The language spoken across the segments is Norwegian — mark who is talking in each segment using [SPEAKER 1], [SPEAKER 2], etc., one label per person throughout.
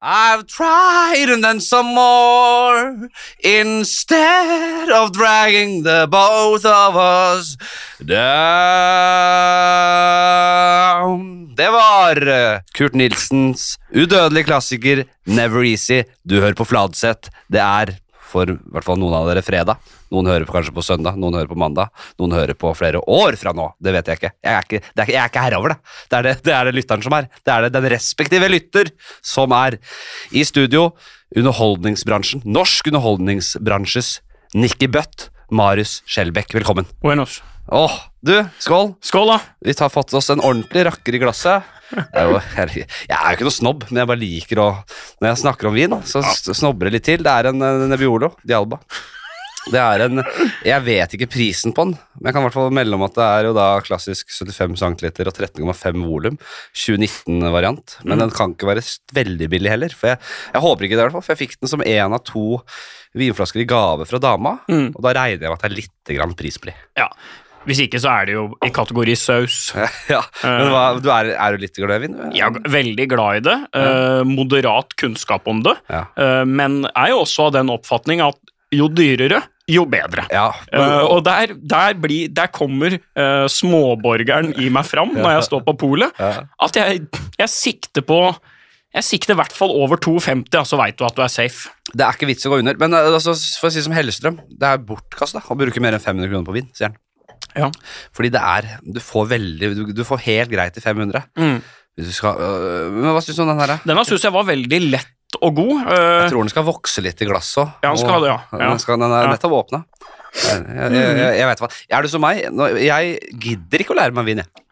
[SPEAKER 1] I've tried and then some more instead of dragging the both of us down. Det var eh, Kurt Nilsens udødelige klassiker Never Easy. Du hører på Fladseth. Det er for i hvert fall noen av dere fredag. Noen hører på kanskje på søndag, noen hører på mandag, noen hører på flere år fra nå. Det vet jeg ikke. Jeg er ikke, det er, ikke- jeg er ikke herre over det. Det er det, det er det lytteren som er. Det er det den respektive lytter som er. I studio, underholdningsbransjen, norsk underholdningsbransjes Nikki Bøtt, Marius Skjelbæk, velkommen.
[SPEAKER 2] Buenos.
[SPEAKER 1] Åh, du, skål!
[SPEAKER 2] Skål, da!
[SPEAKER 1] Vi har fått oss en ordentlig rakker i glasset. Det er jo- Jeg er jo ikke noe snobb, men jeg bare liker å Når jeg snakker om vin, så s- snobber det litt til. Det er en eh, Nebbiolo di Alba. Det er en Jeg vet ikke prisen på den, men jeg kan i hvert fall melde om at det er jo da klassisk 75 cm og 13,5 volum. 2019-variant. Men den kan ikke være s- veldig billig heller. For jeg, jeg håper ikke det, i hvert fall. For jeg fikk den som én av to vinflasker i gave fra dama,
[SPEAKER 2] Mm.
[SPEAKER 1] og da regner jeg med at det er lite grann prisblid.
[SPEAKER 2] Ja. Hvis ikke, så er det jo i kategori saus.
[SPEAKER 1] ja, men hva, du er, er du litt glad i vin? du?
[SPEAKER 2] Jeg er veldig glad i det. eh, moderat kunnskap om det.
[SPEAKER 1] Ja.
[SPEAKER 2] eh, men er jo også av den oppfatning at jo dyrere, jo bedre.
[SPEAKER 1] Ja,
[SPEAKER 2] Eh, og der, der, blir, der kommer eh, småborgeren i meg fram når jeg står på polet.
[SPEAKER 1] Ja.
[SPEAKER 2] At jeg, jeg sikter på Jeg sikter i hvert fall over 2,50, ja, så veit du at du er safe.
[SPEAKER 1] Det er ikke vits å gå under. Men eh, altså, for å si som Hellestrøm, det er bortkasta å bruke mer enn 500 kroner på vin, sier han.
[SPEAKER 2] Ja.
[SPEAKER 1] Fordi det er Du får veldig Du, du får helt greit til 500.
[SPEAKER 2] Mm.
[SPEAKER 1] Hvis du skal, øh, men hva syns du om den her, da?
[SPEAKER 2] Denne syns jeg var veldig lett og god. eh,
[SPEAKER 1] Jeg tror den skal vokse litt i glasset òg.
[SPEAKER 2] Ja, den skal det, ja. Ja.
[SPEAKER 1] Den, skal, den er
[SPEAKER 2] Ja. Mhm.
[SPEAKER 1] nettopp åpna. Jeg, jeg, jeg, jeg vet hva. Er du som meg? Nå- Jeg gidder ikke å lære meg vin, jeg.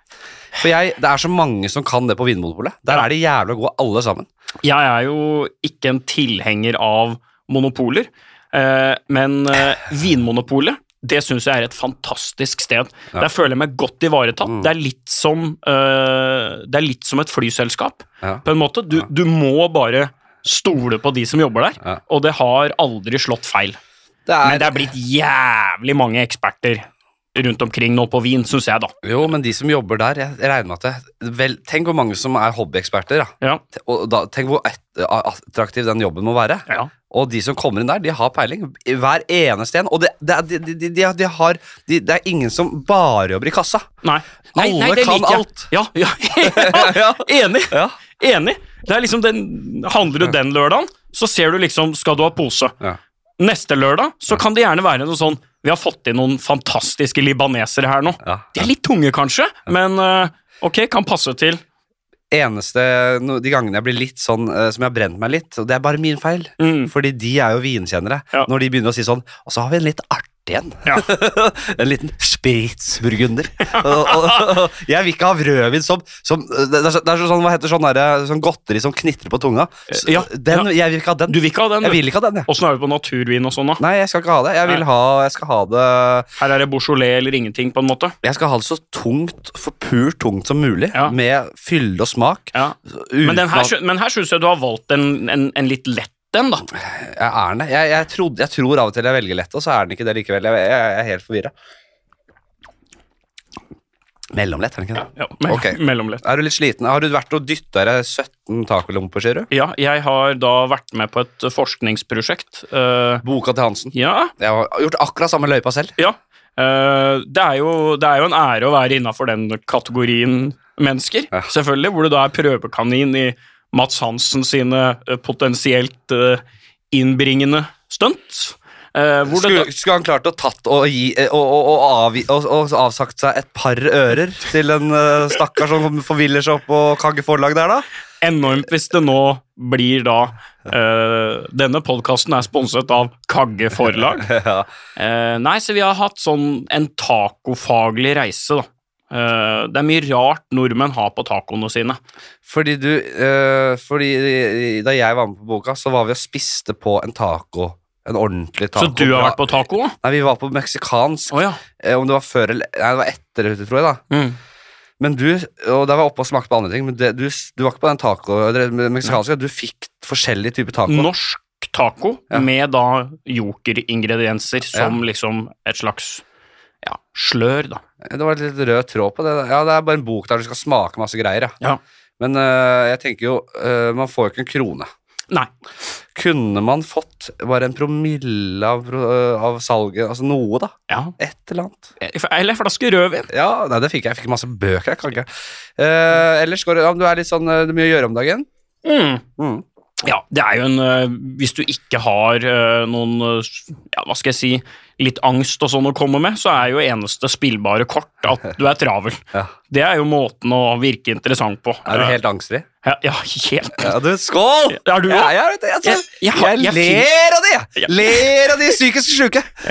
[SPEAKER 1] For jeg, det er så mange som kan det på Vinmonopolet. Der er de jævla gode, alle sammen.
[SPEAKER 2] Jeg er jo ikke en tilhenger av monopoler, eh, men eh, Vinmonopolet det syns jeg er et fantastisk sted.
[SPEAKER 1] Ja. Mm.
[SPEAKER 2] Der føler jeg meg godt ivaretatt. Det, er litt som, eh, det er litt som et flyselskap,
[SPEAKER 1] Ja.
[SPEAKER 2] på en måte. Du, du må bare stole på de som jobber der,
[SPEAKER 1] Ja.
[SPEAKER 2] og det har aldri slått feil.
[SPEAKER 1] Det
[SPEAKER 2] Men det er blitt jævlig mange eksperter rundt omkring nå på vin, syns jeg, da.
[SPEAKER 1] Jo, men de som jobber der, jeg jeg regner med at det, vel, Tenk hvor mange som er hobbyeksperter, da.
[SPEAKER 2] Ja,
[SPEAKER 1] Te- Og da, tenk hvor at- attraktiv den jobben må være.
[SPEAKER 2] ja.
[SPEAKER 1] Og de som kommer inn der, de har peiling. I Hver eneste en. Og det, det, er- de, de, de, de, de har de, Det er ingen som bare jobber i kassa.
[SPEAKER 2] Nei. Nei,
[SPEAKER 1] Alle
[SPEAKER 2] nei, det
[SPEAKER 1] kan
[SPEAKER 2] liker jeg.
[SPEAKER 1] alt.
[SPEAKER 2] Ja, ja, ja. Enig.
[SPEAKER 1] Ja.
[SPEAKER 2] Enig. Det er liksom den, handler du den lørdagen, så ser du liksom Skal du ha pose?
[SPEAKER 1] Ja.
[SPEAKER 2] Neste lørdag så kan det gjerne være noe sånn Vi har fått inn noen fantastiske libanesere her nå.
[SPEAKER 1] Ja.
[SPEAKER 2] De er litt tunge, kanskje, men eh, ok, kan passe til.
[SPEAKER 1] Eneste no, De gangene jeg blir litt sånn eh, som jeg har brent meg litt, og det er bare min feil.
[SPEAKER 2] Mm.
[SPEAKER 1] Fordi de er jo vinkjennere.
[SPEAKER 2] Ja.
[SPEAKER 1] Når de begynner å si sånn Og så har vi en litt artig en.
[SPEAKER 2] Ja.
[SPEAKER 1] en liten spritsburgunder. Og- og- og jeg vil ikke ha rødvin som, som Det er, så, det er så sånn, hva heter sånn, derre- sånn godteri som knitrer på tunga. S-
[SPEAKER 2] Ja,
[SPEAKER 1] Den, Jeg vil ikke ha den.
[SPEAKER 2] Du vil ikke ha den?
[SPEAKER 1] Jeg vil ikke ha den, jeg.
[SPEAKER 2] Åssen er det på naturvin og sånn, da?
[SPEAKER 1] Nei, jeg skal ikke ha det. Jeg, vil
[SPEAKER 2] Nei.
[SPEAKER 1] ha, jeg skal ha det
[SPEAKER 2] Her er det Beaujolais eller ingenting, på en måte.
[SPEAKER 1] Jeg skal ha det så tungt, forpult tungt som mulig,
[SPEAKER 2] Ja.
[SPEAKER 1] med fylde og smak.
[SPEAKER 2] Ja.
[SPEAKER 1] Uten
[SPEAKER 2] Men, den her,
[SPEAKER 1] at-
[SPEAKER 2] sy- men her syns jeg du har valgt en, en, en litt lett en, da.
[SPEAKER 1] Jeg er den det. Jeg, jeg, trodde, jeg tror av og til jeg velger lett, og så er den ikke det likevel. Jeg, jeg, jeg er helt forvirra. Mellomlett, er den ikke det?
[SPEAKER 2] Ja, me
[SPEAKER 1] Ok.
[SPEAKER 2] Mellomlett.
[SPEAKER 1] Er du litt sliten? Har du vært og dytta deg 17 tacolomper, sier du?
[SPEAKER 2] Ja, jeg har da vært med på et forskningsprosjekt. eh,
[SPEAKER 1] Boka til Hansen.
[SPEAKER 2] ja,
[SPEAKER 1] Jeg har gjort akkurat samme løypa selv.
[SPEAKER 2] ja. Eh, det, er jo, det er jo en ære å være innafor den kategorien mennesker,
[SPEAKER 1] Ja.
[SPEAKER 2] selvfølgelig, hvor du da er prøvekanin i Mats Hansen sine eh, potensielt eh, innbringende stunt. Eh, hvor det
[SPEAKER 1] Skulle,
[SPEAKER 2] da,
[SPEAKER 1] skulle han klart å tatt og, gi, eh, og, og, og, avgi, og, og avsagt seg et par ører til en eh, stakkar som forviller seg opp på Kagge forlag der, da?
[SPEAKER 2] enormt hvis det nå blir da eh, Denne podkasten er sponset av Kagge Forlag.
[SPEAKER 1] Ja.
[SPEAKER 2] Eh, nei, så vi har hatt sånn en tacofaglig reise, da. Eh, det er mye rart nordmenn har på tacoene sine.
[SPEAKER 1] Fordi du eh, Fordi da jeg var med på boka, så var vi og spiste på en taco. En ordentlig taco.
[SPEAKER 2] så du har vært på taco? Å
[SPEAKER 1] Nei, vi var på meksikansk.
[SPEAKER 2] ja.
[SPEAKER 1] eh, Om det var før eller Nei, det var etter, tror jeg, da.
[SPEAKER 2] Mm.
[SPEAKER 1] Men du, og der var jeg oppe og smakte på andre ting, men det, du, du var ikke på den taco, det meksikanske, du fikk forskjellige typer taco.
[SPEAKER 2] Norsk taco
[SPEAKER 1] Ja.
[SPEAKER 2] med da jokeringredienser som liksom et slags ja, slør, da.
[SPEAKER 1] Det var litt rød tråd på det. Ja, det er bare en bok der du skal smake masse greier, ja. eh,
[SPEAKER 2] Ja.
[SPEAKER 1] Men øh, jeg tenker jo, øh, man får jo ikke en krone.
[SPEAKER 2] Nei.
[SPEAKER 1] Kunne man fått bare en promille av, øh, av salget? Altså noe, da.
[SPEAKER 2] Ja.
[SPEAKER 1] Et eller annet.
[SPEAKER 2] Eller en flaske rødvin.
[SPEAKER 1] Ja, nei, det fikk jeg. Jeg fikk masse bøker, jeg kan ikke. Eh, ellers går det ja, men Du er litt sånn eh, Det er mye å gjøre om dagen.
[SPEAKER 2] Mm.
[SPEAKER 1] Mm.
[SPEAKER 2] Ja, det er jo en øh, Hvis du ikke har øh, noen øh, ja, Hva skal jeg si Litt angst og sånn å komme med, så er jo eneste spillbare kort at du er travel.
[SPEAKER 1] Ja.
[SPEAKER 2] Det er jo måten å virke interessant på.
[SPEAKER 1] Er du helt angstfri?
[SPEAKER 2] Ja, ja helt.
[SPEAKER 1] Ja, du, skål!
[SPEAKER 2] Er du
[SPEAKER 1] Ja,
[SPEAKER 2] òg?
[SPEAKER 1] jeg, er- jeg, jeg,
[SPEAKER 2] Jeg- jeg har- jeg
[SPEAKER 1] ler av de!
[SPEAKER 2] Ja.
[SPEAKER 1] jeg. Ler av de psykisk syke.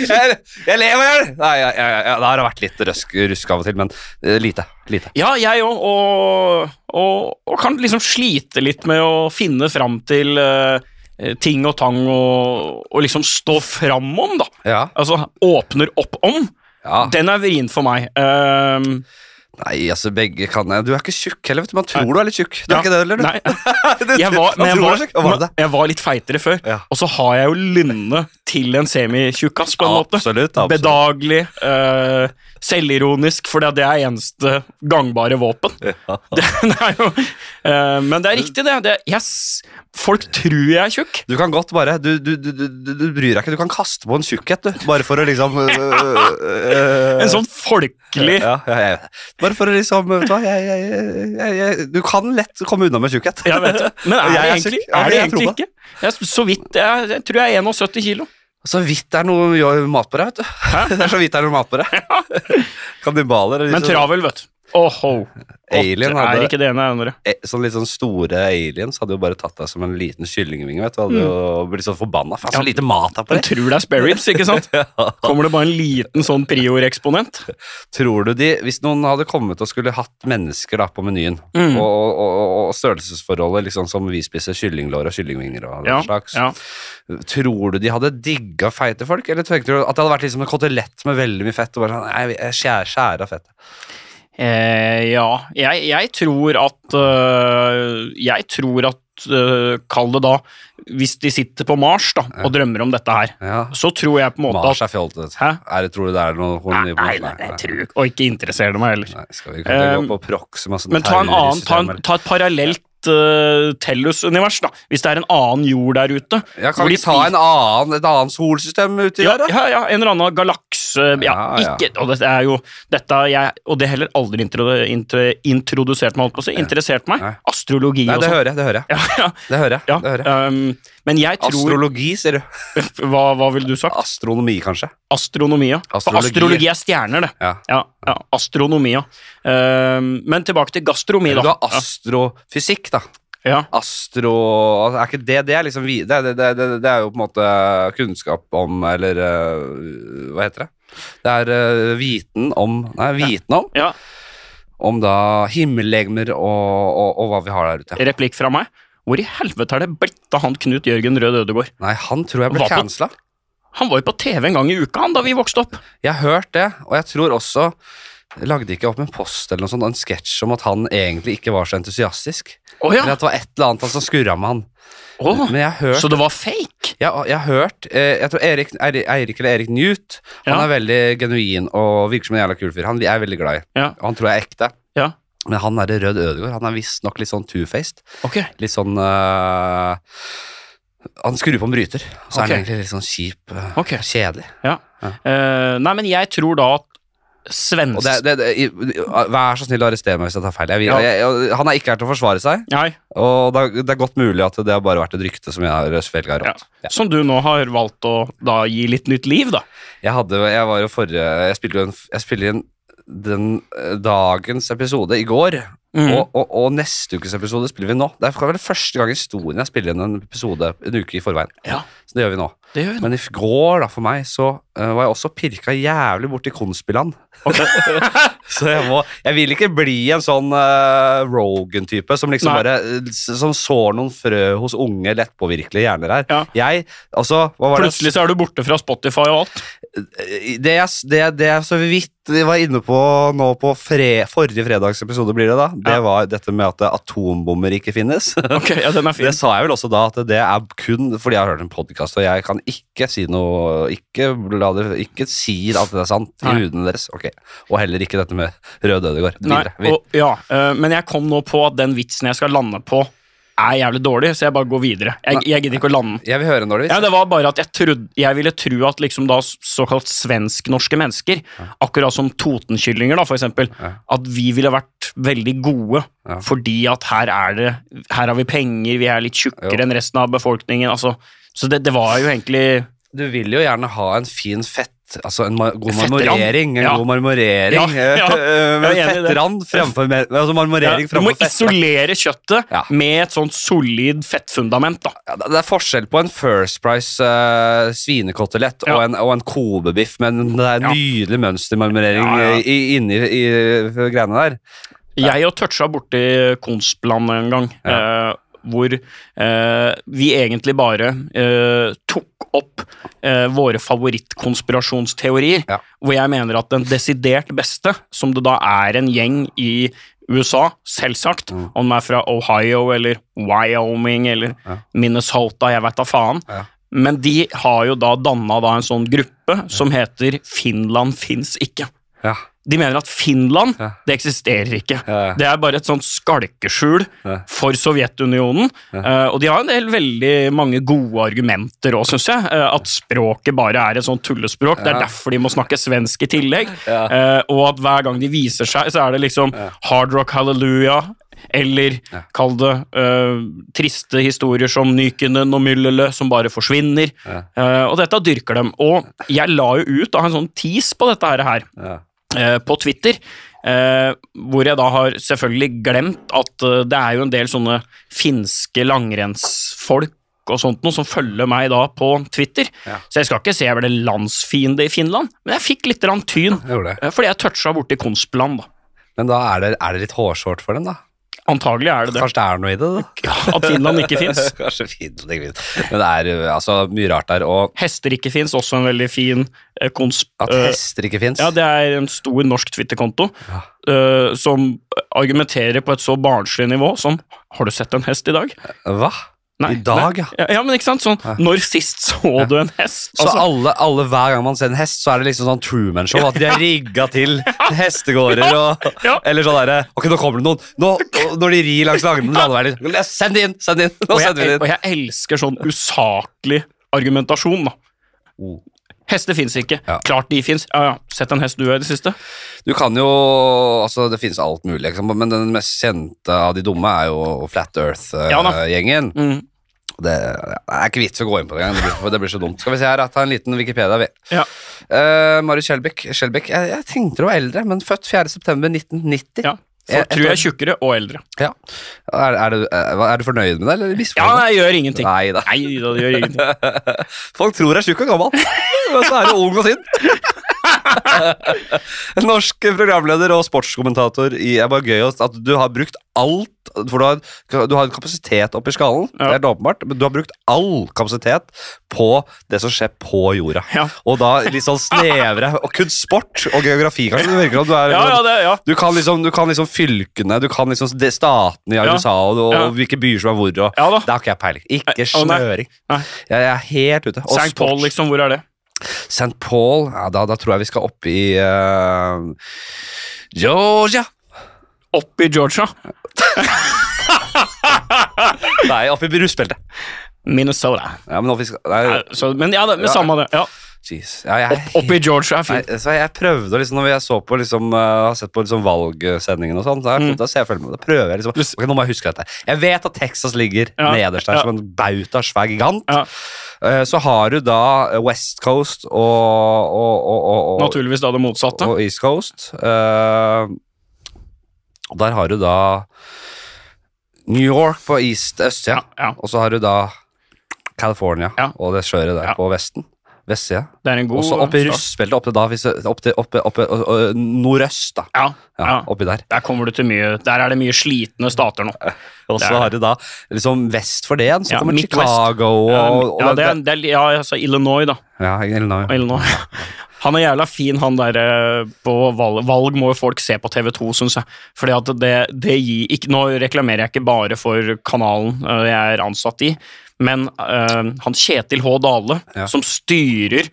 [SPEAKER 1] jeg, jeg ler av det. Nei, ja, ja, ja, det har vært litt røsk, rusk av og til, men eh, lite. lite.
[SPEAKER 2] Ja, jeg òg, og, og, og kan liksom slite litt med å finne fram til eh, ting og tang og, og liksom stå fram om, da.
[SPEAKER 1] Ja.
[SPEAKER 2] Altså åpner opp om.
[SPEAKER 1] ja.
[SPEAKER 2] Den er vrient for meg. Ehm,
[SPEAKER 1] Nei, altså, begge kan jeg. Du er ikke tjukk heller, vet du. Man tror du er litt tjukk. Du
[SPEAKER 2] ja,
[SPEAKER 1] er ikke det heller, du.
[SPEAKER 2] Nei,
[SPEAKER 1] Du-
[SPEAKER 2] jeg var,
[SPEAKER 1] man
[SPEAKER 2] men jeg
[SPEAKER 1] tror du er
[SPEAKER 2] var,
[SPEAKER 1] tjukk. Hva var det?
[SPEAKER 2] jeg var litt feitere før,
[SPEAKER 1] Ja.
[SPEAKER 2] og så har jeg jo lynne til en semitjukkas, på en måte.
[SPEAKER 1] Absolutt. absolutt.
[SPEAKER 2] Bedagelig, eh, selvironisk, for det er eneste gangbare våpen.
[SPEAKER 1] Ja.
[SPEAKER 2] Det, det er jo, eh, men det er riktig, det. det jeg s- folk tror jeg er tjukk.
[SPEAKER 1] Du kan godt bare du, du, du, du, du- du bryr deg ikke. Du kan kaste på en tjukkhet, du. Bare for å liksom øh, øh, øh,
[SPEAKER 2] En sånn folkelig
[SPEAKER 1] ja, ja, jeg vet det. Bare for å liksom Vet du hva, jeg, jeg, jeg, jeg, jeg Du kan lett komme unna med tjukkhet.
[SPEAKER 2] jeg vet det. Men
[SPEAKER 1] Jeg
[SPEAKER 2] er det
[SPEAKER 1] er
[SPEAKER 2] egentlig,
[SPEAKER 1] tjukk. Ja,
[SPEAKER 2] er det
[SPEAKER 1] jeg tror
[SPEAKER 2] egentlig ikke? Jeg, så vidt jeg, jeg tror jeg er 71 kilo.
[SPEAKER 1] Så vidt det er noe jo- mat på deg, vet du. Det er så vidt det er noe mat på deg. Kannibaler liksom og
[SPEAKER 2] Men travel, vet du. Åhå.
[SPEAKER 1] Alien
[SPEAKER 2] Åtte
[SPEAKER 1] hadde-
[SPEAKER 2] er ikke det ene er andre.
[SPEAKER 1] eh, sånn litt sånn store aliens hadde jo bare tatt deg som en liten kyllingvinge, vet du. Hadde jo blitt sånn forbanna. Faen, så
[SPEAKER 2] Mm. Ja.
[SPEAKER 1] lite mat her på
[SPEAKER 2] Men
[SPEAKER 1] deg.
[SPEAKER 2] tror det er spare ribs, ikke sant? Kommer det bare en liten sånn prior-eksponent?
[SPEAKER 1] Tror du de, Hvis noen hadde kommet og skulle hatt mennesker da på menyen,
[SPEAKER 2] Mm.
[SPEAKER 1] og, og, og, og størrelsesforholdet liksom som vi spiser kyllinglår og kyllingvinger og den
[SPEAKER 2] Ja,
[SPEAKER 1] slags,
[SPEAKER 2] ja.
[SPEAKER 1] tror du de hadde digga feite folk? Eller tenkte du at det hadde vært liksom en kotelett med veldig mye fett? og bare sånn, nei, jeg skjærer, skjærer av fettet.
[SPEAKER 2] Eh, ja, jeg, jeg tror at øh, Jeg tror at øh, Kall det da Hvis de sitter på Mars da, og drømmer om dette her,
[SPEAKER 1] Ja.
[SPEAKER 2] så tror jeg på en måte
[SPEAKER 1] Mars
[SPEAKER 2] at
[SPEAKER 1] er fjoltet.
[SPEAKER 2] Hæ?
[SPEAKER 1] Er det, tror du det er noe
[SPEAKER 2] Nei, nei, nei, jeg tror ikke Og ikke interesserer det meg heller.
[SPEAKER 1] Nei, skal vi kunne
[SPEAKER 2] Um,
[SPEAKER 1] gå på Proxima som
[SPEAKER 2] Men ta, en annen, ta, en, ta et parallelt øh, Tellus-univers, da. Hvis det er en annen jord der ute.
[SPEAKER 1] Ja, kan
[SPEAKER 2] hvor
[SPEAKER 1] vi
[SPEAKER 2] de
[SPEAKER 1] ta en annen, et annet solsystem uti
[SPEAKER 2] Ja,
[SPEAKER 1] der, da?
[SPEAKER 2] ja, ja, en eller annen galakse ja,
[SPEAKER 1] Ja, ja.
[SPEAKER 2] Ikke, Og det er jo dette har jeg, Og det heller aldri intro, intro, introdusert meg, holdt på å si. Interessert meg.
[SPEAKER 1] Nei.
[SPEAKER 2] Astrologi
[SPEAKER 1] Nei,
[SPEAKER 2] og
[SPEAKER 1] det
[SPEAKER 2] sånn.
[SPEAKER 1] hører jeg. det hører jeg.
[SPEAKER 2] Ja, ja,
[SPEAKER 1] Det hører jeg,
[SPEAKER 2] ja.
[SPEAKER 1] det hører jeg.
[SPEAKER 2] ehm, men jeg tror
[SPEAKER 1] Astrologi, sier du.
[SPEAKER 2] hva, hva ville du sagt?
[SPEAKER 1] Astronomi, kanskje.
[SPEAKER 2] Astronomi, ja. For
[SPEAKER 1] Astrologi.
[SPEAKER 2] astrologi er stjerner, det.
[SPEAKER 1] Ja.
[SPEAKER 2] Ja, ja astronomi, ja. Ehm, men tilbake til gastronomi,
[SPEAKER 1] Du
[SPEAKER 2] da.
[SPEAKER 1] har astrofysikk, da.
[SPEAKER 2] Ja,
[SPEAKER 1] Astro altså, Er ikke det det er liksom vi- det, det, det, det, det er jo på en måte kunnskap om Eller øh, hva heter det? Det er øh, viten om Nei, viten om
[SPEAKER 2] ja.
[SPEAKER 1] Om da himmellegemer og, og, og hva vi har der ute.
[SPEAKER 2] Replikk fra meg. Hvor i helvete er det blitt av han Knut Jørgen Rød Ødegård?
[SPEAKER 1] Nei, han tror jeg ble
[SPEAKER 2] Hva på-
[SPEAKER 1] cancela.
[SPEAKER 2] Han var jo på TV en gang i uka, han, da vi vokste opp.
[SPEAKER 1] Jeg har hørt det, og jeg tror også jeg Lagde ikke opp en post eller noe sånt, en sketsj om at han egentlig ikke var så entusiastisk?
[SPEAKER 2] Å
[SPEAKER 1] Eller
[SPEAKER 2] ja!
[SPEAKER 1] at det var et eller annet som skurra med han.
[SPEAKER 2] Å,
[SPEAKER 1] Men jeg har hørt,
[SPEAKER 2] så det var fake?
[SPEAKER 1] jeg, jeg har hørt eh, Jeg tror Erik, Eiri- Eirik eller Erik Newt Han
[SPEAKER 2] Ja.
[SPEAKER 1] er veldig genuin og virker som en jævla kul fyr. Han jeg er veldig glad i.
[SPEAKER 2] Ja.
[SPEAKER 1] Og han tror jeg er ekte.
[SPEAKER 2] Ja.
[SPEAKER 1] Men han derre Rød Ødegård, han er visstnok litt sånn two-faced.
[SPEAKER 2] Ok.
[SPEAKER 1] Litt sånn eh, Han skrur på en bryter, så er han
[SPEAKER 2] Ok.
[SPEAKER 1] egentlig litt sånn kjip. eh,
[SPEAKER 2] Ok.
[SPEAKER 1] Kjedelig.
[SPEAKER 2] Ja. Eh, nei, men jeg tror da at svensk...
[SPEAKER 1] Og det, det, det, i- i- vær så snill å arrestere meg hvis jeg tar feil. Jeg, vil-
[SPEAKER 2] Ja.
[SPEAKER 1] jeg, jeg, han er ikke her til å forsvare seg,
[SPEAKER 2] Nei,
[SPEAKER 1] og det, er- det er godt mulig at det har bare vært et rykte som jeg har svelga
[SPEAKER 2] ja.
[SPEAKER 1] rått. Ja.
[SPEAKER 2] Som du nå har valgt å da gi litt nytt liv, da.
[SPEAKER 1] Jeg, hadde, jeg var jo forrige Jeg spilte jo en, jeg spiller inn den eh, dagens episode i går,
[SPEAKER 2] Mm.
[SPEAKER 1] og, og, og neste ukes episode spiller vi nå. Det er vel første gang i historien jeg spiller inn en episode en uke i forveien.
[SPEAKER 2] Ja.
[SPEAKER 1] Så det gjør vi nå.
[SPEAKER 2] Det gjør vi nå.
[SPEAKER 1] Men i går, da, for meg, så eh, var jeg også pirka jævlig borti Konspiland. så jeg må Jeg vil ikke bli en sånn eh, Rogan-type som liksom
[SPEAKER 2] Nei.
[SPEAKER 1] bare eh, s- Som sår noen frø hos unge, lettpåvirkelige hjerner her.
[SPEAKER 2] Ja.
[SPEAKER 1] Jeg Altså, hva var
[SPEAKER 2] Plutselig så er du borte fra Spotify og alt.
[SPEAKER 1] det Det jeg, s- det, det jeg så vidt var inne på nå på fre, forrige fredags episode, blir det da, det var dette med at atombomber ikke finnes.
[SPEAKER 2] Ok, ja, den er fin.
[SPEAKER 1] Det sa jeg vel også da, at det er kun fordi jeg har hørt en podkast, og jeg kan ikke si noe Ikke, la det, ikke si at det er sant i
[SPEAKER 2] Nei.
[SPEAKER 1] hudene deres. Ok. Og heller ikke dette med Rød Ødegård.
[SPEAKER 2] Nei,
[SPEAKER 1] Videre. Vi-
[SPEAKER 2] og, ja, eh, men jeg kom nå på at den vitsen jeg skal lande på, er jævlig dårlig, så jeg bare går videre. Jeg, jeg gidder ikke å lande den.
[SPEAKER 1] Jeg vil høre når det
[SPEAKER 2] Ja, det var bare at jeg, trodde, jeg ville tro at liksom da såkalt svensk-norske mennesker, akkurat som Totenkyllinger da, for eksempel,
[SPEAKER 1] Ja.
[SPEAKER 2] at vi ville vært veldig gode,
[SPEAKER 1] Ja.
[SPEAKER 2] fordi at her er det, her har vi penger, vi er litt tjukkere
[SPEAKER 1] Jo.
[SPEAKER 2] enn resten av befolkningen, altså. Så det, det var jo egentlig
[SPEAKER 1] Du vil jo gjerne ha en fin fett Altså en ma god
[SPEAKER 2] Fett
[SPEAKER 1] marmorering.
[SPEAKER 2] rand.
[SPEAKER 1] En
[SPEAKER 2] Ja.
[SPEAKER 1] god marmorering
[SPEAKER 2] Ja, ja.
[SPEAKER 1] eh, Med
[SPEAKER 2] Jeg er enig i det.
[SPEAKER 1] fettrand fremfor mer- Altså marmorering
[SPEAKER 2] Du må
[SPEAKER 1] fremfor fett.
[SPEAKER 2] isolere kjøttet
[SPEAKER 1] Ja.
[SPEAKER 2] med et sånt solid fettfundament, da.
[SPEAKER 1] Ja, det det er forskjell på en First Price eh, svinekotelett og,
[SPEAKER 2] Ja.
[SPEAKER 1] en, og en kobebiff, men det er
[SPEAKER 2] Ja.
[SPEAKER 1] nydelig mønstermarmorering
[SPEAKER 2] Ja, ja.
[SPEAKER 1] eh, i- inni i, greiene der.
[SPEAKER 2] Jeg og toucha borti Konstplan en gang, eh, hvor eh, vi egentlig bare eh, tok opp eh, våre favorittkonspirasjonsteorier,
[SPEAKER 1] Ja.
[SPEAKER 2] hvor jeg mener at den desidert beste, som det da er en gjeng i USA, selvsagt,
[SPEAKER 1] Mm.
[SPEAKER 2] om den er fra Ohio eller Wyoming eller
[SPEAKER 1] Ja.
[SPEAKER 2] Minnesota, jeg veit da faen.
[SPEAKER 1] Ja.
[SPEAKER 2] Men de har jo da danna da en sånn gruppe som heter Finland fins ikke.
[SPEAKER 1] Ja.
[SPEAKER 2] De mener at Finland,
[SPEAKER 1] Ja.
[SPEAKER 2] det eksisterer ikke.
[SPEAKER 1] Ja.
[SPEAKER 2] Det er bare et sånt skalkeskjul
[SPEAKER 1] Ja.
[SPEAKER 2] for Sovjetunionen. Eh, og de har en del veldig mange gode argumenter òg, syns jeg. Eh, at språket bare er et sånt tullespråk. Det
[SPEAKER 1] Ja.
[SPEAKER 2] er derfor de må snakke svensk i tillegg.
[SPEAKER 1] Ja.
[SPEAKER 2] Eh, og at hver gang de viser seg, så er det liksom hard rock hallelujah. Eller kall det eh, triste historier som Nykenen og Myllylä, som bare forsvinner.
[SPEAKER 1] Ja.
[SPEAKER 2] Eh, og dette dyrker dem. Og jeg la jo ut da, en sånn tease på dette her. her
[SPEAKER 1] Ja.
[SPEAKER 2] eh, på Twitter. Eh, hvor jeg da har selvfølgelig glemt at eh, det er jo en del sånne finske langrennsfolk og sånt noe som følger meg da på Twitter.
[SPEAKER 1] Ja.
[SPEAKER 2] Så jeg skal ikke si jeg ble landsfiende i Finland, men jeg fikk litt grann tyn.
[SPEAKER 1] Jeg gjorde det.
[SPEAKER 2] eh, Fordi jeg toucha borti Konstplan, da.
[SPEAKER 1] Men da er det, er det litt hårsårt for dem, da.
[SPEAKER 2] Antagelig er det det.
[SPEAKER 1] Kanskje det er noe i det, da.
[SPEAKER 2] Ja, at Finland ikke fins.
[SPEAKER 1] Kanskje fint, det ikke fint. Men det er eh, altså mye rart der. Og
[SPEAKER 2] Hester ikke fins, også en veldig fin eh, konsp...
[SPEAKER 1] at
[SPEAKER 2] eh,
[SPEAKER 1] hester ikke fins.
[SPEAKER 2] Ja, det er en stor norsk Twitter-konto
[SPEAKER 1] Ja.
[SPEAKER 2] eh, som argumenterer på et så barnslig nivå som Har du sett en hest i dag?
[SPEAKER 1] Hva?
[SPEAKER 2] Nei,
[SPEAKER 1] I dag, ja.
[SPEAKER 2] Ja, ja, men ikke sant? Sånn, når sist så du en hest?
[SPEAKER 1] Så
[SPEAKER 2] Altså,
[SPEAKER 1] alle, alle, hver gang man ser en hest, så er det liksom sånn Truman Show. At de er rigga til hestegårder og
[SPEAKER 2] Ja.
[SPEAKER 1] Eller sånn derre Ok, nå kommer det noen. Nå, og når de rir langs langen, landeveien Send det inn! Send det inn! Nå
[SPEAKER 2] og,
[SPEAKER 1] sender vi
[SPEAKER 2] jeg, og
[SPEAKER 1] det inn.
[SPEAKER 2] jeg elsker sånn usaklig argumentasjon, da.
[SPEAKER 1] Oh.
[SPEAKER 2] Hester fins ikke.
[SPEAKER 1] Ja.
[SPEAKER 2] Klart de fins. Ja, ja. Sett en hest du er i det siste.
[SPEAKER 1] Du kan jo Altså, det finnes alt mulig, ikke sant, men den mest kjente av de dumme er jo Flat
[SPEAKER 2] Ja da.
[SPEAKER 1] Earth-gjengen.
[SPEAKER 2] Mm.
[SPEAKER 1] Det det er ikke vits å gå inn på det engang. Det, blir- for det blir så dumt. Skal vi se her, da, ta en liten Wikipedia. vi.
[SPEAKER 2] Ja.
[SPEAKER 1] Eh, Marius Skjelbæk. Skjelbæk jeg, jeg tenkte du var eldre, men født 4.9.1990.
[SPEAKER 2] ja.
[SPEAKER 1] Eh,
[SPEAKER 2] Folk tror jeg er
[SPEAKER 1] et
[SPEAKER 2] tjukkere og eldre.
[SPEAKER 1] Ja. Er, er, du, eh, hva- er du fornøyd med det, eller
[SPEAKER 2] Ja,
[SPEAKER 1] misfornøyd?
[SPEAKER 2] jeg gjør ingenting.
[SPEAKER 1] Nei da.
[SPEAKER 2] Nei, da, det gjør ingenting.
[SPEAKER 1] Folk tror jeg er tjukk og gammel, men så er du ung og sint. Norsk programleder og sportskommentator i Det er bare gøy at du har brukt alt For du har, du har en kapasitet oppi skallen, det er
[SPEAKER 2] Ja.
[SPEAKER 1] helt åpenbart, men du har brukt all kapasitet på det som skjer på jorda.
[SPEAKER 2] Ja.
[SPEAKER 1] Og da litt sånn snevre Og kun sport og geografi, kanskje. Det virker som du er
[SPEAKER 2] Ja, ja, det, ja.
[SPEAKER 1] Du kan, liksom, du kan liksom fylkene, du kan liksom de- statene i
[SPEAKER 2] Ja.
[SPEAKER 1] USA, og, og
[SPEAKER 2] Ja.
[SPEAKER 1] hvilke byer som er hvor. Og,
[SPEAKER 2] Ja da.
[SPEAKER 1] Det har ikke jeg peiling. Ikke
[SPEAKER 2] Å, nei.
[SPEAKER 1] snøring.
[SPEAKER 2] Nei.
[SPEAKER 1] Jeg, jeg er helt ute. Og
[SPEAKER 2] St. Paul,
[SPEAKER 1] sport.
[SPEAKER 2] liksom. Hvor er det?
[SPEAKER 1] St. Paul ja, da, da tror jeg vi skal opp i eh, Georgia.
[SPEAKER 2] Opp i Georgia.
[SPEAKER 1] Nei, opp i russbeltet.
[SPEAKER 2] Minnesota.
[SPEAKER 1] Ja, men nå vi skal Nei,
[SPEAKER 2] Ja, Så, men ja, det, men
[SPEAKER 1] Ja.
[SPEAKER 2] samme det. Ja.
[SPEAKER 1] jeez. Ja, jeg er
[SPEAKER 2] Opp, opp i Georgia er fint.
[SPEAKER 1] Nei, så jeg prøvde å liksom, Når jeg så på liksom, eh, har sett på liksom valgsendingen og sånn, så har
[SPEAKER 2] Mm.
[SPEAKER 1] jeg- da ser jeg følge med. Da prøver jeg liksom
[SPEAKER 2] Du s-
[SPEAKER 1] Ok, nå må jeg huske dette. Jeg vet at Texas ligger
[SPEAKER 2] Ja,
[SPEAKER 1] nederst der
[SPEAKER 2] ja.
[SPEAKER 1] som en bauta svær gigant.
[SPEAKER 2] Ja.
[SPEAKER 1] Eh, Så har du da eh, West Coast og, og, og, og, og,
[SPEAKER 2] Naturligvis da det motsatte.
[SPEAKER 1] og East Coast. Eh, og der har du da New York på east østsida,
[SPEAKER 2] Ja, ja.
[SPEAKER 1] og så har du da California
[SPEAKER 2] Ja.
[SPEAKER 1] og det sjøret der
[SPEAKER 2] Ja.
[SPEAKER 1] på vesten. Vestsida.
[SPEAKER 2] Det er en god
[SPEAKER 1] Også opp i
[SPEAKER 2] start.
[SPEAKER 1] russbeltet, opp til da, hvis, opp til opp, opp, opp, ø, nordøst, da.
[SPEAKER 2] Ja,
[SPEAKER 1] Ja,
[SPEAKER 2] ja.
[SPEAKER 1] Oppi der.
[SPEAKER 2] Der kommer du til mye Der er det mye slitne stater nå.
[SPEAKER 1] Og så
[SPEAKER 2] Det er
[SPEAKER 1] har du da liksom vest for det igjen, så
[SPEAKER 2] Ja,
[SPEAKER 1] kommer
[SPEAKER 2] Midwest.
[SPEAKER 1] Chicago og, og
[SPEAKER 2] ja, det er, det er, ja, altså Illinois, da.
[SPEAKER 1] ja, Illinois.
[SPEAKER 2] Illinois. Han er jævla fin, han derre på valg. Valg må jo folk se på TV2, syns jeg. Fordi at det, det gir ikke, Nå reklamerer jeg ikke bare for kanalen eh, jeg er ansatt i. Men eh, han Kjetil H. Dale,
[SPEAKER 1] Ja. Mm.
[SPEAKER 2] som styrer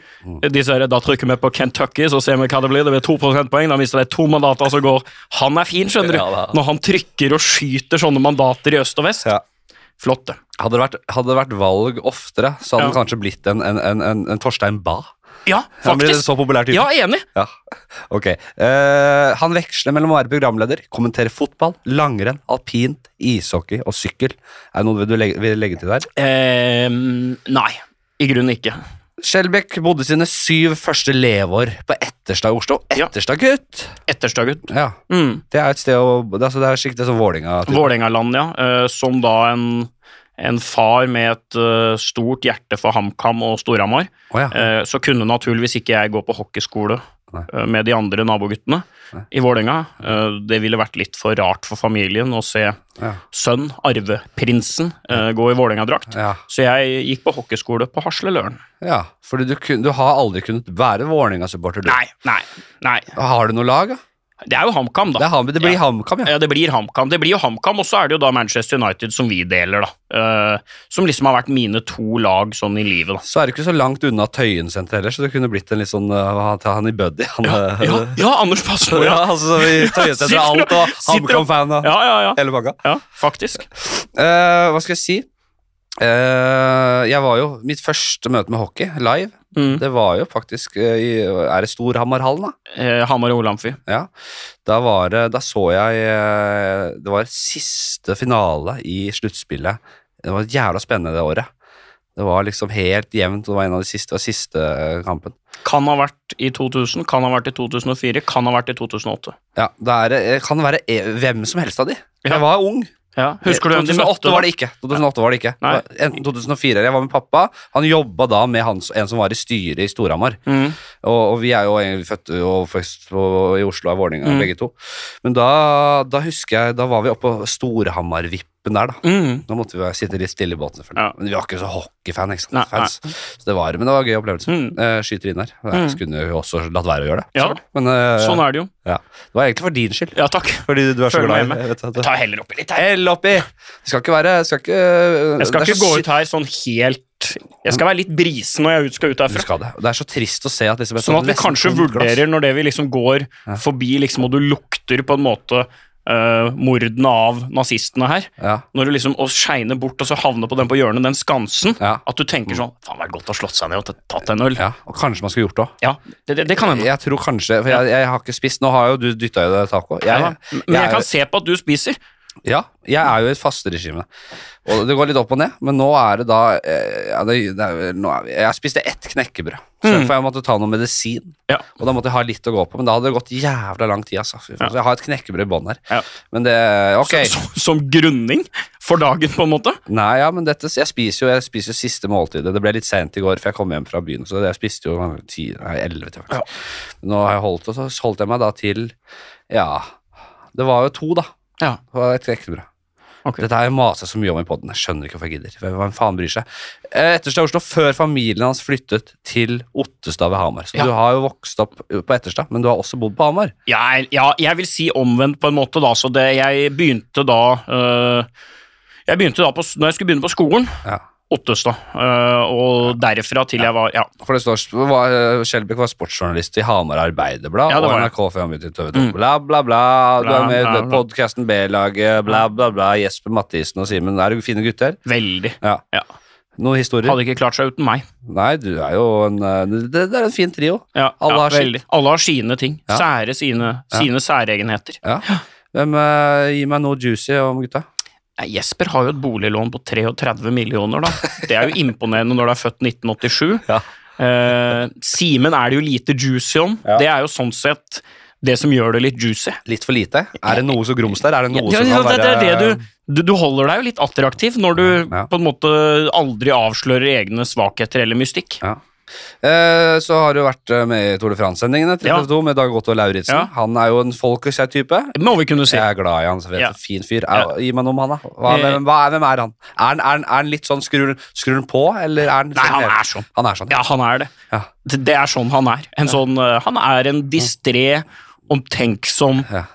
[SPEAKER 2] disse her, Da trykker vi på Kentucky, så ser vi hva det blir. Det blir to prosentpoeng. Da mister de to mandater som går. Han er fin, skjønner du.
[SPEAKER 1] Ja, da.
[SPEAKER 2] Når han trykker og skyter sånne mandater i øst og vest.
[SPEAKER 1] Ja.
[SPEAKER 2] Flott, det.
[SPEAKER 1] Hadde det, vært, hadde det vært valg oftere, så hadde
[SPEAKER 2] Ja.
[SPEAKER 1] han kanskje blitt en, en, en, en, en Torstein Bae.
[SPEAKER 2] Ja,
[SPEAKER 1] Han blir en
[SPEAKER 2] faktisk.
[SPEAKER 1] så populær sånn type.
[SPEAKER 2] Ja, enig.
[SPEAKER 1] Ja, ok. Eh, han veksler mellom å være programleder, kommentere fotball, langrenn, alpint, ishockey og sykkel. Er det noe du legge, vil legge til der?
[SPEAKER 2] Eh, nei, i grunnen ikke.
[SPEAKER 1] Skjelbæk bodde sine syv første leveår på Etterstad i Oslo.
[SPEAKER 2] Ja.
[SPEAKER 1] Etterstad, gutt!
[SPEAKER 2] Etterstøget.
[SPEAKER 1] Ja,
[SPEAKER 2] Mm.
[SPEAKER 1] det er et sted å... Det er, så- det er skikkelig som Vålinga. typ.
[SPEAKER 2] Vålerengaland, ja. Eh, som da en, en far med et eh, stort hjerte for HamKam og Storhamar.
[SPEAKER 1] Å ja.
[SPEAKER 2] Eh, så kunne naturligvis ikke jeg gå på hockeyskole
[SPEAKER 1] Nei.
[SPEAKER 2] eh, med de andre naboguttene
[SPEAKER 1] Nei.
[SPEAKER 2] i Vålerenga. Eh, det ville vært litt for rart for familien å se
[SPEAKER 1] Ja.
[SPEAKER 2] sønn, arveprinsen, eh, gå i Vålerenga-drakt.
[SPEAKER 1] Ja,
[SPEAKER 2] Så jeg gikk på hockeyskole på Hasleløren.
[SPEAKER 1] ja. Fordi du, kun, du har aldri kunnet være Vålinga-supporter, du.
[SPEAKER 2] Nei, nei, nei.
[SPEAKER 1] Har du noe lag, da?
[SPEAKER 2] Det er jo HamKam, da.
[SPEAKER 1] Det, er ham, det blir
[SPEAKER 2] Ja.
[SPEAKER 1] HamKam, ja.
[SPEAKER 2] Ja, det blir HamKam. Det blir jo HamKam, og så er det jo da Manchester United som vi deler, da. Eh, som liksom har vært mine to lag sånn i livet, da.
[SPEAKER 1] Så er du ikke så langt unna Tøyen senter heller, så du kunne blitt en litt sånn uh, ta han i buddy. Han, eh,
[SPEAKER 2] Ja, ja Anders Passmo,
[SPEAKER 1] Ja,
[SPEAKER 2] ja.
[SPEAKER 1] altså vi tøyer seg fra alt og
[SPEAKER 2] Sitter og-
[SPEAKER 1] HamKam-fan og
[SPEAKER 2] Ja, ja, ja.
[SPEAKER 1] hele bakka.
[SPEAKER 2] ja faktisk.
[SPEAKER 1] Eh, hva skal jeg si? Eh, jeg var jo, Mitt første møte med hockey live,
[SPEAKER 2] Mm.
[SPEAKER 1] det var jo faktisk eh, i Er det Storhamarhallen, da?
[SPEAKER 2] Eh, Hamar og Olamfy.
[SPEAKER 1] Ja. Da, var det, da så jeg eh, Det var siste finale i sluttspillet. Det var jævla spennende det året. Det var liksom helt jevnt, og det var en av de siste, det var siste eh, kampen.
[SPEAKER 2] Kan ha vært i 2000, kan ha vært i 2004, kan ha vært i 2008.
[SPEAKER 1] Ja, da er det, kan det være eh, hvem som helst av de.
[SPEAKER 2] Ja.
[SPEAKER 1] Jeg var ung.
[SPEAKER 2] Ja. Husker du hvem de
[SPEAKER 1] 2008
[SPEAKER 2] møtte?
[SPEAKER 1] var
[SPEAKER 2] da?
[SPEAKER 1] det ikke. 2008 var det ikke.
[SPEAKER 2] Nei.
[SPEAKER 1] Det var Enten 2004 eller jeg var med pappa. Han jobba da med han, en som var i styret i Storhamar.
[SPEAKER 2] Mm.
[SPEAKER 1] Og, og vi er jo egentlig født og oppvokst på- i Oslo og i Vålerenga,
[SPEAKER 2] Mm.
[SPEAKER 1] begge to. Men da, da husker jeg Da var vi oppe på Storhamarvippen der, da.
[SPEAKER 2] Mm.
[SPEAKER 1] Da måtte vi være- sitte litt stille i båten, selvfølgelig.
[SPEAKER 2] Ja.
[SPEAKER 1] Men vi var ikke så hockeyfan, ikke sant.
[SPEAKER 2] Nei,
[SPEAKER 1] Fans. Så det var, men det var en gøy opplevelse.
[SPEAKER 2] Mm.
[SPEAKER 1] Eh, skyter inn der. Jeg
[SPEAKER 2] Mm.
[SPEAKER 1] skulle jo også latt være å gjøre det.
[SPEAKER 2] Ja.
[SPEAKER 1] Men eh,
[SPEAKER 2] Sånn er det jo.
[SPEAKER 1] det var egentlig for din skyld.
[SPEAKER 2] Ja, takk.
[SPEAKER 1] Fordi du er så
[SPEAKER 2] Føler
[SPEAKER 1] glad
[SPEAKER 2] meg
[SPEAKER 1] i
[SPEAKER 2] hjemme.
[SPEAKER 1] jeg vet at du-
[SPEAKER 2] Ta heller oppi litt her.
[SPEAKER 1] Hell oppi! Det skal ikke være det skal ikke,
[SPEAKER 2] Jeg skal
[SPEAKER 1] det er
[SPEAKER 2] ikke
[SPEAKER 1] så
[SPEAKER 2] gå
[SPEAKER 1] synd-
[SPEAKER 2] ut her sånn helt Jeg skal være litt brisen når jeg ut- skal ut
[SPEAKER 1] Du
[SPEAKER 2] herfra.
[SPEAKER 1] skal det. Og det er så trist å se at liksom, et
[SPEAKER 2] Sånn at vi
[SPEAKER 1] nesten
[SPEAKER 2] kanskje
[SPEAKER 1] tomt glass-
[SPEAKER 2] vurderer når det vi liksom går forbi, liksom, og du lukter på en måte eh, mordene av nazistene her.
[SPEAKER 1] Ja,
[SPEAKER 2] Når du liksom og skeiner bort, og så havner på den på hjørnet, den skansen.
[SPEAKER 1] ja, Mm.
[SPEAKER 2] At du tenker sånn Faen, det vært godt å slått seg ned og t- tatt en øl.
[SPEAKER 1] ja. Og kanskje man skulle gjort det òg.
[SPEAKER 2] Ja, det, det, det kan hende.
[SPEAKER 1] Jeg tror kanskje For jeg, jeg har ikke spist. Nå har jo du dytta i deg taco. Jeg,
[SPEAKER 2] Ja,
[SPEAKER 1] jeg,
[SPEAKER 2] Men jeg
[SPEAKER 1] er
[SPEAKER 2] kan
[SPEAKER 1] jo-
[SPEAKER 2] se på at du spiser.
[SPEAKER 1] ja, jeg er jo i et fasteregime. Og det går litt opp og ned, men nå er det da eh, ja, det, det er, vel- nå er vi, Jeg spiste ett knekkebrød, så
[SPEAKER 2] Mm.
[SPEAKER 1] for jeg måtte ta noe medisin.
[SPEAKER 2] Ja.
[SPEAKER 1] Og da måtte jeg ha litt å gå på, men da hadde det gått jævla lang tid. Altså. Fy faen.
[SPEAKER 2] Ja.
[SPEAKER 1] Så jeg har et knekkebrød i bånn her.
[SPEAKER 2] Ja.
[SPEAKER 1] Men det Ok.
[SPEAKER 2] Som, som grunning for dagen, på en måte.
[SPEAKER 1] Nei, ja, men dette, jeg spiser jo jeg spiser jo siste måltidet. Det ble litt sent i går, for jeg kom hjem fra byen. Så jeg spiste jo ti, nei, 11 til
[SPEAKER 2] Ja.
[SPEAKER 1] faktisk. Nå har jeg holdt, og så holdt jeg meg da til Ja, det var jo to, da.
[SPEAKER 2] Ja.
[SPEAKER 1] Det var et knekkebrød.
[SPEAKER 2] Ok.
[SPEAKER 1] Dette har jeg masa så mye om i poden. Jeg skjønner ikke hvorfor jeg gidder. Hvem faen bryr seg? Eh, Etterstad i Oslo, før familien hans flyttet til Ottestad ved Hamar. Så
[SPEAKER 2] Ja.
[SPEAKER 1] du har jo vokst opp på Etterstad, men du har også bodd på Hamar.
[SPEAKER 2] Jeg, er- ja, jeg vil si omvendt på en måte, da. Så det, jeg begynte da øh, Jeg begynte da på, s- når jeg skulle begynne på skolen,
[SPEAKER 1] Ja.
[SPEAKER 2] Ottestad. øh, og derfra til jeg var Ja.
[SPEAKER 1] For det står var, Skjelbæk var sportsjournalist i Hamar Arbeiderblad
[SPEAKER 2] Ja, det
[SPEAKER 1] og
[SPEAKER 2] var det.
[SPEAKER 1] NRK før han begynte i TV 2. Bla, bla, bla. Du
[SPEAKER 2] Bla,
[SPEAKER 1] er med
[SPEAKER 2] bla,
[SPEAKER 1] i
[SPEAKER 2] bla.
[SPEAKER 1] podkasten B-laget. Bla, bla, bla. Jesper Mathisen og Simen. Er du fine gutter?
[SPEAKER 2] Veldig.
[SPEAKER 1] Ja.
[SPEAKER 2] Ja.
[SPEAKER 1] Noen historier?
[SPEAKER 2] Hadde ikke klart seg uten meg.
[SPEAKER 1] Nei, du er jo en eh, Det, det er en fin trio.
[SPEAKER 2] Ja,
[SPEAKER 1] Alle
[SPEAKER 2] ja,
[SPEAKER 1] har sitt.
[SPEAKER 2] veldig. Alle har sine ting.
[SPEAKER 1] Ja.
[SPEAKER 2] Sære sine, sine særegenheter.
[SPEAKER 1] Ja. Hvem eh, Gi meg noe juicy om gutta.
[SPEAKER 2] Nei, Jesper har jo et boliglån på 33 millioner, da. Det er jo imponerende når du er født 1987.
[SPEAKER 1] Ja.
[SPEAKER 2] Eh, Simen er det jo lite juicy om.
[SPEAKER 1] Ja.
[SPEAKER 2] Det er jo sånn sett det som gjør det litt juicy.
[SPEAKER 1] Litt for lite? Er det noe så grums der? Er det
[SPEAKER 2] Ja,
[SPEAKER 1] noe
[SPEAKER 2] det,
[SPEAKER 1] som kan være
[SPEAKER 2] det, det er det du, du, du holder deg jo litt attraktiv når du
[SPEAKER 1] Ja.
[SPEAKER 2] på en måte aldri avslører egne svakheter eller mystikk.
[SPEAKER 1] Ja. Eh, så har du vært eh, med i Tour de France-sendingene til
[SPEAKER 2] Ja.
[SPEAKER 1] TV 2 med Dag Otto Lauritzen.
[SPEAKER 2] Ja.
[SPEAKER 1] Han er jo en folkeskjær-type.
[SPEAKER 2] Må vi kunne si.
[SPEAKER 1] Jeg er glad i han. Så vet,
[SPEAKER 2] Ja.
[SPEAKER 1] du, Fin fyr.
[SPEAKER 2] Ja.
[SPEAKER 1] Er, Gi meg noe om han, da. Hva,
[SPEAKER 2] Eh.
[SPEAKER 1] hvem, hva er, hvem er han? Er han, er han, er han litt sånn skrur, skrur han på, eller er han
[SPEAKER 2] Nei, han er sånn.
[SPEAKER 1] Han er sånn.
[SPEAKER 2] Ja, han er det.
[SPEAKER 1] Ja.
[SPEAKER 2] Det det er sånn han er. En sånn, eh, han er en distré, omtenksom,
[SPEAKER 1] Ja.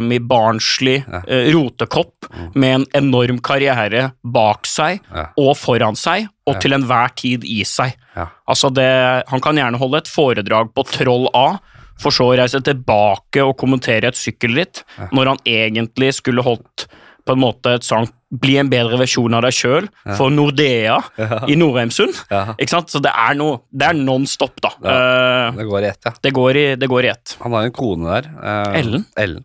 [SPEAKER 2] semibarnslig eh, rotekopp med en enorm karriere bak seg
[SPEAKER 1] Mm. Ja.
[SPEAKER 2] og foran seg, og til enhver tid i seg.
[SPEAKER 1] Ja.
[SPEAKER 2] Altså det, han kan gjerne holde et foredrag på Troll A, for så å reise tilbake og kommentere et sykkelritt, når han egentlig skulle holdt på en måte et sånt Bli en bedre versjon av deg sjøl for Nordea i Norheimsund.
[SPEAKER 1] Ja.
[SPEAKER 2] Ikke sant? Så det er noe Det er non stop, da. Eh,
[SPEAKER 1] Det går i ett, ja.
[SPEAKER 2] det, går i, det går i ett.
[SPEAKER 1] Han har jo en kone der. eh,
[SPEAKER 2] Ellen?
[SPEAKER 1] Ellen.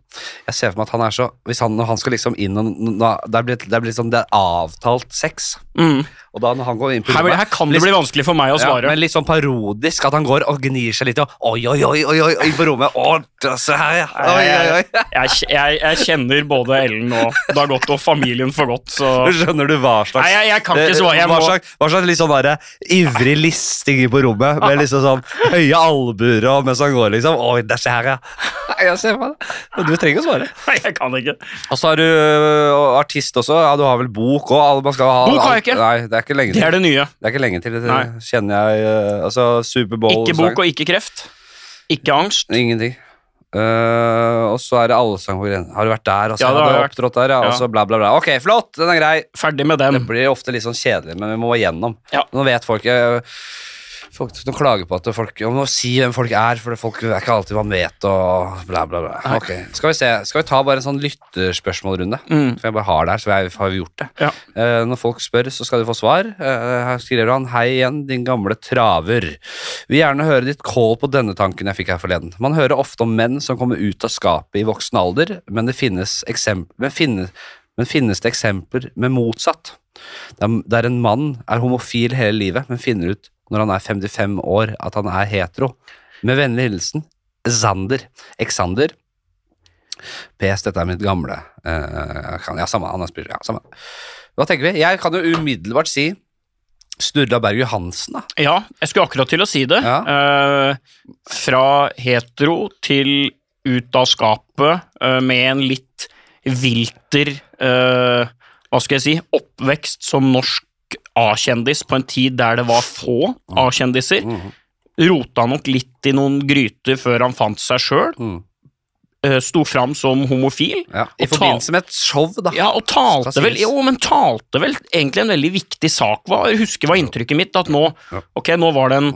[SPEAKER 1] Jeg ser for meg at han er så Hvis han, når han skal liksom inn og nå- Det blir det blir liksom, det er avtalt sex.
[SPEAKER 2] Mm.
[SPEAKER 1] Og da når han går inn på
[SPEAKER 2] Her,
[SPEAKER 1] rommet-
[SPEAKER 2] her kan det bli vanskelig for meg å
[SPEAKER 1] Ja,
[SPEAKER 2] svare.
[SPEAKER 1] men litt sånn parodisk, at han går og gnir seg litt og oi, oi, oi, oi, oi, oi på rommet. Å, se her, ja. Oi, oi, oi.
[SPEAKER 2] Jeg, jeg, jeg kjenner både Ellen og Dag Otto og familien for godt, så
[SPEAKER 1] Skjønner du hva slags Eh,
[SPEAKER 2] Nei, jeg, jeg kan ikke svare. Jeg
[SPEAKER 1] hva,
[SPEAKER 2] må,
[SPEAKER 1] slags, hva slags litt sånn derre ivrig listing på rommet, med liksom sånn høye albuer og mens han går, liksom. Oi, der ser her, ja. Nei, Jeg ser på det. Men du trenger å svare.
[SPEAKER 2] nei, jeg kan ikke.
[SPEAKER 1] Og så har du ø, artist også. Ja, du har vel bok òg?
[SPEAKER 2] Bok har jeg ikke.
[SPEAKER 1] Nei, det er ikke lenge
[SPEAKER 2] Det
[SPEAKER 1] til.
[SPEAKER 2] er det nye.
[SPEAKER 1] Det er ikke lenge til, det
[SPEAKER 2] Nei.
[SPEAKER 1] kjenner jeg. ø, Altså, Superbowl
[SPEAKER 2] Ikke bok og ikke kreft. Ikke angst.
[SPEAKER 1] Ingenting. Eh, og så er det allsang på Grønland. Har du vært der? Altså,
[SPEAKER 2] Ja, det
[SPEAKER 1] har
[SPEAKER 2] har
[SPEAKER 1] du
[SPEAKER 2] jeg vært.
[SPEAKER 1] opptrådt der, ja, Og
[SPEAKER 2] Ja.
[SPEAKER 1] så bla, bla, bla. Ok, flott! Den er grei.
[SPEAKER 2] Ferdig med
[SPEAKER 1] Det
[SPEAKER 2] den.
[SPEAKER 1] blir ofte litt sånn kjedelig, men vi må gjennom.
[SPEAKER 2] Ja.
[SPEAKER 1] Nå vet folk eh, Folk de klager på at folk Om å si hvem folk er, for det folk er ikke alltid man vet, og bla, bla, bla. Ok, Skal vi se. Skal vi ta bare en sånn lytterspørsmålrunde?
[SPEAKER 2] Mm.
[SPEAKER 1] For jeg bare har det her, så jeg, har vi gjort det.
[SPEAKER 2] Ja.
[SPEAKER 1] Eh, når folk spør, så skal de få svar. Eh, her skriver han Hei igjen, din gamle traver. Vil gjerne høre ditt call på denne tanken jeg fikk her forleden. Man hører ofte om menn som kommer ut av skapet i voksen alder, men det finnes, eksempl men finne- men finnes det eksempler med motsatt? Der, der en mann er homofil hele livet, men finner ut når han er 55 år at han er hetero. Med vennlig hilsen Xander. Xander. PS, dette er mitt gamle eh, kan, Ja, samme, han er spiller, ja, samme. Hva tenker vi? Jeg kan jo umiddelbart si Sturla Berg Johansen, da.
[SPEAKER 2] Ja, jeg skulle akkurat til å si det. Eh, fra hetero til ut av skapet eh, med en litt vilter eh, Hva skal jeg si oppvekst som norsk A-kjendis på en tid der det var få A-kjendiser.
[SPEAKER 1] Mhm.
[SPEAKER 2] Rota nok litt i noen gryter før han fant seg sjøl.
[SPEAKER 1] Mm.
[SPEAKER 2] Uh, sto fram som homofil.
[SPEAKER 1] Ja. I
[SPEAKER 2] Og ta-
[SPEAKER 1] forbindelse med et show, da.
[SPEAKER 2] Ja, og
[SPEAKER 1] Skal
[SPEAKER 2] talte vel,
[SPEAKER 1] sies.
[SPEAKER 2] jo, men talte vel egentlig en veldig viktig sak. Var, jeg husker var inntrykket mitt at nå,
[SPEAKER 1] Ja.
[SPEAKER 2] ok, nå var det en,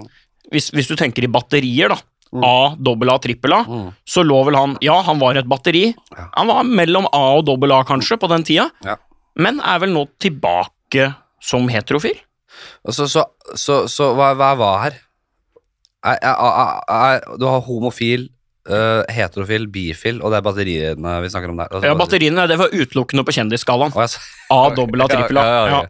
[SPEAKER 2] hvis, hvis du tenker i batterier da,
[SPEAKER 1] Mm.
[SPEAKER 2] A, dobbel A, trippel A,
[SPEAKER 1] Mm.
[SPEAKER 2] så lå vel han, ja, han var et batteri.
[SPEAKER 1] Ja.
[SPEAKER 2] Han var mellom A og dobbel A kanskje på den tida,
[SPEAKER 1] Ja.
[SPEAKER 2] men er vel nå tilbake som heterofil.
[SPEAKER 1] Og så, så, så, så hva, hva var her? Er, er, er, er, du har homofil, eh, heterofil, bifil, og det er batteriene vi snakker om der. Altså,
[SPEAKER 2] Ja, batteriene, det var utelukkende på kjendisskalaen.
[SPEAKER 1] Å, jeg sa-
[SPEAKER 2] A, dobbel A, trippel A.
[SPEAKER 1] Ja, ja,
[SPEAKER 2] Ja,
[SPEAKER 1] ja.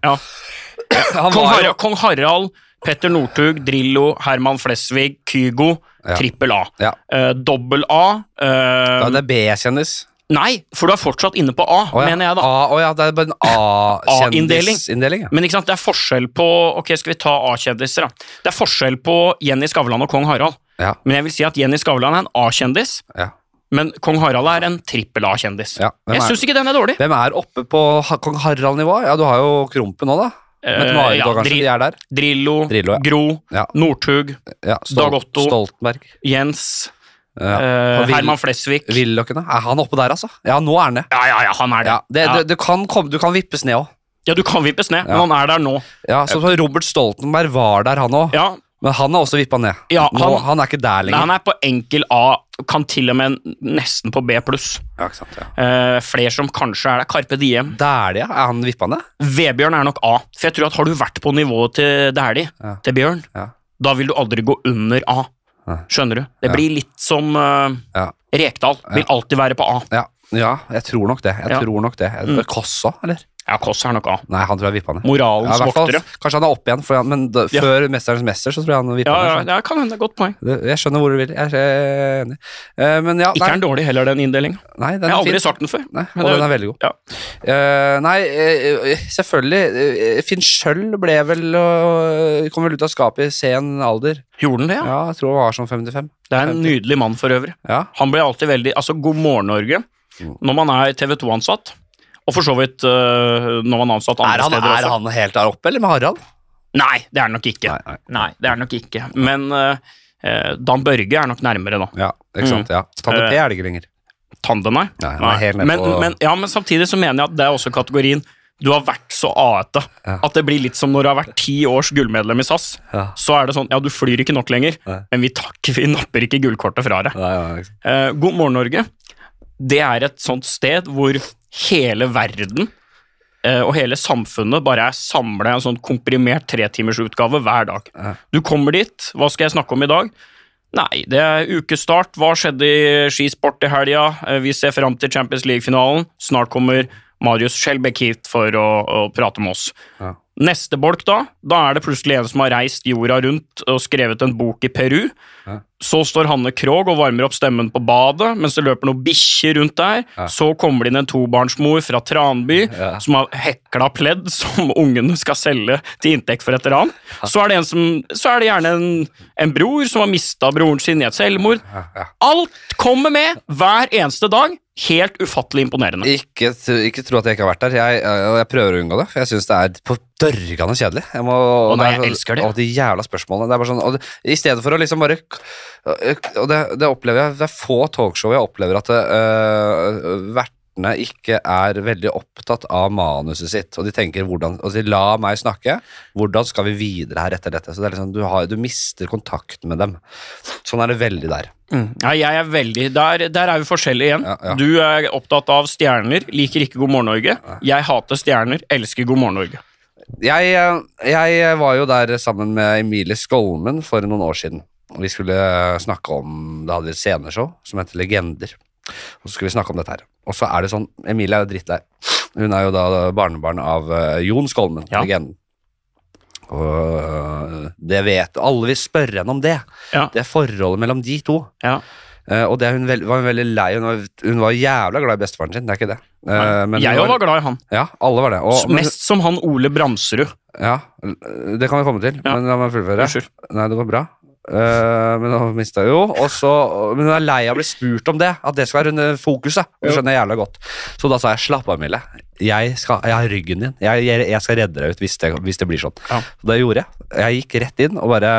[SPEAKER 2] ja.
[SPEAKER 1] Han
[SPEAKER 2] Kong,
[SPEAKER 1] var
[SPEAKER 2] Harald,
[SPEAKER 1] jo
[SPEAKER 2] Kong Harald, Petter Northug, Drillo, Herman Flesvig, Kygo,
[SPEAKER 1] Ja.
[SPEAKER 2] trippel A.
[SPEAKER 1] Ja.
[SPEAKER 2] Eh, Dobbel A eh,
[SPEAKER 1] ja, Det er B-kjendis.
[SPEAKER 2] Nei, for du er fortsatt inne på A,
[SPEAKER 1] Å ja.
[SPEAKER 2] mener jeg da.
[SPEAKER 1] A, å ja, det er bare en
[SPEAKER 2] A-inndeling.
[SPEAKER 1] A-kjendisindeling. ja.
[SPEAKER 2] Men ikke sant, det er forskjell på Ok, skal vi ta A-kjendiser, da. Det er forskjell på Jenny Skavlan og kong Harald.
[SPEAKER 1] Ja.
[SPEAKER 2] Men jeg vil si at Jenny Skavlan er en A-kjendis,
[SPEAKER 1] Ja.
[SPEAKER 2] men kong Harald er en trippel A-kjendis.
[SPEAKER 1] Ja, hvem
[SPEAKER 2] Jeg
[SPEAKER 1] er-
[SPEAKER 2] syns ikke den er dårlig.
[SPEAKER 1] Hvem er oppe på ha- kong Harald-nivå? Ja, du har jo Krompen nå, da. Mette
[SPEAKER 2] Eh,
[SPEAKER 1] Marit
[SPEAKER 2] ja,
[SPEAKER 1] òg, kanskje.
[SPEAKER 2] Dri-
[SPEAKER 1] De er der.
[SPEAKER 2] Drillo,
[SPEAKER 1] Drillo, ja.
[SPEAKER 2] Gro,
[SPEAKER 1] Ja.
[SPEAKER 2] Northug,
[SPEAKER 1] Ja,
[SPEAKER 2] Dag Otto.
[SPEAKER 1] Stoltenberg.
[SPEAKER 2] Jens,
[SPEAKER 1] Ja.
[SPEAKER 2] eh,
[SPEAKER 1] Og Vil-
[SPEAKER 2] Herman Flesvig.
[SPEAKER 1] Willochene. Er han oppe der, altså? Ja, nå er han det.
[SPEAKER 2] Ja, ja, ja, han er det.
[SPEAKER 1] Ja, det,
[SPEAKER 2] Ja.
[SPEAKER 1] det, det kan komme, du kan vippes ned òg.
[SPEAKER 2] Ja, du kan vippes ned,
[SPEAKER 1] Ja.
[SPEAKER 2] men han er der nå.
[SPEAKER 1] Ja, så så Robert Stoltenberg var der, han òg.
[SPEAKER 2] Ja,
[SPEAKER 1] Men han er også vippa ned.
[SPEAKER 2] Ja,
[SPEAKER 1] nå, han,
[SPEAKER 2] han-
[SPEAKER 1] er ikke der
[SPEAKER 2] nei,
[SPEAKER 1] lenger.
[SPEAKER 2] han er på enkel A, kan til og med nesten på B pluss.
[SPEAKER 1] ja, ikke sant, ja.
[SPEAKER 2] Eh, Flere som kanskje er der. Carpe Diem.
[SPEAKER 1] Dæhlie, er han vippa ned?
[SPEAKER 2] Vebjørn er nok A. For jeg tror at har du vært på nivået til Dæhlie,
[SPEAKER 1] Ja.
[SPEAKER 2] til Bjørn,
[SPEAKER 1] Ja.
[SPEAKER 2] da vil du aldri gå under A.
[SPEAKER 1] Nei.
[SPEAKER 2] Skjønner du? Det
[SPEAKER 1] Ja.
[SPEAKER 2] blir litt som eh,
[SPEAKER 1] Ja.
[SPEAKER 2] Rekdal. Vil alltid være på A.
[SPEAKER 1] Ja. Ja, jeg tror nok det. Jeg
[SPEAKER 2] Ja.
[SPEAKER 1] tror nok det.
[SPEAKER 2] Mm.
[SPEAKER 1] Koss òg, eller?
[SPEAKER 2] Ja, Kåss er nok av.
[SPEAKER 1] Nei, han tror jeg vippa ned. Ja,
[SPEAKER 2] Moralens
[SPEAKER 1] i hvert fall,
[SPEAKER 2] voktere.
[SPEAKER 1] kanskje han er opp igjen, for han, men da,
[SPEAKER 2] Ja.
[SPEAKER 1] før 'Mesterens mester' så tror jeg han vippa
[SPEAKER 2] Ja, ja,
[SPEAKER 1] ned.
[SPEAKER 2] det kan hende. Godt poeng.
[SPEAKER 1] så. Det- Jeg skjønner hvor du vil. Jeg er enig. Eh, men ja,
[SPEAKER 2] Ikke
[SPEAKER 1] nei,
[SPEAKER 2] er den dårlig heller, den inndelingen.
[SPEAKER 1] nei, den
[SPEAKER 2] Jeg har
[SPEAKER 1] er
[SPEAKER 2] aldri
[SPEAKER 1] fin.
[SPEAKER 2] sagt den før.
[SPEAKER 1] Nei,
[SPEAKER 2] men
[SPEAKER 1] og
[SPEAKER 2] det-
[SPEAKER 1] den er veldig god.
[SPEAKER 2] Ja.
[SPEAKER 1] Eh, nei, eh, eh, selvfølgelig. eh, Finn Schjøll ble vel og kom vel ut av skapet i sen alder.
[SPEAKER 2] Gjorde den det,
[SPEAKER 1] Ja,
[SPEAKER 2] ja?
[SPEAKER 1] jeg tror han var sånn 55.
[SPEAKER 2] Det er en nydelig mann for øvrig.
[SPEAKER 1] Ja,
[SPEAKER 2] Han ble alltid veldig Altså, God morgen, Norge.
[SPEAKER 1] Mm.
[SPEAKER 2] Når man er TV 2-ansatt, og for så vidt øh, når man er ansatt
[SPEAKER 1] Er
[SPEAKER 2] andre
[SPEAKER 1] han,
[SPEAKER 2] steder
[SPEAKER 1] er
[SPEAKER 2] også.
[SPEAKER 1] han helt der oppe, eller med Harald?
[SPEAKER 2] Nei, det er han nok ikke.
[SPEAKER 1] nei.
[SPEAKER 2] Nei, det er han nok ikke. Men øh, øh, Dan Børge er nok nærmere, da.
[SPEAKER 1] Ja, ikke sant. Ja. Tante P er det ikke lenger.
[SPEAKER 2] Tanden, nei.
[SPEAKER 1] Nei, han er helt nede
[SPEAKER 2] men,
[SPEAKER 1] på-
[SPEAKER 2] men, ja, men samtidig så mener jeg at det er også kategorien du har vært så aete
[SPEAKER 1] Ja.
[SPEAKER 2] at det blir litt som når du har vært ti års gullmedlem i SAS.
[SPEAKER 1] Ja.
[SPEAKER 2] Så er det sånn, ja, du flyr ikke nok lenger,
[SPEAKER 1] Nei.
[SPEAKER 2] men vi, takker, vi napper ikke gullkortet fra deg.
[SPEAKER 1] Nei, ja, ikke sant.
[SPEAKER 2] Eh, God morgen, Norge. Det er et sånt sted hvor hele verden eh, og hele samfunnet bare er samla i en sånn komprimert tretimersutgave hver dag.
[SPEAKER 1] Ja.
[SPEAKER 2] Du kommer dit, hva skal jeg snakke om i dag? Nei, det er ukestart. Hva skjedde i skisport i helga? Eh, Vi ser fram til Champions League-finalen. Snart kommer Marius Skjelbæk hit for å, å prate med oss.
[SPEAKER 1] Ja.
[SPEAKER 2] Neste bolk, da. Da er det plutselig en som har reist jorda rundt og skrevet en bok i Peru.
[SPEAKER 1] Ja.
[SPEAKER 2] Så står Hanne Krogh og varmer opp stemmen på badet mens det løper noen bikkjer rundt der.
[SPEAKER 1] Ja.
[SPEAKER 2] Så kommer det inn en tobarnsmor fra Tranby
[SPEAKER 1] Ja.
[SPEAKER 2] som har hekla pledd som ungene skal selge til inntekt for et ran. Så er det, en som, så er det gjerne en, en bror som har mista broren sin i et selvmord.
[SPEAKER 1] Ja, ja.
[SPEAKER 2] Alt kommer med hver eneste dag. Helt ufattelig imponerende.
[SPEAKER 1] Ikke, tro- ikke tro at jeg ikke har vært der. Jeg, eh, og jeg prøver å unngå det, for jeg syns det er på dørgende kjedelig. Jeg må, og
[SPEAKER 2] nei,
[SPEAKER 1] er
[SPEAKER 2] jeg
[SPEAKER 1] så-
[SPEAKER 2] elsker det.
[SPEAKER 1] Og de jævla spørsmålene. Det er bare sånn, og det, I stedet for å liksom bare Og det, det opplever jeg Det er få talkshow jeg opplever at øh, vertene ikke er veldig opptatt av manuset sitt. Og de tenker hvordan altså, La meg snakke. Hvordan skal vi videre her etter dette? Så det er liksom, du, har, du mister kontakten med dem. Sånn er det veldig der.
[SPEAKER 2] Nei, jeg er veldig, der, der er vi forskjellige igjen.
[SPEAKER 1] Ja, ja.
[SPEAKER 2] Du er opptatt av stjerner, liker ikke God morgen Norge. Jeg hater stjerner, elsker God morgen Norge.
[SPEAKER 1] jeg, eh, jeg var jo der sammen med Emilie Skolmen for noen år siden. Og Vi skulle eh, snakke om Det hadde vi et sceneshow som heter Legender. Og så skulle vi snakke om dette her. Og så er det sånn Emilie er jo drittlei. Hun er jo da barnebarn av eh, Jon Skolmen,
[SPEAKER 2] Ja.
[SPEAKER 1] legenden. Og eh, det vet alle vil spørre henne om det.
[SPEAKER 2] Ja.
[SPEAKER 1] Det er forholdet mellom de to.
[SPEAKER 2] Ja.
[SPEAKER 1] Eh, og det er hun vel, var hun veldig lei. Hun var, hun var jævla glad i bestefaren sin, det er ikke det. Eh, men
[SPEAKER 2] jeg
[SPEAKER 1] hun
[SPEAKER 2] òg var glad i han.
[SPEAKER 1] Ja, alle var det. Og, men-
[SPEAKER 2] Mest som han Ole Bramsrud.
[SPEAKER 1] ja, det kan vi komme til,
[SPEAKER 2] Ja.
[SPEAKER 1] men la meg fullføre.
[SPEAKER 2] Unnskyld.
[SPEAKER 1] Nei, det går bra. Eh, men nå mista jeg jo og så- Men hun er lei av å bli spurt om det. At det skal være under fokuset. Det skjønner jeg jævla godt. Så da sa jeg slapp av, Mille. Jeg, skal, jeg har ryggen din. Jeg, jeg, jeg skal redde deg ut hvis det, hvis det blir sånn.
[SPEAKER 2] Ja.
[SPEAKER 1] Så det gjorde jeg. Jeg gikk rett inn og bare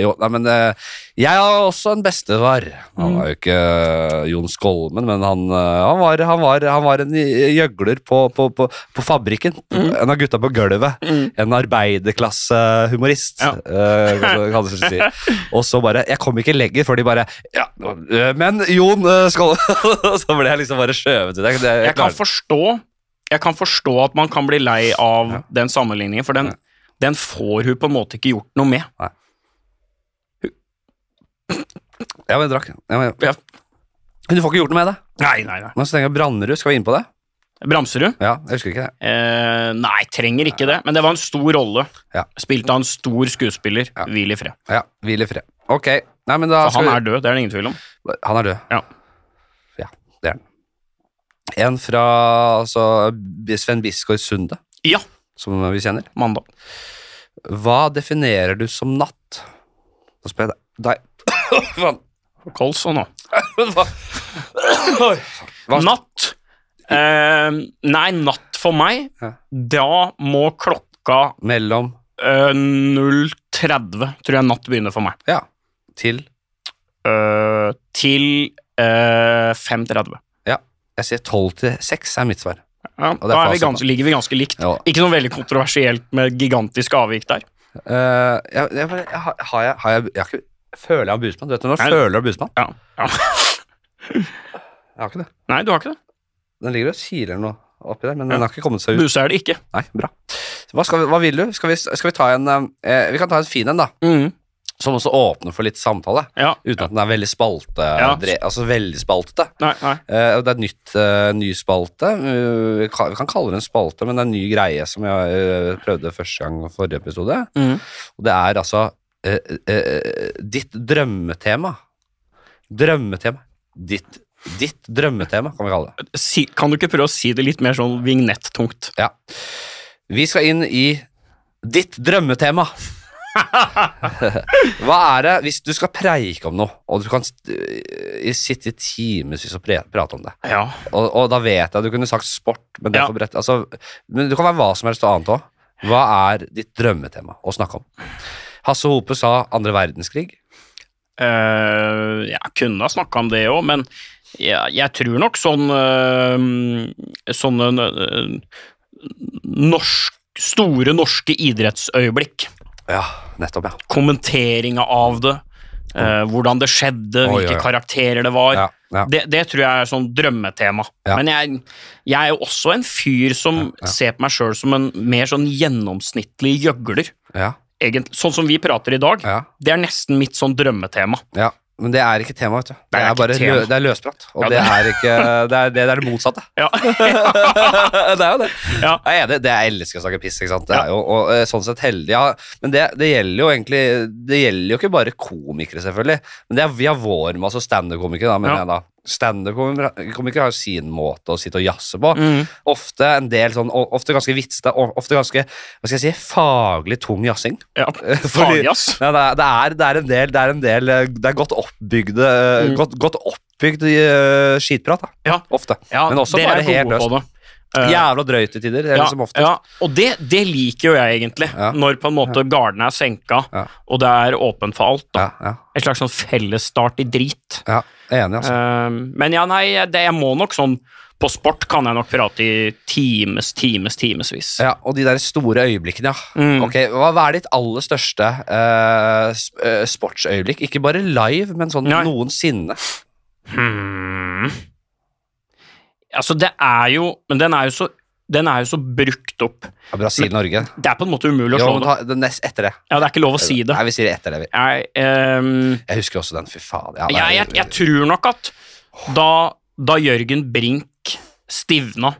[SPEAKER 1] Jo, nei, men eh, jeg har også en bestefar. Han var jo ikke eh, Jon Skolmen, men han, eh, han, var, han, var, han var en gjøgler på, på, på, på fabrikken.
[SPEAKER 2] Mhm.
[SPEAKER 1] En av gutta på gulvet.
[SPEAKER 2] Mm.
[SPEAKER 1] En arbeiderklassehumorist.
[SPEAKER 2] Ja.
[SPEAKER 1] Eh, kan du- kan du si. Og så bare Jeg kom ikke lenger før de bare Ja, øh, men Jon øh, skal Og så ble jeg liksom bare skjøvet ut. Jeg, jeg, jeg
[SPEAKER 2] Jeg kan
[SPEAKER 1] klarer det.
[SPEAKER 2] forstå Jeg kan forstå at man kan bli lei av den sammenligningen, for den, den får hun på en måte ikke gjort noe med.
[SPEAKER 1] Ja, men jeg drakk. Ja, men,
[SPEAKER 2] Ja.
[SPEAKER 1] Men Du får ikke gjort noe med det.
[SPEAKER 2] Nei, nei, nei.
[SPEAKER 1] Men så tenker jeg Brannerud, skal vi inn på det?
[SPEAKER 2] Bramserud?
[SPEAKER 1] Ja, jeg husker ikke det.
[SPEAKER 2] Eh, nei, trenger ikke det. Men det var en stor rolle.
[SPEAKER 1] Ja.
[SPEAKER 2] Spilt av en stor skuespiller.
[SPEAKER 1] Ja.
[SPEAKER 2] Hvil i fred.
[SPEAKER 1] Ja, Hvil i fred. Ok. Nei, men da
[SPEAKER 2] For
[SPEAKER 1] skal
[SPEAKER 2] han
[SPEAKER 1] vi-
[SPEAKER 2] er død, det er det ingen tvil om.
[SPEAKER 1] Han er død.
[SPEAKER 2] Ja.
[SPEAKER 1] Ja, det er han. En fra altså, Sven Biskår Sunde,
[SPEAKER 2] Ja,
[SPEAKER 1] som vi kjenner.
[SPEAKER 2] mandag.
[SPEAKER 1] Hva definerer du som natt? Da spør jeg deg. deg. Faen.
[SPEAKER 2] Kolson nå.
[SPEAKER 1] Hva? Hva-
[SPEAKER 2] Natt. Eh, nei, natt for meg.
[SPEAKER 1] Ja.
[SPEAKER 2] Da må klokka
[SPEAKER 1] Mellom
[SPEAKER 2] eh, 0.30, tror jeg, natt begynner for meg.
[SPEAKER 1] Ja. Til
[SPEAKER 2] Eh, til eh, 5.30.
[SPEAKER 1] Jeg sier 12 til 6 er mitt svar.
[SPEAKER 2] Ja,
[SPEAKER 1] det er
[SPEAKER 2] da er vi
[SPEAKER 1] fasit,
[SPEAKER 2] ganske, ligger vi ganske likt.
[SPEAKER 1] Ja.
[SPEAKER 2] Ikke noe veldig kontroversielt med gigantiske avvik der.
[SPEAKER 1] Eh, jeg, jeg, bare- jeg, har har jeg, har jeg, jeg har ikke, Føler jeg har busmann? Du vet når du
[SPEAKER 2] Nei.
[SPEAKER 1] føler du har busmann?
[SPEAKER 2] Ja. Ja.
[SPEAKER 1] Jeg har ikke det.
[SPEAKER 2] Nei, du har ikke det.
[SPEAKER 1] Den ligger og kiler noe oppi der, men
[SPEAKER 2] Ja.
[SPEAKER 1] den har ikke kommet seg ut.
[SPEAKER 2] Buse er det ikke. Mm.
[SPEAKER 1] Nei, bra. Hva, skal vi, hva vil du? Skal vi, skal vi ta en eh, eh, Vi kan ta en fin en, da. som også åpner for litt samtale.
[SPEAKER 2] Ja.
[SPEAKER 1] Uten at den er veldig spalte, dre, altså veldig spaltete.
[SPEAKER 2] Nei, nei.
[SPEAKER 1] Eh, og det er et nytt, eh, ny spalte. Eh, vi kan vi kan kalle det en spalte, men det er en ny greie som jeg eh, prøvde første gang i forrige episode.
[SPEAKER 2] Mm.
[SPEAKER 1] Og det er altså eh, eh, eh, ditt drømmetema. Drømmetema. Ditt, ditt drømmetema, kan vi kalle det.
[SPEAKER 2] Si, kan du ikke prøve å si det litt mer sånn vignettungt?
[SPEAKER 1] Ja. Vi skal inn i ditt drømmetema. Hva er det hvis du skal preike om noe, og du kan øh, sitte i timevis og pre- prate om det?
[SPEAKER 2] Ja.
[SPEAKER 1] Og, og da vet jeg du kunne sagt sport, men, det
[SPEAKER 2] Ja.
[SPEAKER 1] får brett, altså, men du kan være hva som helst og annet òg. Hva er ditt drømmetema å snakke om? Hasse Hope sa andre verdenskrig.
[SPEAKER 2] Eh, jeg kunne ha snakka om det òg, men jeg, jeg tror nok sånn eh, Sånne eh, norsk, store norske idrettsøyeblikk.
[SPEAKER 1] Ja, nettopp, ja.
[SPEAKER 2] Kommenteringa av det. eh, hvordan det skjedde,
[SPEAKER 1] Oi,
[SPEAKER 2] hvilke
[SPEAKER 1] oi, oi.
[SPEAKER 2] karakterer det var.
[SPEAKER 1] ja, ja.
[SPEAKER 2] Det, det tror jeg er sånn drømmetema.
[SPEAKER 1] Ja.
[SPEAKER 2] Men jeg, jeg er jo også en fyr som ser på meg sjøl som en mer sånn gjennomsnittlig gjøgler.
[SPEAKER 1] ja,
[SPEAKER 2] Egentlig, sånn som vi prater i dag.
[SPEAKER 1] ja,
[SPEAKER 2] Det er nesten mitt sånn drømmetema.
[SPEAKER 1] ja. Men det er ikke tema, vet du. Det
[SPEAKER 2] er
[SPEAKER 1] er
[SPEAKER 2] ikke
[SPEAKER 1] bare
[SPEAKER 2] tema.
[SPEAKER 1] lø, det er løsprat. Og
[SPEAKER 2] Ja,
[SPEAKER 1] det,
[SPEAKER 2] det-
[SPEAKER 1] er ikke, det, er, det, det er det motsatte.
[SPEAKER 2] Ja.
[SPEAKER 1] det er jo det.
[SPEAKER 2] Ja.
[SPEAKER 1] Jeg er enig. Det jeg elsker å snakke piss, ikke sant. Det er jo og, eh, sånn sett heldig. Ja. Men det, det gjelder jo egentlig Det gjelder jo ikke bare komikere, selvfølgelig. Men det er via vår med altså standup-komikere, da, mener
[SPEAKER 2] Ja.
[SPEAKER 1] jeg da. Standup-komikere har jo sin måte å sitte og jazze på.
[SPEAKER 2] Mm.
[SPEAKER 1] Ofte en del sånn o- Ofte ganske vitsete, og ofte ganske hva skal jeg si, faglig tung jazzing.
[SPEAKER 2] ja.
[SPEAKER 1] Fordi-
[SPEAKER 2] Farlig, ass.
[SPEAKER 1] Ja, det, er, det, er, det er en del Det er, en del, eh, det er godt oppbygde eh,
[SPEAKER 2] Mm.
[SPEAKER 1] godt, godt oppbygd eh, skitprat, da.
[SPEAKER 2] Ja.
[SPEAKER 1] Ofte.
[SPEAKER 2] Ja,
[SPEAKER 1] Men også
[SPEAKER 2] dere
[SPEAKER 1] bare
[SPEAKER 2] er gode
[SPEAKER 1] helt løst.
[SPEAKER 2] på det. Eh,
[SPEAKER 1] Jævla drøyt til tider, eller
[SPEAKER 2] ja,
[SPEAKER 1] som oftest.
[SPEAKER 2] ja, og det, det liker jo jeg egentlig,
[SPEAKER 1] Ja.
[SPEAKER 2] når på en måte gardene er senka,
[SPEAKER 1] Ja.
[SPEAKER 2] og det er åpent for alt. Da.
[SPEAKER 1] Ja, ja,
[SPEAKER 2] Et slags sånn fellesstart i drit.
[SPEAKER 1] ja. Jeg er Enig, altså.
[SPEAKER 2] Eh, men ja, nei, det, jeg må nok sånn På sport kan jeg nok prate i times, times, timevis.
[SPEAKER 1] Ja, og de der store øyeblikkene, ja.
[SPEAKER 2] Mm.
[SPEAKER 1] Ok, Hva, hva er ditt aller største eh, sp- eh, sportsøyeblikk? Ikke bare live, men sånn
[SPEAKER 2] Nei.
[SPEAKER 1] noensinne.
[SPEAKER 2] Hmm. Altså, det er jo Men den er jo så den er jo så brukt opp.
[SPEAKER 1] Ja, Brasil-Norge.
[SPEAKER 2] Det er på en måte umulig å
[SPEAKER 1] Jo,
[SPEAKER 2] slå
[SPEAKER 1] men
[SPEAKER 2] det.
[SPEAKER 1] ta den nest- Etter det.
[SPEAKER 2] Ja, Det er ikke lov å si det.
[SPEAKER 1] Nei, vi sier etter det. vi.
[SPEAKER 2] Jeg, ehm,
[SPEAKER 1] Jeg husker også den. Fy faen. Ja, det er-
[SPEAKER 2] jeg, jeg, jeg tror nok at da, da Jørgen Brink stivna,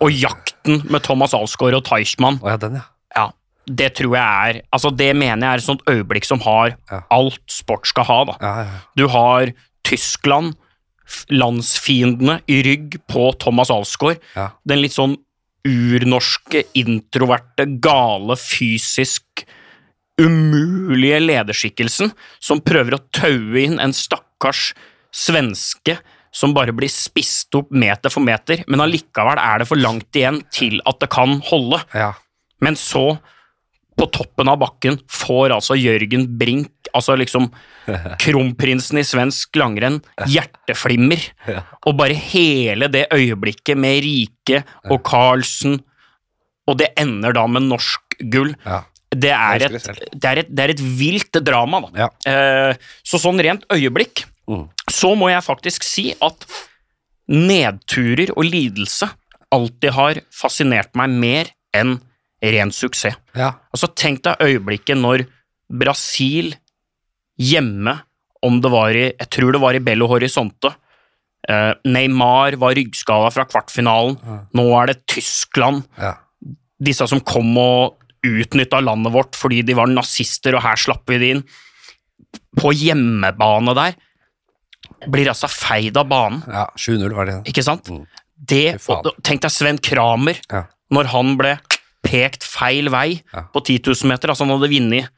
[SPEAKER 2] og jakten med Thomas Alsgaard og Teichmann
[SPEAKER 1] Å ja, den, ja.
[SPEAKER 2] ja, Det tror jeg er altså Det mener jeg er et sånt øyeblikk som har
[SPEAKER 1] Ja.
[SPEAKER 2] alt sport skal ha. da.
[SPEAKER 1] Ja, ja.
[SPEAKER 2] Du har Tyskland, f- landsfiendene i rygg på Thomas Alsgaard.
[SPEAKER 1] Ja.
[SPEAKER 2] Den litt sånn urnorske, introverte, gale, fysisk umulige lederskikkelsen som prøver å taue inn en stakkars svenske som bare blir spist opp meter for meter, men allikevel er det for langt igjen til at det kan holde.
[SPEAKER 1] ja.
[SPEAKER 2] Men så, på toppen av bakken, får altså Jørgen Brink, altså liksom kronprinsen i svensk langrenn, hjerteflimmer.
[SPEAKER 1] Ja.
[SPEAKER 2] Og bare hele det øyeblikket med Rike og Carlsen, og det ender da med norsk gull.
[SPEAKER 1] ja.
[SPEAKER 2] Det er,
[SPEAKER 1] Jeg
[SPEAKER 2] et,
[SPEAKER 1] husker det
[SPEAKER 2] det, er et, det er et vilt drama, da.
[SPEAKER 1] Ja.
[SPEAKER 2] Eh, Så sånn rent øyeblikk,
[SPEAKER 1] Mm.
[SPEAKER 2] så må jeg faktisk si at nedturer og lidelse alltid har fascinert meg mer enn ren suksess.
[SPEAKER 1] ja.
[SPEAKER 2] Altså, tenk deg øyeblikket når Brasil hjemme, om det var i Jeg tror det var i Belo Horizonte. eh, Neymar var ryggskada fra kvartfinalen. Nå er det Tyskland.
[SPEAKER 1] Ja.
[SPEAKER 2] Disse som kom og utnytta landet vårt fordi de var nazister, og her slapp vi de inn. På hjemmebane der blir altså feid av banen,
[SPEAKER 1] ja. 7-0 var det.
[SPEAKER 2] ikke sant?
[SPEAKER 1] Mm.
[SPEAKER 2] Det,
[SPEAKER 1] Fy faen.
[SPEAKER 2] og, tenk deg Sven Kramer
[SPEAKER 1] Ja.
[SPEAKER 2] når han ble pekt feil vei
[SPEAKER 1] Ja.
[SPEAKER 2] på 10 000 meter, altså han hadde vunnet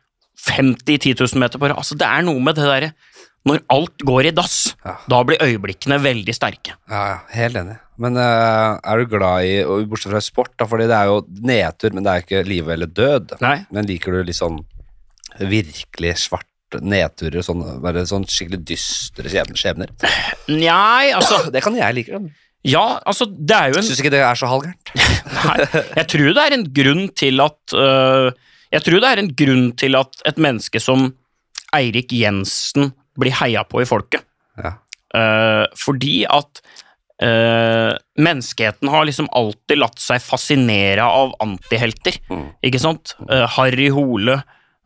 [SPEAKER 2] 50 i 10 000 meter på rad. Altså det er noe med det derre Når alt går i dass,
[SPEAKER 1] Ja.
[SPEAKER 2] da blir øyeblikkene veldig sterke.
[SPEAKER 1] Ja, ja, helt enig. Men eh, er du glad i, og bortsett fra sport, da, fordi det er jo nedtur, men det er jo ikke liv eller død.
[SPEAKER 2] Nei.
[SPEAKER 1] Men liker du litt sånn virkelig svart nedturer, sånn, bare sånn skikkelig dystre skjebn- skjebner?
[SPEAKER 2] Nei, altså
[SPEAKER 1] Det kan jeg like. da.
[SPEAKER 2] Ja, altså, det er jo en
[SPEAKER 1] Syns ikke det er så halvgærent.
[SPEAKER 2] Nei, jeg tror det er en grunn til at øh, Jeg tror det er en grunn til at et menneske som Eirik Jensen blir heia på i folket.
[SPEAKER 1] Ja.
[SPEAKER 2] Øh, fordi at øh, menneskeheten har liksom alltid latt seg fascinere av antihelter,
[SPEAKER 1] Mm.
[SPEAKER 2] ikke sant? Øh, Harry Hole,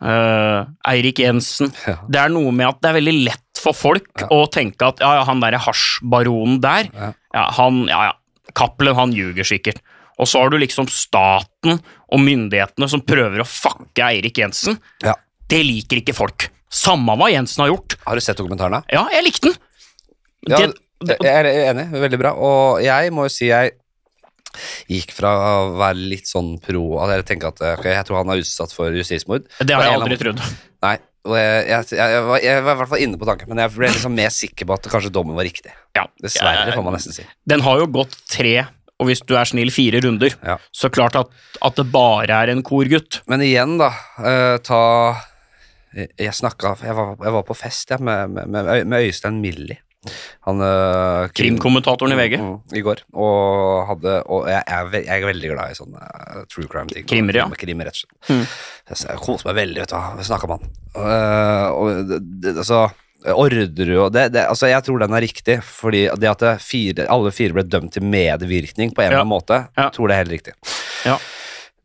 [SPEAKER 2] eh, Eirik Jensen.
[SPEAKER 1] Ja.
[SPEAKER 2] Det er noe med at det er veldig lett for folk å tenke at ja, ja, han derre hasjbaronen der,
[SPEAKER 1] Ja.
[SPEAKER 2] ja. han, ja, ja, Cappelen, han ljuger sikkert. Og så har du liksom staten og myndighetene som prøver å fucke Eirik Jensen.
[SPEAKER 1] Ja.
[SPEAKER 2] Det liker ikke folk. Samme hva Jensen har gjort.
[SPEAKER 1] Har du sett dokumentarene?
[SPEAKER 2] Ja, jeg likte den.
[SPEAKER 1] Ja,
[SPEAKER 2] Det- det-
[SPEAKER 1] jeg er enig. Veldig bra. Og jeg må jo si jeg gikk fra å være litt sånn pro at jeg tenker at ok, jeg tror han er utsatt for justismord.
[SPEAKER 2] Det har
[SPEAKER 1] På
[SPEAKER 2] jeg
[SPEAKER 1] en
[SPEAKER 2] aldri
[SPEAKER 1] eller
[SPEAKER 2] trodd.
[SPEAKER 1] annen- Nei. Og jeg, jeg, jeg, jeg, var, jeg var i hvert fall inne på tanken, men jeg ble liksom mer sikker på at kanskje dommen var riktig.
[SPEAKER 2] Ja.
[SPEAKER 1] Dessverre,
[SPEAKER 2] Jeg-
[SPEAKER 1] får man nesten si.
[SPEAKER 2] Den har jo gått tre, og hvis du er snill, fire runder.
[SPEAKER 1] Ja.
[SPEAKER 2] Så klart at, at det bare er en korgutt.
[SPEAKER 1] Men igjen, da. eh, ta Jeg, jeg snakka jeg, var- jeg var på fest jeg, med, med, med, Øy- med Øystein Millie. Han eh, krim-
[SPEAKER 2] Krimkommentatoren i VG.
[SPEAKER 1] Mm, I går. Og, hadde, og jeg, er, ve- jeg er veldig glad i sånne eh, true crime-ting.
[SPEAKER 2] Krimmer, ja. Mm.
[SPEAKER 1] Krimmer, rett og slett. Jeg, jeg koser meg veldig, vet du. hva. Jeg snakka med han. Eh, og det, det, altså, Orderud og det, det, altså Jeg tror den er riktig, fordi det at det fire, alle fire ble dømt til medvirkning på en eller
[SPEAKER 2] Ja.
[SPEAKER 1] annen måte,
[SPEAKER 2] Ja.
[SPEAKER 1] tror det er helt riktig.
[SPEAKER 2] Ja.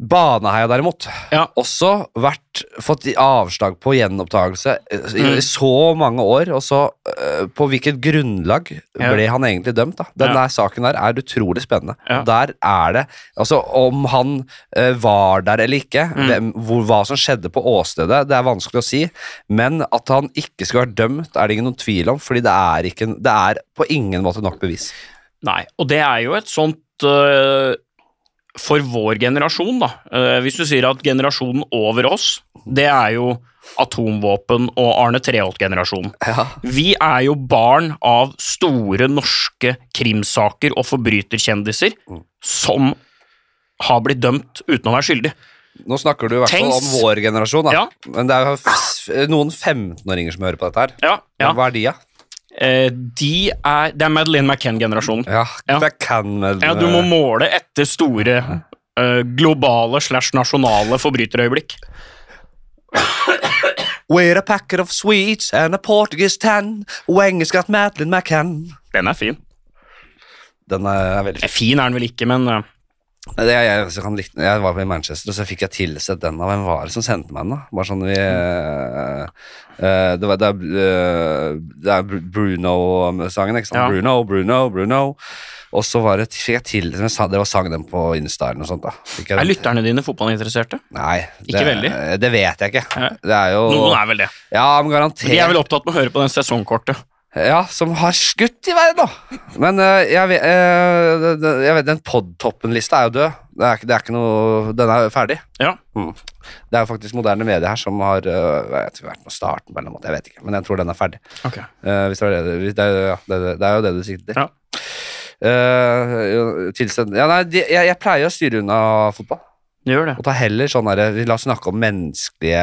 [SPEAKER 1] Baneheia derimot,
[SPEAKER 2] Ja.
[SPEAKER 1] også vært, fått avslag på gjenopptakelse i i
[SPEAKER 2] Mm.
[SPEAKER 1] så mange år, og så eh, på hvilket grunnlag
[SPEAKER 2] Ja.
[SPEAKER 1] ble han egentlig dømt, da? Den
[SPEAKER 2] Ja.
[SPEAKER 1] der saken der er utrolig spennende.
[SPEAKER 2] Ja.
[SPEAKER 1] Der er det Altså, om han eh, var der eller ikke,
[SPEAKER 2] Mm.
[SPEAKER 1] hvem, hvor, hva som skjedde på åstedet, det er vanskelig å si, men at han ikke skulle vært dømt, er det ingen noen tvil om, fordi det er, ikke, det er på ingen måte nok bevis.
[SPEAKER 2] Nei, og det er jo et sånt øh, For vår generasjon, da. Øh, hvis du sier at generasjonen over oss, det er jo atomvåpen og Arne Treholt-generasjonen.
[SPEAKER 1] Ja.
[SPEAKER 2] Vi er jo barn av store norske krimsaker og forbryterkjendiser
[SPEAKER 1] Mm.
[SPEAKER 2] som har blitt dømt uten å være skyldig.
[SPEAKER 1] Nå snakker du i hvert fall om
[SPEAKER 2] Tenks.
[SPEAKER 1] vår generasjon, da.
[SPEAKER 2] Ja.
[SPEAKER 1] men det er jo f- noen 15-åringer som hører på dette her.
[SPEAKER 2] Ja, ja.
[SPEAKER 1] Hva er de, da?
[SPEAKER 2] Eh, de er, det er Madeleine McCann-generasjonen.
[SPEAKER 1] Ja,
[SPEAKER 2] Ja.
[SPEAKER 1] det kan vel eh,
[SPEAKER 2] Ja, du må måle etter store eh, globale slash nasjonale forbryterøyeblikk.
[SPEAKER 1] We're a packet of sweets and a Portuguese tan Og engelsk at Madeleine McCann
[SPEAKER 2] Den er fin.
[SPEAKER 1] Den er veldig
[SPEAKER 2] Eh, Fin er den vel ikke, men eh,
[SPEAKER 1] fin jeg, jeg, så kan likte den. jeg var i Manchester Og så fikk jeg tilsett den av Hvem var det som sendte meg den da? Bare sånn vi eh, eh, Det var det, er, eh, det er Bru- Bruno-sangen Ikke sant?
[SPEAKER 2] Ja.
[SPEAKER 1] Bruno, Bruno, Bruno Og så var det Fikk jeg tilsett Det var sang den på Insta eller noe sånt da Fikk jeg
[SPEAKER 2] er
[SPEAKER 1] den-
[SPEAKER 2] lytterne dine fotballinteresserte?
[SPEAKER 1] Nei det,
[SPEAKER 2] Ikke veldig?
[SPEAKER 1] Det vet jeg ikke
[SPEAKER 2] Nei.
[SPEAKER 1] Det er jo
[SPEAKER 2] Noen er vel det.
[SPEAKER 1] Ja, men garantert
[SPEAKER 2] De er vel opptatt med å høre på den sesongkortet.
[SPEAKER 1] Ja, som har skutt i verden, da. Men eh, jeg, vet, eh, det- det- jeg vet, den podtoppen-lista er jo død. Det er, ikke- det er ikke noe, den er ferdig.
[SPEAKER 2] Ja.
[SPEAKER 1] Det er jo faktisk moderne medier her som har eh, jeg tror vært på starten, på en eller annen måte, jeg vet ikke. Men jeg tror den er ferdig.
[SPEAKER 2] Ok.
[SPEAKER 1] Eh, hvis det, var det, du- hvis det, er- ja, det, det, det er jo det du sikter til.
[SPEAKER 2] Ja.
[SPEAKER 1] Eh, tilsend- ja, nei, de, jeg, jeg pleier å styre unna fotball.
[SPEAKER 2] Det gjør det.
[SPEAKER 1] Og ta heller sånn der, vi La oss snakke om menneskelige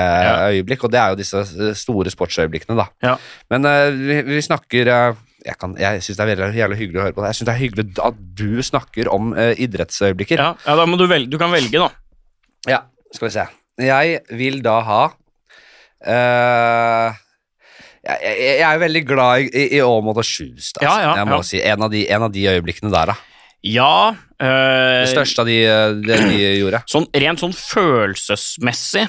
[SPEAKER 1] øyeblikk, og det er jo disse eh, store sportsøyeblikkene, da.
[SPEAKER 2] Ja.
[SPEAKER 1] Men eh, vi, vi snakker eh, Jeg, kan- jeg syns det er veldig, jævlig hyggelig å høre på deg. Jeg syns det er hyggelig at du snakker om eh, idrettsøyeblikker.
[SPEAKER 2] Ja, ja da må du velge. Du kan velge, da.
[SPEAKER 1] Ja, Skal vi se. Jeg vil da ha eh, jeg, jeg, jeg er jo veldig glad i, i, i Aamodt og Schust, altså.
[SPEAKER 2] Ja, ja,
[SPEAKER 1] jeg må
[SPEAKER 2] ja.
[SPEAKER 1] si. En av, de, en av de øyeblikkene der, da.
[SPEAKER 2] Ja eh,
[SPEAKER 1] Det største av de, eh, det de gjorde.
[SPEAKER 2] sånn, Rent sånn følelsesmessig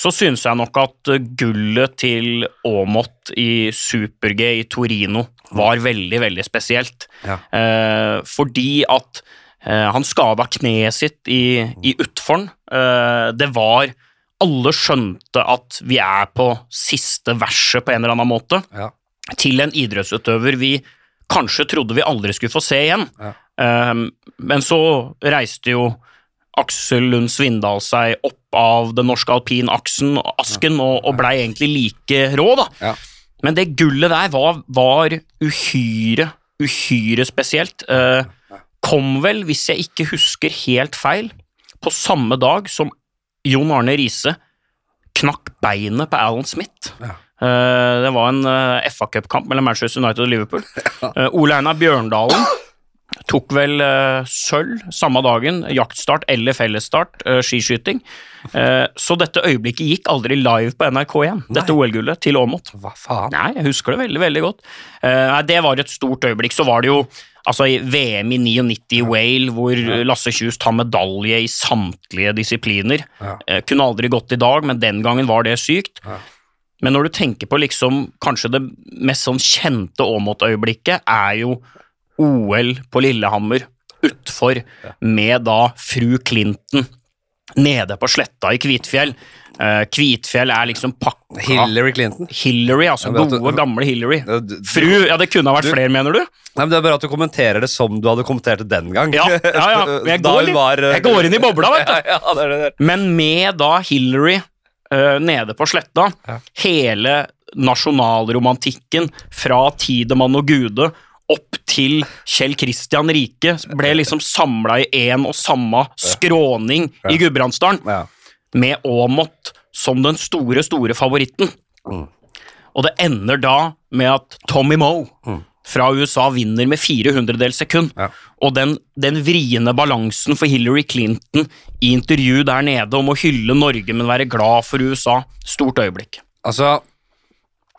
[SPEAKER 2] så synes jeg nok at eh, gullet til Aamodt i Super-G i Torino var veldig, veldig spesielt.
[SPEAKER 1] Ja.
[SPEAKER 2] Eh, fordi at eh, han skada kneet sitt i, i utforen. Eh, det var Alle skjønte at vi er på siste verset på en eller annen måte
[SPEAKER 1] Ja.
[SPEAKER 2] til en idrettsutøver vi kanskje trodde vi aldri skulle få se igjen.
[SPEAKER 1] Ja.
[SPEAKER 2] Ehm, men så reiste jo Aksel Lund Svindal seg opp av den norske alpinaksen, asken, og, og blei egentlig like rå, da.
[SPEAKER 1] Ja.
[SPEAKER 2] Men det gullet der var, var uhyre, uhyre spesielt. Eh, kom vel, hvis jeg ikke husker helt feil, på samme dag som Jon Arne Riise knakk beinet på Alan Smith.
[SPEAKER 1] Ja.
[SPEAKER 2] Eh, det var en eh, FA Cup-kamp mellom Manchester United og Liverpool. Eh, Ole Einar Bjørndalen Tok vel eh, sølv samme dagen. Jaktstart eller fellesstart, eh, skiskyting. Eh, så dette øyeblikket gikk aldri live på NRK1, dette
[SPEAKER 1] Nei.
[SPEAKER 2] OL-gullet til Aamodt.
[SPEAKER 1] Hva faen?
[SPEAKER 2] Nei, jeg husker det veldig, veldig godt. Eh, nei, det var et stort øyeblikk. Så var det jo altså i VM i 99 i Wale, hvor eh, Lasse Kjus tar medalje i samtlige disipliner.
[SPEAKER 1] Ja.
[SPEAKER 2] Eh, kunne aldri gått i dag, men den gangen var det sykt.
[SPEAKER 1] Ja.
[SPEAKER 2] Men når du tenker på liksom kanskje det mest sånn kjente Aamodt-øyeblikket, er jo OL på Lillehammer utfor, med da fru Clinton nede på sletta i Kvitfjell. Eh, Kvitfjell er liksom pakka
[SPEAKER 1] Hillary Clinton?
[SPEAKER 2] Hillary, altså
[SPEAKER 1] Ja, men at du-
[SPEAKER 2] gode, gamle Hillary.
[SPEAKER 1] Ja, du-
[SPEAKER 2] Fru, ja, det kunne ha vært
[SPEAKER 1] Du-
[SPEAKER 2] flere, mener du?
[SPEAKER 1] Nei, men Det er bare at du kommenterer det som du hadde kommentert det den gang.
[SPEAKER 2] Ja, ja, ja. men Jeg
[SPEAKER 1] Da
[SPEAKER 2] går,
[SPEAKER 1] hun
[SPEAKER 2] litt-
[SPEAKER 1] var, eh,
[SPEAKER 2] jeg går inn i bobla, vet du.
[SPEAKER 1] ja, ja, det er det der.
[SPEAKER 2] Men med da Hillary eh, nede på sletta,
[SPEAKER 1] Ja.
[SPEAKER 2] hele nasjonalromantikken fra Tidemann og Gude opp til Kjell Kristian Rike ble liksom samla i én og samme skråning i Gudbrandsdalen.
[SPEAKER 1] Ja.
[SPEAKER 2] med Aamodt som den store, store favoritten.
[SPEAKER 1] Mm.
[SPEAKER 2] Og det ender da med at Tommy Moe
[SPEAKER 1] Mm.
[SPEAKER 2] fra USA vinner med 400-dels sekund.
[SPEAKER 1] Ja.
[SPEAKER 2] Og den, den vriene balansen for Hillary Clinton i intervju der nede om å hylle Norge, men være glad for USA. Stort øyeblikk.
[SPEAKER 1] Altså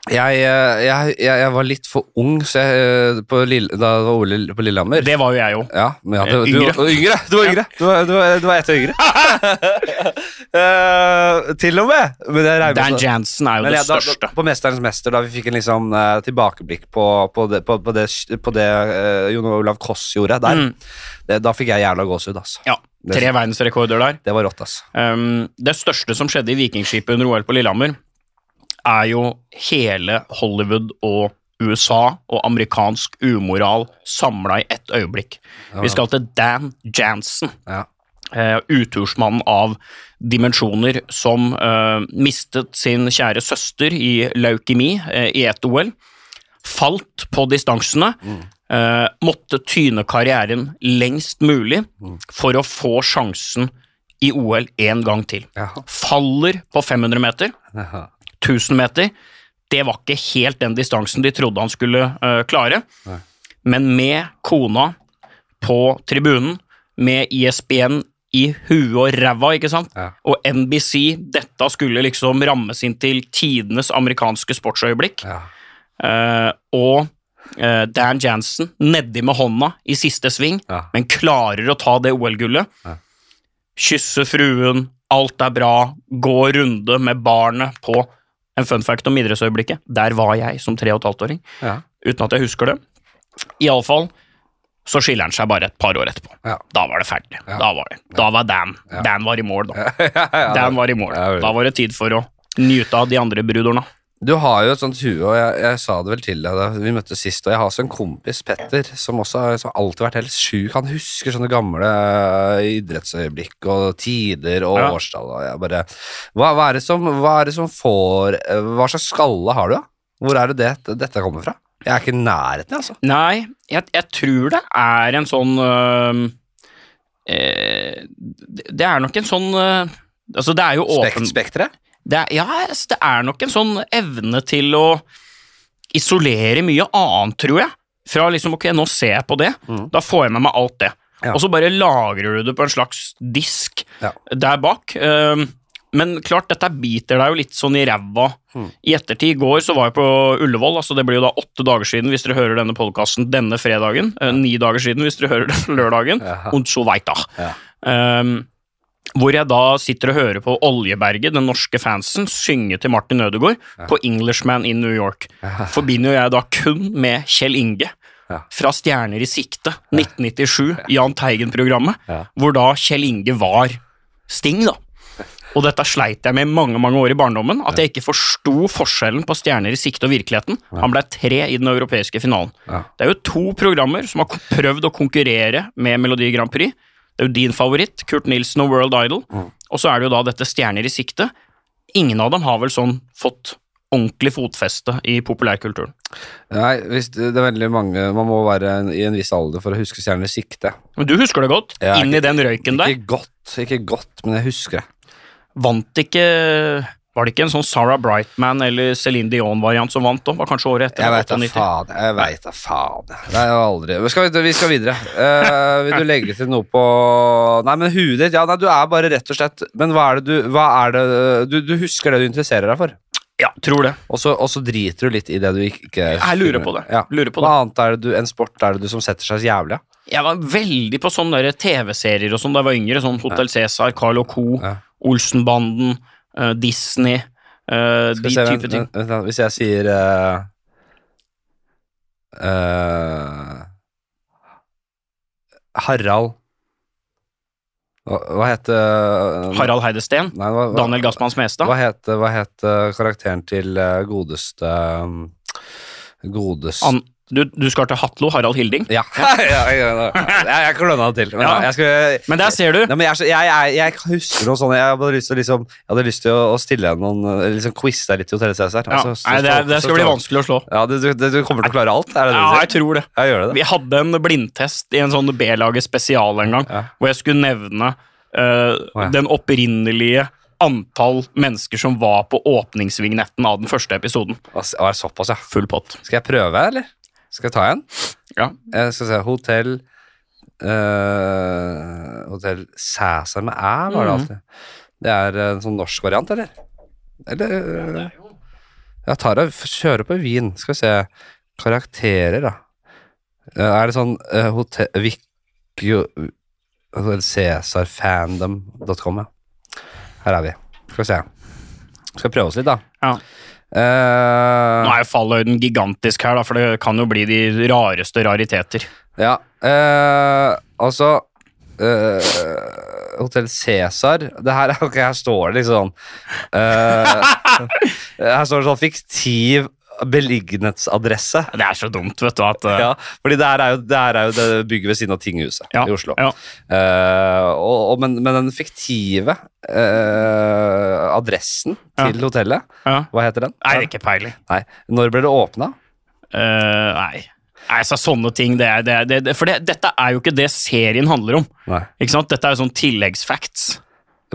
[SPEAKER 1] jeg, eh, jeg, jeg, jeg var litt for ung så jeg, eh, på Lille, da det var Ole på Lillehammer.
[SPEAKER 2] Det var jo jeg òg.
[SPEAKER 1] Ja, men ja,
[SPEAKER 2] Eh,
[SPEAKER 1] du, du,
[SPEAKER 2] yngre.
[SPEAKER 1] Du, yngre. Du var yngre. Du var, du var, du var ett år yngre. Eh, til og med. Men jeg regner
[SPEAKER 2] Dan
[SPEAKER 1] med-
[SPEAKER 2] Jansen er jo
[SPEAKER 1] Men
[SPEAKER 2] det
[SPEAKER 1] ja, da, da,
[SPEAKER 2] største.
[SPEAKER 1] på 'Mesterens mester', da vi fikk en litt sånn, eh, tilbakeblikk på, på det, på, på det, på det eh, Jon Olav Koss gjorde der,
[SPEAKER 2] Mm.
[SPEAKER 1] det, da fikk jeg jævla gåsehud, altså.
[SPEAKER 2] Ja, Tre verdensrekorder der.
[SPEAKER 1] Det var rått, altså.
[SPEAKER 2] Um, det største som skjedde i Vikingskipet under OL på Lillehammer, er jo hele Hollywood og USA og amerikansk umoral samla i ett øyeblikk.
[SPEAKER 1] Ja.
[SPEAKER 2] Vi skal til Dan Jansen,
[SPEAKER 1] Ja.
[SPEAKER 2] eh, utursmannen av dimensjoner, som eh, mistet sin kjære søster i leukemi eh, i et OL. Falt på distansene. Eh, måtte tyne karrieren lengst mulig for å få sjansen i OL én gang til.
[SPEAKER 1] Ja.
[SPEAKER 2] Faller på 500 meter, 1000 meter. Det var ikke helt den distansen de trodde han skulle eh, klare.
[SPEAKER 1] Nei.
[SPEAKER 2] Men med kona på tribunen, med E ISBN i huet og ræva, ikke sant?
[SPEAKER 1] Ja.
[SPEAKER 2] Og NBC, dette skulle liksom rammes inn til tidenes amerikanske sportsøyeblikk.
[SPEAKER 1] Ja.
[SPEAKER 2] Eh, og eh, Dan Jansen nedi med hånda i siste sving,
[SPEAKER 1] Ja.
[SPEAKER 2] men klarer å ta det OL-gullet.
[SPEAKER 1] Ja.
[SPEAKER 2] Kysse fruen, alt er bra, gå runde med barnet på en fun fact om idrettsøyeblikket. Der var jeg som tre og et halvt åring,
[SPEAKER 1] Ja.
[SPEAKER 2] uten at jeg husker det. Iallfall så skiller han seg bare et par år etterpå.
[SPEAKER 1] Ja.
[SPEAKER 2] Da var det ferdig.
[SPEAKER 1] Ja.
[SPEAKER 2] Da var det. Da var Dan.
[SPEAKER 1] Ja.
[SPEAKER 2] Dan var i mål, da.
[SPEAKER 1] Ja,
[SPEAKER 2] Dan var i mål.
[SPEAKER 1] Ja, vel.
[SPEAKER 2] Da var det tid for å nyte av de andre brudorna.
[SPEAKER 1] Du har jo et sånt hue, og jeg, jeg sa det vel til deg da vi møttes sist, og jeg har også en kompis, Petter, som også har- som har alltid vært helt sjuk. Han husker sånne gamle eh, idrettsøyeblikk og tider og
[SPEAKER 2] Ja.
[SPEAKER 1] årstall, og jeg bare hva, hva, er det som, hva er det som får eh, Hva slags skalle har du, da? Hvor er det, det dette kommer fra? Jeg er ikke i nærheten, jeg, altså.
[SPEAKER 2] Nei, jeg, jeg tror det er en sånn øhm, eh, Det det er nok en sånn øh, Altså, det er jo
[SPEAKER 1] Spekt,
[SPEAKER 2] åpen...
[SPEAKER 1] spekteret?
[SPEAKER 2] Det er, ja, altså, det er nok en sånn evne til å isolere mye annet, tror jeg. Fra liksom ok, nå ser jeg på det,
[SPEAKER 1] Mhm.
[SPEAKER 2] da får jeg med meg alt det.
[SPEAKER 1] Ja.
[SPEAKER 2] Og så bare lagrer du det på en slags disk
[SPEAKER 1] Ja.
[SPEAKER 2] der bak. Ehm, men klart, dette biter deg jo litt sånn i ræva.
[SPEAKER 1] Mhm.
[SPEAKER 2] I ettertid, i går så var jeg på Ullevål, altså det blir jo da åtte dager siden hvis dere hører denne podkasten denne fredagen. eh, ni dager siden hvis dere hører den lørdagen.
[SPEAKER 1] Jaha.
[SPEAKER 2] Und so weiter.
[SPEAKER 1] Ja.
[SPEAKER 2] Ehm, hvor jeg da sitter og hører på Oljeberget, den norske fansen, synge til Martin Ødegaard på Englishman in New York.
[SPEAKER 1] Ja.
[SPEAKER 2] Forbinder jo jeg da kun med Kjell Inge.
[SPEAKER 1] Ja.
[SPEAKER 2] Fra Stjerner i sikte, 1997, Jahn Teigen-programmet,
[SPEAKER 1] Ja.
[SPEAKER 2] hvor da Kjell Inge var Sting, da. Og dette sleit jeg med i mange mange år i barndommen, at jeg ikke forsto forskjellen på Stjerner i sikte og virkeligheten. Han ble tre i den europeiske finalen.
[SPEAKER 1] Ja.
[SPEAKER 2] Det er jo to programmer som har k- prøvd å konkurrere med Melodi Grand Prix. Det er jo din favoritt, Kurt Nilsen og World Idol.
[SPEAKER 1] Mm.
[SPEAKER 2] Og så er det jo da dette Stjerner i sikte. Ingen av dem har vel sånn fått ordentlig fotfeste i populærkulturen.
[SPEAKER 1] Nei, hvis det, det er veldig mange Man må være en, i en viss alder for å huske stjerner i sikte.
[SPEAKER 2] Men du husker det godt.
[SPEAKER 1] Ja,
[SPEAKER 2] Inn i den røyken der.
[SPEAKER 1] Ikke godt, ikke godt, men jeg husker det.
[SPEAKER 2] Vant ikke Var det ikke en sånn Sarah Brightman eller Céline Dion-variant som vant òg? Var kanskje året etter?
[SPEAKER 1] Jeg veit da
[SPEAKER 2] 98.
[SPEAKER 1] faen. Jeg vet da faen. Det er jo aldri Men skal vi, vi skal videre. Eh, vil du legge til noe på Nei, men huet ditt Ja, nei, du er bare rett og slett Men hva er det du Hva er det Du, du husker det du interesserer deg for,
[SPEAKER 2] Ja, tror det.
[SPEAKER 1] og så, og så driter du litt i det du ikke
[SPEAKER 2] Jeg lurer på det.
[SPEAKER 1] Ja.
[SPEAKER 2] Lurer på det.
[SPEAKER 1] Hva annet er det du En sport er det du som setter seg så jævlig av?
[SPEAKER 2] Jeg var veldig på sånne der TV-serier og sånn da jeg var yngre. Sånn Hotell Cæsar, Carl og Co.,
[SPEAKER 1] Ja.
[SPEAKER 2] Olsenbanden, eh, Disney. eh,
[SPEAKER 1] Skal
[SPEAKER 2] de
[SPEAKER 1] vi se,
[SPEAKER 2] type
[SPEAKER 1] vent-
[SPEAKER 2] ting.
[SPEAKER 1] vent- vent da, Hvis jeg sier eh, eh, Harald Hva, hva het eh,
[SPEAKER 2] Harald Heidesteen.
[SPEAKER 1] Nei, hva, hva,
[SPEAKER 2] Daniel Gassmann Smestad.
[SPEAKER 1] Hva het, hva het eh, karakteren til eh, godeste um, Godeste
[SPEAKER 2] An du, du skal til Hatlo, Harald Hilding.
[SPEAKER 1] Ja, ja, ja, ja. jeg, jeg kløna det til. Men,
[SPEAKER 2] Ja.
[SPEAKER 1] jeg, skulle,
[SPEAKER 2] Men der ser du.
[SPEAKER 1] Nei, men jeg, er så- jeg, jeg, jeg husker noe sånt. Jeg hadde bare lyst til, å liksom, jeg hadde lyst til å, å stille deg noen eh, liksom quiz deg litt i Hotell Cæsar.
[SPEAKER 2] Ja.
[SPEAKER 1] Altså, så-
[SPEAKER 2] Nei, det, er-
[SPEAKER 1] så-
[SPEAKER 2] det
[SPEAKER 1] så-
[SPEAKER 2] skal bli
[SPEAKER 1] så-
[SPEAKER 2] vanskelig å slå.
[SPEAKER 1] Ja, du, du, du kommer til å klare alt? Er det det
[SPEAKER 2] Ja,
[SPEAKER 1] du
[SPEAKER 2] jeg
[SPEAKER 1] sier?
[SPEAKER 2] tror det.
[SPEAKER 1] Ja, gjør det det?
[SPEAKER 2] Vi hadde en blindtest i en sånn B-laget spesial en gang,
[SPEAKER 1] Ja.
[SPEAKER 2] hvor jeg skulle nevne eh,
[SPEAKER 1] ja.
[SPEAKER 2] den opprinnelige antall mennesker som var på åpningsvignetten av den første episoden.
[SPEAKER 1] Altså, å, er det såpass, ja.
[SPEAKER 2] Full pott.
[SPEAKER 1] Skal jeg prøve, eller? Skal jeg ta en?
[SPEAKER 2] Ja.
[SPEAKER 1] Jeg skal se, hotell eh, Hotell Cæsar med æ, var det
[SPEAKER 2] Mhm.
[SPEAKER 1] alltid. Det er en sånn norsk variant, eller? Eller eh, Ja, Tara f- kjører på Wien. Skal vi se. Karakterer, da. Eh, er det sånn uh, hotell Vikio Cæsarfandom.com, ja. Her er vi. Skal vi se. Skal prøve oss litt, da.
[SPEAKER 2] Ja.
[SPEAKER 1] Eh,
[SPEAKER 2] Nå er jo fallhøyden gigantisk her, da, for det kan jo bli de rareste rariteter.
[SPEAKER 1] Ja, eh, altså eh, Hotel Cæsar Det her, ok, her står det liksom eh, Her står det sånn fiktiv beliggenhetsadresse.
[SPEAKER 2] Det er så dumt, vet du, at eh,
[SPEAKER 1] Ja, fordi det her er jo det, her er jo det bygget ved siden av tinghuset
[SPEAKER 2] Ja,
[SPEAKER 1] i Oslo.
[SPEAKER 2] ja.
[SPEAKER 1] Eh, og, og, men, men den fiktive eh, adressen til hotellet,
[SPEAKER 2] ja.
[SPEAKER 1] hva heter den?
[SPEAKER 2] Nei, det er ikke peiling.
[SPEAKER 1] Nei. Når ble det åpna?
[SPEAKER 2] Eh, nei. Nei, så sånne ting, det er, det er, det, det- for det, dette er jo ikke det serien handler om.
[SPEAKER 1] Nei.
[SPEAKER 2] Ikke sant? Dette er jo sånn tilleggsfacts.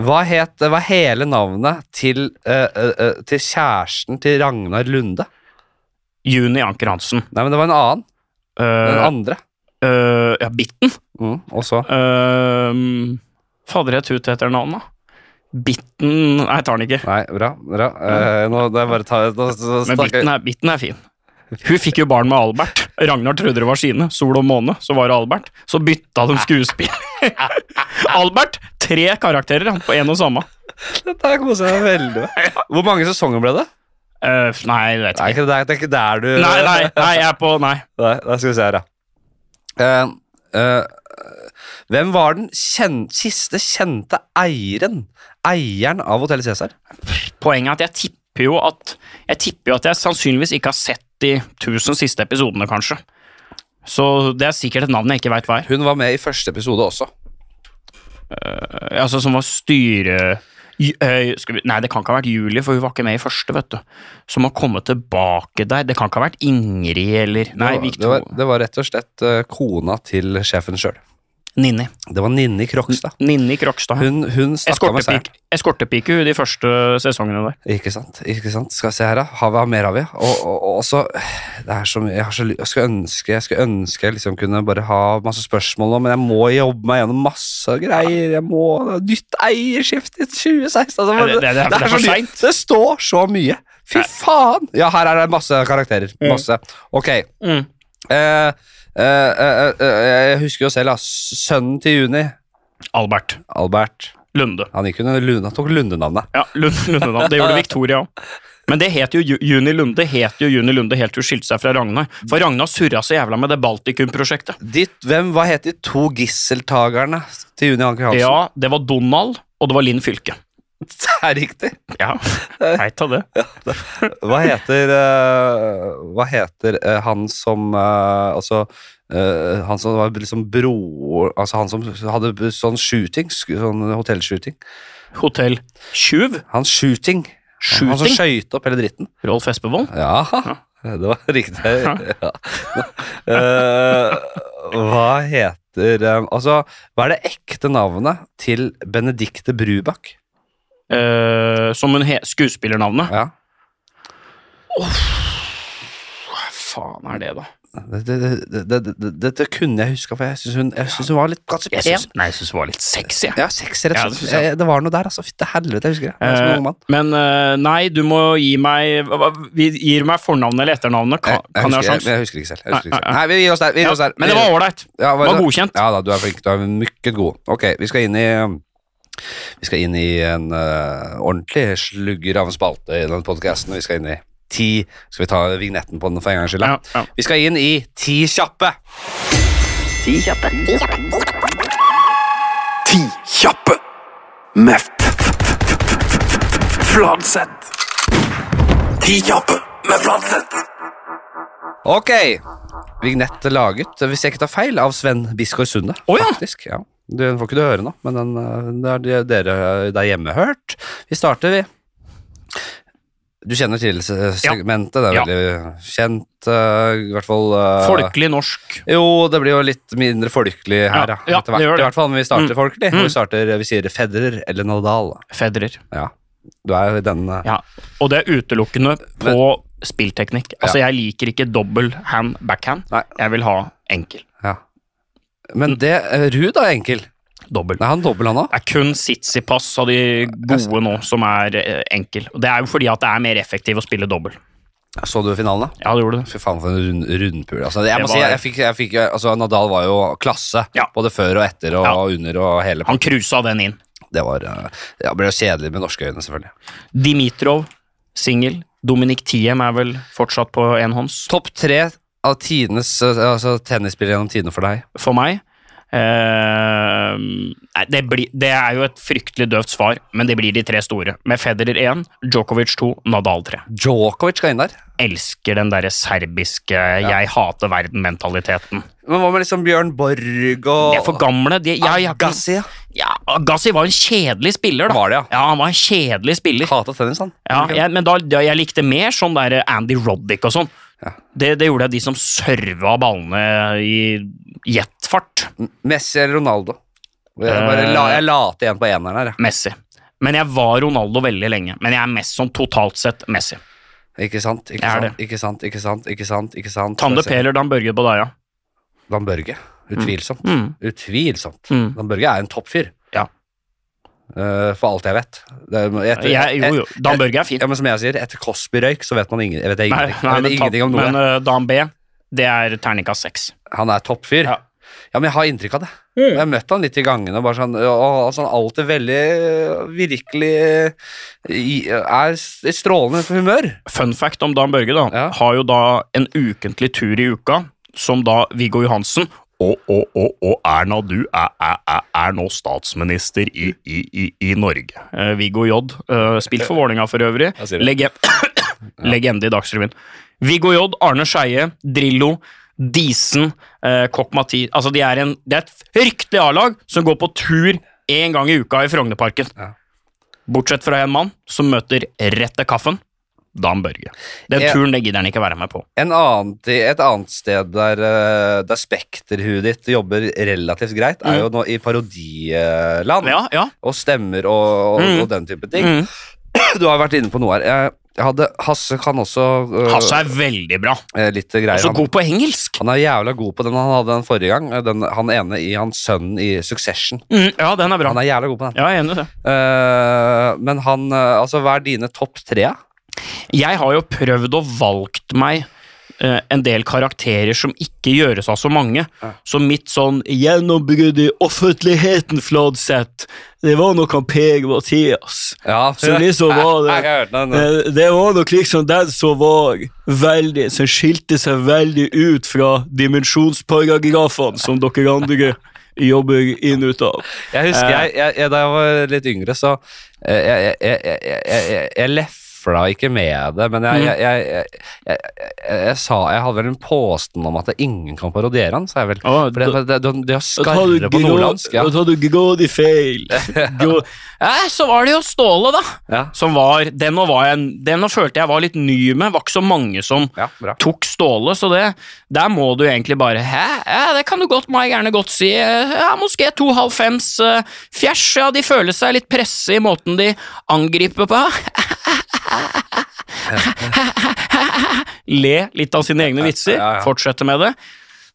[SPEAKER 1] Hva het hva er hele navnet til, eh, eh, eh, til kjæresten til Ragnar Lunde?
[SPEAKER 2] Juni Anker Hansen.
[SPEAKER 1] Nei, men det var en annen. Den
[SPEAKER 2] Uh,
[SPEAKER 1] andre.
[SPEAKER 2] eh, ja, Bitten.
[SPEAKER 1] Mm, og så
[SPEAKER 2] Uh, Fader, jeg tut heter navnet, da. Bitten Nei, jeg tar den ikke.
[SPEAKER 1] Nei, bra. bra. Eh, nå det er bare Altså, ta, nå, så,
[SPEAKER 2] Men Bitten er, bitten er fin. Hun fikk jo barn med Albert. Ragnar trodde det var sine. Sol og måne, så var det Albert. Så bytta de skuespill. Albert! Tre karakterer han, på én og samme.
[SPEAKER 1] Dette her koser jeg meg veldig med. Hvor mange sesonger ble det?
[SPEAKER 2] Eh, nei, jeg vet
[SPEAKER 1] Nei,
[SPEAKER 2] ikke.
[SPEAKER 1] ikke det, er- det er ikke der du
[SPEAKER 2] Nei, nei, nei, jeg er på Nei.
[SPEAKER 1] Nei, da skal vi se her, ja. Eh, eh, hvem var den kjen siste kjente eieren Eieren av Hotell Cæsar?
[SPEAKER 2] Poenget er at jeg tipper jo at Jeg tipper jo at jeg sannsynligvis ikke har sett de tusen siste episodene, kanskje. Så det er sikkert et navn jeg ikke veit hva er.
[SPEAKER 1] Hun var med i første episode også.
[SPEAKER 2] altså som var styre... Ju- eh, Skal vi, nei, det kan ikke ha vært Julie, for hun var ikke med i første, vet du. Som har kommet tilbake der. Det kan ikke ha vært Ingrid eller Nei,
[SPEAKER 1] det, var, det,
[SPEAKER 2] Victor.
[SPEAKER 1] var, det var rett og slett eh, kona til sjefen sjøl.
[SPEAKER 2] Ninni.
[SPEAKER 1] Det var Ninni Krokstad.
[SPEAKER 2] Ninni Krokstad.
[SPEAKER 1] Hun, hun snakka med seg.
[SPEAKER 2] Eskortepike, eskortepike hun de første sesongene der.
[SPEAKER 1] Ikke sant. ikke sant Skal vi se her, da. Har vi har mer av vi? Og, og, og så Det er så mye Jeg, har så, ly- jeg skulle ønske jeg skulle ønske jeg liksom kunne bare ha masse spørsmål nå, men jeg må jobbe meg gjennom masse greier. Jeg må Nytt eierskifte i 2016. Altså,
[SPEAKER 2] Nei, det- det- det er- det er for
[SPEAKER 1] så mye.
[SPEAKER 2] sent.
[SPEAKER 1] Det står så mye. Fy faen! Ja, her er det masse karakterer. Masse. Ok. Eh, eh, eh, eh, jeg husker jo selv, da. Sønnen til Juni,
[SPEAKER 2] Albert
[SPEAKER 1] Albert
[SPEAKER 2] Lunde.
[SPEAKER 1] Han gikk under Lund, han tok Lundenavnet.
[SPEAKER 2] Ja, Lund, Lundedam. Det gjorde Victoria òg. Men det het jo Ju- Juni Lunde het jo Juni Lunde helt til hun skilte seg fra Ragnar. For Ragnar surra så jævla med det Baltikum-prosjektet.
[SPEAKER 1] De, hvem, hva het de to gisseltagerne til Juni Anker Hansen?
[SPEAKER 2] Ja, det var Donald, og det var Linn Fylke.
[SPEAKER 1] Det er riktig.
[SPEAKER 2] Ja, heit av det.
[SPEAKER 1] Hva heter, eh, hva heter eh, han som eh, Altså eh, han som var liksom bror Altså han som hadde b- sånn shooting, sk- sånn hotellshooting.
[SPEAKER 2] Hotell Tjuv.
[SPEAKER 1] Han shooting. Han som
[SPEAKER 2] Shooting?
[SPEAKER 1] skøyte opp hele dritten.
[SPEAKER 2] Rolf Espevold.
[SPEAKER 1] Ja, det var riktig. Ja. Eh, hva heter eh, Altså, hva er det ekte navnet til Benedicte Brubakk?
[SPEAKER 2] eh, som hun he skuespillernavnet.
[SPEAKER 1] Ja.
[SPEAKER 2] Hva faen er det, da?
[SPEAKER 1] Det, det, det, det, det, det- det kunne jeg huska, for jeg syns hun, jeg synes hun var litt ganske
[SPEAKER 2] Jeg
[SPEAKER 1] pen.
[SPEAKER 2] syns, nei, jeg syns det var litt sexy. jeg.
[SPEAKER 1] Ja, seks, rett
[SPEAKER 2] Ja,
[SPEAKER 1] og slett.
[SPEAKER 2] det synes jeg.
[SPEAKER 1] Eh, Det var noe der, altså. Fytte helvete, jeg husker det. Jeg var som en ung
[SPEAKER 2] Eh,
[SPEAKER 1] mann.
[SPEAKER 2] men eh, nei, du må gi meg hva- hva- Vi gir meg fornavnet eller etternavnet. Kan,
[SPEAKER 1] jeg,
[SPEAKER 2] kan jeg ha
[SPEAKER 1] husker, jeg,
[SPEAKER 2] sjans?
[SPEAKER 1] jeg husker ikke selv. Jeg husker
[SPEAKER 2] Nei,
[SPEAKER 1] ikke selv. Nei, vi gir oss der. Vi gir
[SPEAKER 2] Ja,
[SPEAKER 1] oss der.
[SPEAKER 2] men det var ålreit.
[SPEAKER 1] Ja,
[SPEAKER 2] Det var godkjent.
[SPEAKER 1] Ja da, du er flink. Du er mykket god. Ok, vi skal inn i um, Vi skal inn i en uh, ordentlig slugger av en spalte i den podkasten. Vi skal inn i ti Skal vi ta vignetten på den for en gangs skyld? da?
[SPEAKER 2] Ja, ja.
[SPEAKER 1] Vi skal inn i Ti kjappe.
[SPEAKER 3] Ti kjappe. Ti kjappe.
[SPEAKER 4] Ti kjappe med f- f- f- f- Fladseth. Ti kjappe med Fladseth.
[SPEAKER 1] Ok. Vignett laget, hvis jeg ikke tar feil, av Sven Bisgaard Sunde.
[SPEAKER 2] Å, ja.
[SPEAKER 1] Faktisk. Ja. Du, den får ikke du høre nå, men den, eh, det har de- dere eh, der hjemme hørt. Vi starter, vi. Du kjenner til se- segmentet, det er
[SPEAKER 2] Ja.
[SPEAKER 1] veldig kjent, eh, i hvert fall eh,
[SPEAKER 2] Folkelig norsk.
[SPEAKER 1] Jo, det blir jo litt mindre folkelig her,
[SPEAKER 2] Ja, ja,
[SPEAKER 1] Etter hvert,
[SPEAKER 2] det gjør det.
[SPEAKER 1] I hvert fall når vi starter
[SPEAKER 2] Mm.
[SPEAKER 1] folkelig.
[SPEAKER 2] Mm.
[SPEAKER 1] Vi starter, vi sier Federer eller Nadal.
[SPEAKER 2] Federer.
[SPEAKER 1] Ja. Du er jo i den eh,
[SPEAKER 2] Ja. Og det er utelukkende på spillteknikk. Altså, jeg liker ikke dobbel hand backhand.
[SPEAKER 1] Nei.
[SPEAKER 2] Jeg vil ha enkel.
[SPEAKER 1] ja. Men det eh, Ruud er enkel.
[SPEAKER 2] Dobbel.
[SPEAKER 1] Nei, han dobbel, han òg.
[SPEAKER 2] Det er kun Sitsipas av de gode nå som er eh, enkel. Og det er jo fordi at det er mer effektivt å spille dobbel.
[SPEAKER 1] Så du finalen, da?
[SPEAKER 2] Ja, det gjorde det.
[SPEAKER 1] Fy faen for en rund, rundpul. Altså, jeg
[SPEAKER 2] Det
[SPEAKER 1] må
[SPEAKER 2] var-
[SPEAKER 1] si, jeg fikk, jeg fikk, altså, Nadal var jo klasse,
[SPEAKER 2] Ja.
[SPEAKER 1] både før og etter og
[SPEAKER 2] Ja.
[SPEAKER 1] under og hele.
[SPEAKER 2] Han cruisa den inn.
[SPEAKER 1] Det var, eh, det ble jo kjedelig med norske øyne, selvfølgelig.
[SPEAKER 2] Dimitrov, singel. Dominic Thiem er vel fortsatt på enhånds
[SPEAKER 1] Topp tre av tidenes eh, altså, tennisspillere gjennom tidene for deg.
[SPEAKER 2] for meg. Eh, nei, det, blir- det er jo et fryktelig døvt svar, men det blir de tre store. Med Federer 1, Djokovic 2, Nadal 3.
[SPEAKER 1] Djokovic skal inn der.
[SPEAKER 2] Elsker den derre serbiske 'jeg hater verden'-mentaliteten.
[SPEAKER 1] Men hva med liksom Bjørn Borg
[SPEAKER 2] De
[SPEAKER 1] og
[SPEAKER 2] er for gamle. De, jeg, jeg,
[SPEAKER 1] Agassi, ja.
[SPEAKER 2] ja, Agassi var en kjedelig spiller, da.
[SPEAKER 1] Ah, Var det, ja.
[SPEAKER 2] Ja, han var en kjedelig spiller.
[SPEAKER 1] Hata tennis, han.
[SPEAKER 2] Ja, jeg, men da, da, jeg likte mer sånn der Andy Roddick og sånn. Det, det gjorde jeg de som serva ballene i jetfart.
[SPEAKER 1] Messi eller Ronaldo. Jeg, bare,
[SPEAKER 2] Eh.
[SPEAKER 1] la, jeg la til en på eneren her, jeg.
[SPEAKER 2] Messi. Men jeg var Ronaldo veldig lenge. Men jeg er mest sånn totalt sett Messi.
[SPEAKER 1] Ikke sant, ikke
[SPEAKER 2] Jeg er
[SPEAKER 1] sant, ikke sant, ikke sant, ikke sant. Ikke sant.
[SPEAKER 2] Tande
[SPEAKER 1] Skal vi se.
[SPEAKER 2] P eller Dan Børge Badaja.
[SPEAKER 1] Dan Børge. Utvilsomt.
[SPEAKER 2] Mm.
[SPEAKER 1] Utvilsomt.
[SPEAKER 2] Mm.
[SPEAKER 1] Dan Børge er en toppfyr.
[SPEAKER 2] Ja.
[SPEAKER 1] Eh, for alt jeg vet. Det, er- jeg, tror-
[SPEAKER 2] Jeg, jo, jo. Dan Børge er
[SPEAKER 1] Jeg, ja,
[SPEAKER 2] fin.
[SPEAKER 1] men som jeg sier, etter Cosby-røyk så vet man ingen, jeg vet jeg
[SPEAKER 2] Nei,
[SPEAKER 1] ingenting.
[SPEAKER 2] nei,
[SPEAKER 1] jeg vet
[SPEAKER 2] men,
[SPEAKER 1] ingenting om
[SPEAKER 2] ta-
[SPEAKER 1] noe.
[SPEAKER 2] men eh, Dan B, det er terningkast seks.
[SPEAKER 1] han er toppfyr. Ja.
[SPEAKER 2] Ja. Mm.
[SPEAKER 1] men jeg har inntrykk av det. Jeg har møtt han litt i gangene. Bare sånn, og, og sånn alltid veldig øh, Virkelig øh, i, er i strålende humør.
[SPEAKER 2] Fun fact om Dan Børge, da.
[SPEAKER 1] Ja.
[SPEAKER 2] Har jo da en ukentlig tur i uka, som da Viggo Johansen og, og, og, og Erna, du er, er, er, er nå statsminister i, i, i, i Norge. Eh, Viggo J. eh, spilt for Vålerenga for øvrig.
[SPEAKER 1] Jeg sier det.
[SPEAKER 2] Lege Legende i Dagsrevyen. Viggo J., Arne Skeie, Drillo, Disen, eh, Kokk Mati Altså, de er en, det er et fryktelig A-lag som går på tur én gang i uka i Frognerparken.
[SPEAKER 1] Ja.
[SPEAKER 2] Bortsett fra en mann som møter rett til kaffen. Dan Børge. Den
[SPEAKER 1] Jeg-
[SPEAKER 2] turen det gidder han ikke være med på.
[SPEAKER 1] En annen, ti- et annet sted der, eh, der spekterhuet ditt jobber relativt greit, er jo nå i parodiland.
[SPEAKER 2] Mm. Ja, ja.
[SPEAKER 1] og stemmer og, og,
[SPEAKER 2] Mm.
[SPEAKER 1] og den type ting. Du har vært inne på noe her. Jeg, jeg hadde, Hasse kan også øh,
[SPEAKER 2] Hasse er veldig bra.
[SPEAKER 1] eh, litt greier.
[SPEAKER 2] Så
[SPEAKER 1] Han,
[SPEAKER 2] god på engelsk.
[SPEAKER 1] han er jævla god på den han hadde den forrige gang. eh, Den, han ene i hans sønn i Succession.
[SPEAKER 2] Mm, ja, den er bra.
[SPEAKER 1] Han er jævla god på den.
[SPEAKER 2] Ja, jeg er enig i det.
[SPEAKER 1] Eh, men han eh, Altså, hva er dine topp tre?
[SPEAKER 2] Jeg har jo prøvd og valgt meg eh, en del karakterer som ikke gjøres av så mange. Så mitt sånn 'gjennombrudd i offentligheten', Fladseth, det var nok han Per Mathias.
[SPEAKER 1] Ja,
[SPEAKER 2] Så liksom var
[SPEAKER 1] Jeg,
[SPEAKER 2] det-
[SPEAKER 1] jeg, hørte den.
[SPEAKER 2] Eh, Det var nok liksom den som var veldig Som skilte seg veldig ut fra dimensjonsparagrafene som dere andre jobber inn ut av.
[SPEAKER 1] eh, Jeg husker jeg, jeg, jeg, da jeg var litt yngre, så eh, jeg, jeg, jeg, jeg, jeg, jeg lefla søfla ikke med det, men jeg, jeg, jeg, jeg, jeg, jeg, jeg, sa Jeg hadde vel en påstand om at ingen kan parodiere han, sa jeg vel.
[SPEAKER 2] Å,
[SPEAKER 1] For det, det, det, det å skarre på nordlandsk ja.
[SPEAKER 2] tar du grådig feil. Grå- Nei, så var det jo Ståle, da.
[SPEAKER 1] Ja.
[SPEAKER 2] Som var, den, nå var jeg, den nå følte jeg var litt ny med. Var ikke så mange som
[SPEAKER 1] ja, bra.
[SPEAKER 2] tok Ståle, så det, der må du egentlig bare Hæ, ja, det kan du godt, må jeg gjerne godt si. Ja, Moské to halv fems eh, fjers. Ja, de føler seg litt presse i måten de angriper på. Le litt av sine egne vitser,
[SPEAKER 1] ja, ja.
[SPEAKER 2] fortsette med det.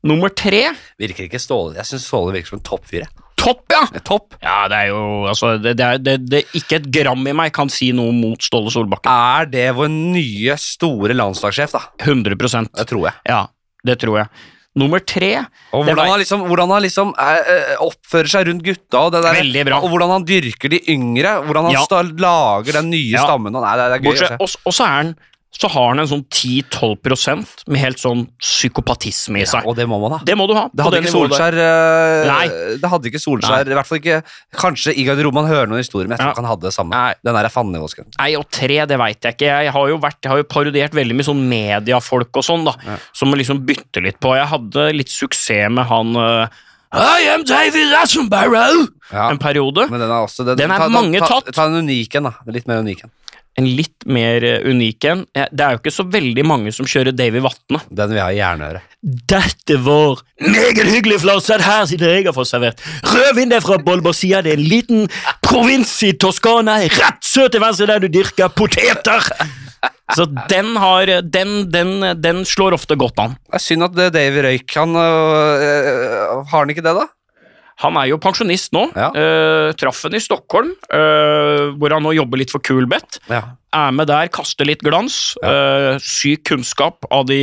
[SPEAKER 2] Nummer tre
[SPEAKER 1] Virker ikke Ståle Jeg syns Ståle virker som en toppfyr. jeg.
[SPEAKER 2] Topp, ja!
[SPEAKER 1] Topp.
[SPEAKER 2] Ja, det er jo altså, det, det er, det, det, Ikke et gram i meg kan si noe mot Ståle Solbakken.
[SPEAKER 1] Er det vår nye store landslagssjef, da?
[SPEAKER 2] 100
[SPEAKER 1] Det tror jeg.
[SPEAKER 2] Ja, det tror jeg. Nummer tre
[SPEAKER 1] Og
[SPEAKER 2] Det
[SPEAKER 1] hvordan
[SPEAKER 2] var-
[SPEAKER 1] han liksom, hvordan han liksom eh, eh, oppfører seg rundt gutta, og, det der,
[SPEAKER 2] Veldig bra.
[SPEAKER 1] og hvordan han dyrker de yngre. Hvordan han
[SPEAKER 2] Ja.
[SPEAKER 1] sta- lager den nye
[SPEAKER 2] Ja.
[SPEAKER 1] stammen. og Nei, det, det er gøy
[SPEAKER 2] bortsett,
[SPEAKER 1] å se.
[SPEAKER 2] og, og så er han så har han en sånn 10-12 med helt sånn psykopatisme i seg.
[SPEAKER 1] Og det må man ha.
[SPEAKER 2] det må du ha.
[SPEAKER 1] Det
[SPEAKER 2] på
[SPEAKER 1] hadde
[SPEAKER 2] det
[SPEAKER 1] ikke
[SPEAKER 2] nivået der.
[SPEAKER 1] Solskjær, eh,
[SPEAKER 2] Nei.
[SPEAKER 1] det hadde ikke Solskjær I hvert fall ikke Kanskje i garderoben han hører noen historier, men jeg tror
[SPEAKER 2] Ja.
[SPEAKER 1] ikke han hadde det samme.
[SPEAKER 2] Nei.
[SPEAKER 1] Den der er fannevåsken.
[SPEAKER 2] Nei, og tre, det veit jeg ikke. Jeg har jo, vært, jeg har jo parodiert veldig mye sånn mediefolk og sånn, da. Som liksom bytter litt på. Jeg hadde litt suksess med han eh, I am David Attenborough!
[SPEAKER 1] Ja.
[SPEAKER 2] En periode.
[SPEAKER 1] Men den er også Den,
[SPEAKER 2] Den er
[SPEAKER 1] ta,
[SPEAKER 2] mange
[SPEAKER 1] ta, ta,
[SPEAKER 2] tatt.
[SPEAKER 1] ta en unik en, da. Litt mer unik en.
[SPEAKER 2] En litt mer eh, unik en. Eh, Det er jo ikke så veldig mange som kjører Davy Vatne.
[SPEAKER 1] Den vil jeg ha i jernøret.
[SPEAKER 2] Dette var meget hyggelig flatsett her, siden jeg har fått servert. Rødvin der fra Bolborsia, det er en liten provins i Toskana, rett sør til venstre der du dyrker poteter. Så den har Den, den, den slår ofte godt an.
[SPEAKER 1] Det er synd at eh, Davy røyk. Han øh, øh, Har han ikke det, da?
[SPEAKER 2] Han er jo pensjonist nå.
[SPEAKER 1] Ja.
[SPEAKER 2] Eh, traff henne i Stockholm, eh, hvor han nå jobber litt for Kulbeth.
[SPEAKER 1] Ja.
[SPEAKER 2] Er med der, kaster litt glans. eh, syk kunnskap av de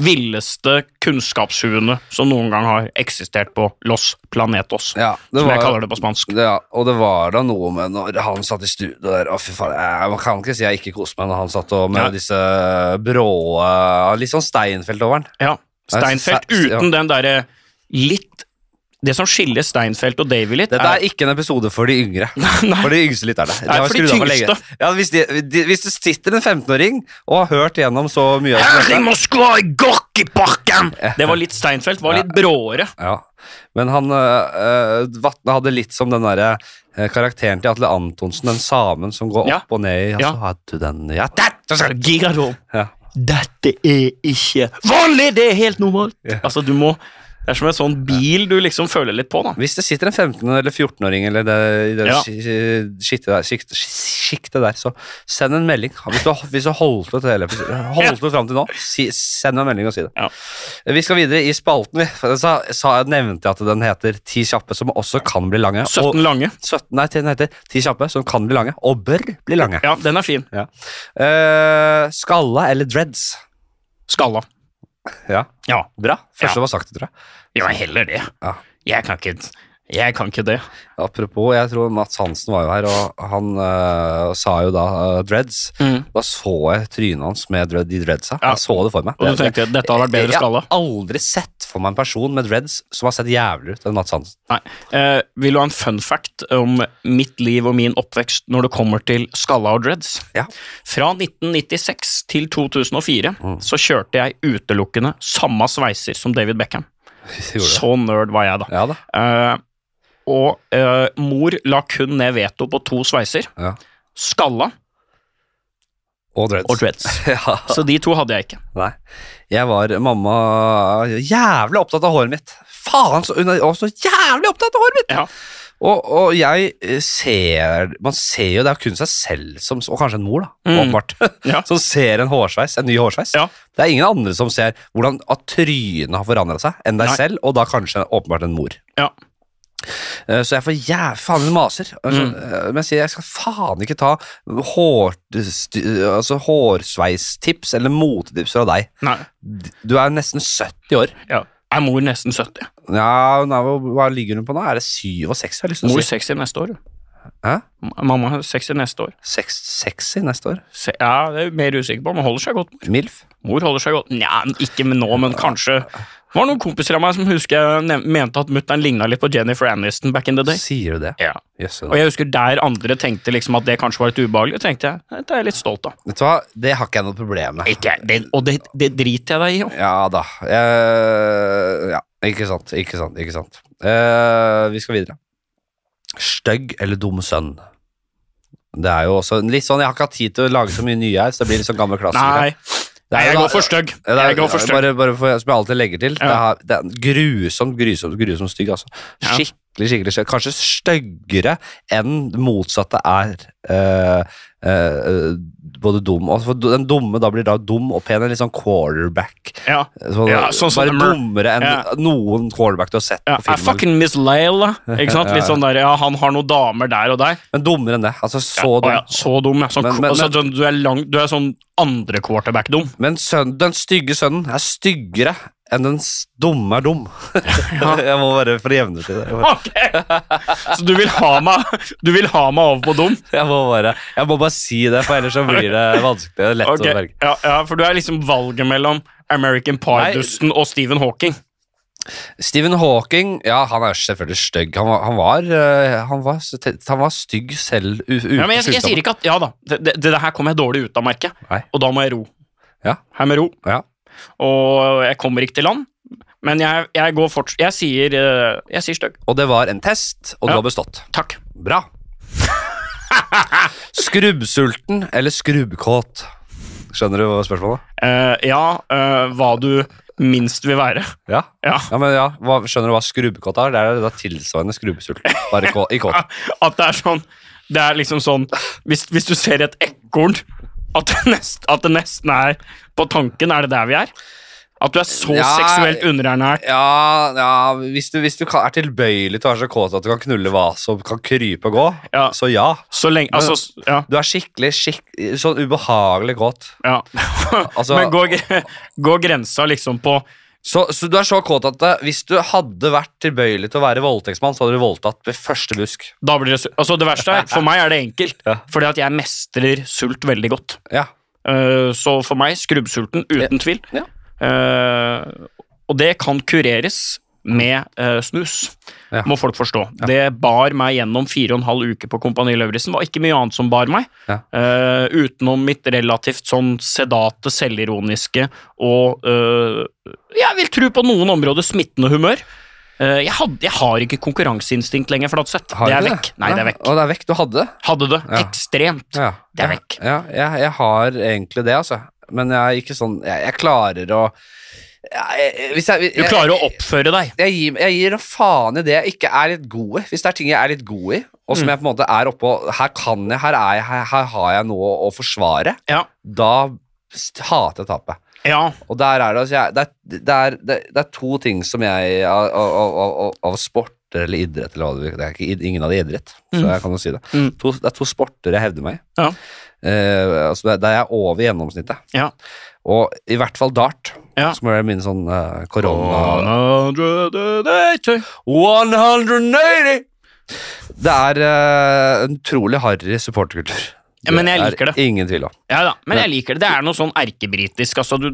[SPEAKER 2] villeste kunnskapshuene som noen gang har eksistert på Los Planetos.
[SPEAKER 1] ja det
[SPEAKER 2] som jeg
[SPEAKER 1] var-
[SPEAKER 2] kaller det på spansk.
[SPEAKER 1] Det, ja, og det var da noe med når han satt i studio der Å, fy faen, jeg, man kan ikke si jeg ikke koste meg når han satt og med
[SPEAKER 2] Ja.
[SPEAKER 1] disse brå Litt sånn Steinfeld over den.
[SPEAKER 2] Ja, Steinfeld
[SPEAKER 1] Nei, så-
[SPEAKER 2] uten den derre litt Det som skiller Steinfeld og Davy litt,
[SPEAKER 1] Dette er ikke en episode for de yngre.
[SPEAKER 2] Nei.
[SPEAKER 1] For de yngste lytterne. De
[SPEAKER 2] Nei,
[SPEAKER 1] har
[SPEAKER 2] for de
[SPEAKER 1] skrudd av for lenge.
[SPEAKER 2] tyngste.
[SPEAKER 1] Ja, hvis, de, de, hvis det sitter en 15-åring og har hørt gjennom så mye av
[SPEAKER 2] Her i
[SPEAKER 1] dette
[SPEAKER 2] Moskva, i Gorkiparken! Det var litt Steinfeld, var litt bråere.
[SPEAKER 1] ja. Men han øh, øh, Vatne hadde litt som den derre øh, karakteren til Atle Antonsen, den samen som går opp
[SPEAKER 2] Ja.
[SPEAKER 1] og ned i ja,
[SPEAKER 2] Ja.
[SPEAKER 1] så hadde du den ja, der, der, der.
[SPEAKER 2] Gigadom.
[SPEAKER 1] Ja.
[SPEAKER 2] Dette er ikke vanlig, det er helt normalt. Altså, du må Det er som en sånn bil du liksom føler litt på, da.
[SPEAKER 1] Hvis det sitter en 15- eller 14-åring eller det, i det
[SPEAKER 2] Ja.
[SPEAKER 1] sk- skiktet der, sjikt- sjiktet der, så send en melding. Hvis du, hvis du har holdt ut, hele episoden- holdt ut fram til nå, si, send en melding og si det.
[SPEAKER 2] Ja.
[SPEAKER 1] Vi skal videre i spalten. vi. For jeg sa, sa, jeg nevnte at den heter Ti kjappe, som også kan bli lange.
[SPEAKER 2] 17
[SPEAKER 1] og,
[SPEAKER 2] lange.
[SPEAKER 1] 17 nei, den heter Ti kjappe, som kan bli lange, og bør bli lange.
[SPEAKER 2] Ja, den er fin.
[SPEAKER 1] Eh, skalla eller dreads?
[SPEAKER 2] Skalla.
[SPEAKER 1] Ja,
[SPEAKER 2] Ja.
[SPEAKER 1] bra. Første
[SPEAKER 2] Ja.
[SPEAKER 1] var sagt, tror jeg.
[SPEAKER 2] Ja, heller det.
[SPEAKER 1] Ja.
[SPEAKER 2] Jeg kan ikke Jeg kan ikke det.
[SPEAKER 1] Apropos, jeg tror Mats Hansen var jo her, og han øh, sa jo da øh, dreads.
[SPEAKER 2] Mm.
[SPEAKER 1] Da så jeg trynet hans med dread, de dreadsa.
[SPEAKER 2] Ja.
[SPEAKER 1] Jeg så det for meg.
[SPEAKER 2] Og du tenkte at dette hadde vært bedre skalla?
[SPEAKER 1] Jeg har aldri sett for meg en person med dreads som har sett jævlig ut enn Mats Hansen.
[SPEAKER 2] Nei. Eh, vil du ha en fun fact om mitt liv og min oppvekst når det kommer til skalla og dreads?
[SPEAKER 1] Ja.
[SPEAKER 2] Fra 1996 til 2004
[SPEAKER 1] Mm.
[SPEAKER 2] så kjørte jeg utelukkende samme sveiser som David Beckham.
[SPEAKER 1] Gjorde det.
[SPEAKER 2] Så nerd var jeg, da.
[SPEAKER 1] Ja da.
[SPEAKER 2] Eh, og eh, mor la kun ned veto på to sveiser.
[SPEAKER 1] Ja.
[SPEAKER 2] Skalla
[SPEAKER 1] Og dreads.
[SPEAKER 2] og dreads.
[SPEAKER 1] Ja,
[SPEAKER 2] Så de to hadde jeg ikke.
[SPEAKER 1] nei. Jeg var mamma jævlig opptatt av håret mitt. Faen, så, hun er også jævlig opptatt av håret mitt!
[SPEAKER 2] Ja.
[SPEAKER 1] Og, og jeg eh, ser Man ser jo, det er jo kun seg selv som Og kanskje en mor, da.
[SPEAKER 2] Mm.
[SPEAKER 1] Åpenbart.
[SPEAKER 2] Ja.
[SPEAKER 1] Som ser en hårsveis, en ny hårsveis.
[SPEAKER 2] Ja.
[SPEAKER 1] Det er ingen andre som ser hvordan at trynet har forandra seg, enn deg
[SPEAKER 2] Nei.
[SPEAKER 1] selv, og da kanskje åpenbart en mor.
[SPEAKER 2] Ja.
[SPEAKER 1] Eh, Så jeg får jævlig faen hun maser. Altså,
[SPEAKER 2] Mm.
[SPEAKER 1] eh, Men jeg sier jeg skal faen ikke ta hår, st- altså, hårsveistips eller motetips fra deg.
[SPEAKER 2] Nei.
[SPEAKER 1] Du er nesten 70 år.
[SPEAKER 2] Ja. Er mor nesten 70?
[SPEAKER 1] Ja, hun er, jo- hva ligger hun på nå? Er det 67? har jeg lyst til å
[SPEAKER 2] Mor
[SPEAKER 1] si?
[SPEAKER 2] 60 neste år. jo.
[SPEAKER 1] Hæ?
[SPEAKER 2] Mamma har 60 neste år.
[SPEAKER 1] Sex, sexy neste år?
[SPEAKER 2] Se, ja, det er jeg mer usikker på, men holder seg godt.
[SPEAKER 1] Milf?
[SPEAKER 2] Mor holder seg godt. Nja, ikke med nå, men kanskje. Det var noen kompiser av meg som husker jeg nev- mente at mutter'n ligna litt på Jennifer Aniston back in the day.
[SPEAKER 1] Sier du det?
[SPEAKER 2] Ja.
[SPEAKER 1] Jøsse
[SPEAKER 2] Og
[SPEAKER 1] navn.
[SPEAKER 2] jeg husker der andre tenkte liksom at det kanskje var litt ubehagelig, tenkte jeg. Dette er jeg litt stolt av.
[SPEAKER 1] Vet du hva, det har ikke jeg noe problem med.
[SPEAKER 2] Ikke, jeg. det, og det, det driter jeg deg i jo.
[SPEAKER 1] Ja da. Eh, ja, ikke sant, ikke sant, ikke sant. Eh, vi skal videre. Stygg eller dum sønn? Det er jo også litt sånn, Jeg har ikke hatt tid til å lage så mye nye her, så det blir litt sånn gammel klassiker.
[SPEAKER 2] Nei, nei, jeg går for stygg.
[SPEAKER 1] Det er,
[SPEAKER 2] Jeg går for stygg.
[SPEAKER 1] bare, bare for, som jeg alltid legger til. Det,
[SPEAKER 2] Ja.
[SPEAKER 1] er, det er grusomt, grusomt, grusomt stygg. Altså.
[SPEAKER 2] Ja.
[SPEAKER 1] Skikkelig, skikkelig stygg. Kanskje styggere enn det motsatte er eh, eh, både dum og for Den dumme da blir da dum og pen. En litt sånn quarterback.
[SPEAKER 2] Ja.
[SPEAKER 1] Sånn,
[SPEAKER 2] Ja, sånn som
[SPEAKER 1] bare
[SPEAKER 2] Demmer.
[SPEAKER 1] dummere enn
[SPEAKER 2] Ja.
[SPEAKER 1] noen quarterback du har sett
[SPEAKER 2] Ja,
[SPEAKER 1] på
[SPEAKER 2] er
[SPEAKER 1] film.
[SPEAKER 2] fucking Miss Layla. Ikke sant? Litt sånn der, ja, han har noen damer der og der.
[SPEAKER 1] Men dummere enn det. Altså, så
[SPEAKER 2] Å
[SPEAKER 1] dum.
[SPEAKER 2] ja, så dum, ja. Sånn,
[SPEAKER 1] Men- men-
[SPEAKER 2] altså, du, er lang, du er sånn andre quarterback-dum.
[SPEAKER 1] Men sønnen, den stygge sønnen er styggere enn den s- dumme er dum. jeg må bare for å jevne til det. Jeg må-
[SPEAKER 2] Ok! Så du vil ha meg, du vil ha meg over på dum?
[SPEAKER 1] Jeg må, bare, jeg må bare si det, for ellers så blir det vanskelig og lett
[SPEAKER 2] Ok,
[SPEAKER 1] å velge.
[SPEAKER 2] ja, ja, for du er liksom valget mellom American Pie-dusten og Stephen Hawking.
[SPEAKER 1] Stephen Hawking ja, han er selvfølgelig stygg. Han var, han var, eh, han var, s- te- han var stygg selv u- uten
[SPEAKER 2] Ja, men jeg, jeg sier
[SPEAKER 1] sykdom.
[SPEAKER 2] ikke at Ja da, det, det, det her kommer jeg dårlig ut av, merket.
[SPEAKER 1] Nei.
[SPEAKER 2] Og da må jeg ro.
[SPEAKER 1] Ja.
[SPEAKER 2] Her med ro.
[SPEAKER 1] Ja.
[SPEAKER 2] Og jeg kommer ikke til land. Men jeg, jeg går fortsatt Jeg sier, eh, jeg sier stygg.
[SPEAKER 1] Og det var en test, og
[SPEAKER 2] Ja.
[SPEAKER 1] du har bestått.
[SPEAKER 2] Takk.
[SPEAKER 1] Bra. Skrubbsulten eller skrubbkåt? Skjønner du hva spørsmålet?
[SPEAKER 2] Eh, ja, eh, hva du minst vil være.
[SPEAKER 1] Ja.
[SPEAKER 2] Ja.
[SPEAKER 1] ja, men ja, hva, Skjønner du hva skrubbkåt er? Det er da tilsvarende skrubbsulten, bare kå, i kåt.
[SPEAKER 2] At det er sånn Det er liksom sånn Hvis, hvis du ser et ekorn, at det, nest, at det nesten er På tanken, er det der vi er? At du er så
[SPEAKER 1] Ja,
[SPEAKER 2] seksuelt underernært.
[SPEAKER 1] Ja, ja hvis du, hvis du kan, er tilbøyelig til å være så kåt at du kan knulle hva som kan krype og gå,
[SPEAKER 2] Ja.
[SPEAKER 1] så ja.
[SPEAKER 2] Så lenge Altså, s- ja.
[SPEAKER 1] Du er skikkelig, skikkelig sånn ubehagelig kåt.
[SPEAKER 2] ja.
[SPEAKER 1] Altså-
[SPEAKER 2] Men går, gre- går grensa liksom på
[SPEAKER 1] Så, så du er så kåt at eh, hvis du hadde vært tilbøyelig til å være voldtektsmann, så hadde du voldtatt ved første busk.
[SPEAKER 2] Da blir det su- Altså, det verste er For meg er det enkelt,
[SPEAKER 1] Ja.
[SPEAKER 2] fordi at jeg mestrer sult veldig godt.
[SPEAKER 1] Ja.
[SPEAKER 2] Eh, så for meg skrubbsulten, uten tvil.
[SPEAKER 1] Ja.
[SPEAKER 2] Eh, og det kan kureres med eh, snus,
[SPEAKER 1] Ja.
[SPEAKER 2] må folk forstå. Det bar meg gjennom fire og en halv uke på Kompani Lauritzen. Var ikke mye annet som bar meg,
[SPEAKER 1] Ja.
[SPEAKER 2] eh, utenom mitt relativt sånn sedate, selvironiske og eh, Jeg vil tro på noen områder smittende humør. Eh, jeg, hadde, jeg har ikke konkurranseinstinkt lenger, Flatseth.
[SPEAKER 1] Har
[SPEAKER 2] Det
[SPEAKER 1] du
[SPEAKER 2] er
[SPEAKER 1] ikke
[SPEAKER 2] vekk. Nei, det er vekk.
[SPEAKER 1] Og det er vekk. Du hadde det?
[SPEAKER 2] Hadde det.
[SPEAKER 1] Ja.
[SPEAKER 2] Ekstremt.
[SPEAKER 1] Ja.
[SPEAKER 2] Det er
[SPEAKER 1] Ja,
[SPEAKER 2] vekk.
[SPEAKER 1] Ja, jeg, jeg har egentlig det, altså. Men jeg er ikke sånn Jeg, jeg klarer å jeg, jeg- hvis jeg,
[SPEAKER 2] Du klarer å oppføre deg.
[SPEAKER 1] jeg gir, jeg gir faen i det jeg ikke er litt god i. Hvis det er ting jeg er litt god i, og
[SPEAKER 2] Mm.
[SPEAKER 1] som jeg på en måte er oppå Her kan jeg, her, er jeg, her, her har jeg noe å forsvare.
[SPEAKER 2] Ja.
[SPEAKER 1] Da s- hater jeg tapet.
[SPEAKER 2] ja.
[SPEAKER 1] Og der er det altså jeg, det, er, det, er, det, er, det er to ting som jeg Av, av, av, av sport eller idrett eller hva det vil Det er ikke, id- ingen av de er idrett, så jeg kan jo si det.
[SPEAKER 2] Mm.
[SPEAKER 1] To, det er to sporter jeg hevder meg i.
[SPEAKER 2] Ja.
[SPEAKER 1] Eh, altså der- der jeg er over gjennomsnittet.
[SPEAKER 2] Ja.
[SPEAKER 1] Og i hvert fall dart,
[SPEAKER 2] Ja.
[SPEAKER 1] som er min sånn eh, korona...
[SPEAKER 2] 180.
[SPEAKER 1] 180! Det er eh, en utrolig harry supporterkultur.
[SPEAKER 2] Ja, men jeg liker det.
[SPEAKER 1] er ingen tvil om.
[SPEAKER 2] Ja da, men jeg liker det. Det er noe sånn erkebritisk. Altså, du,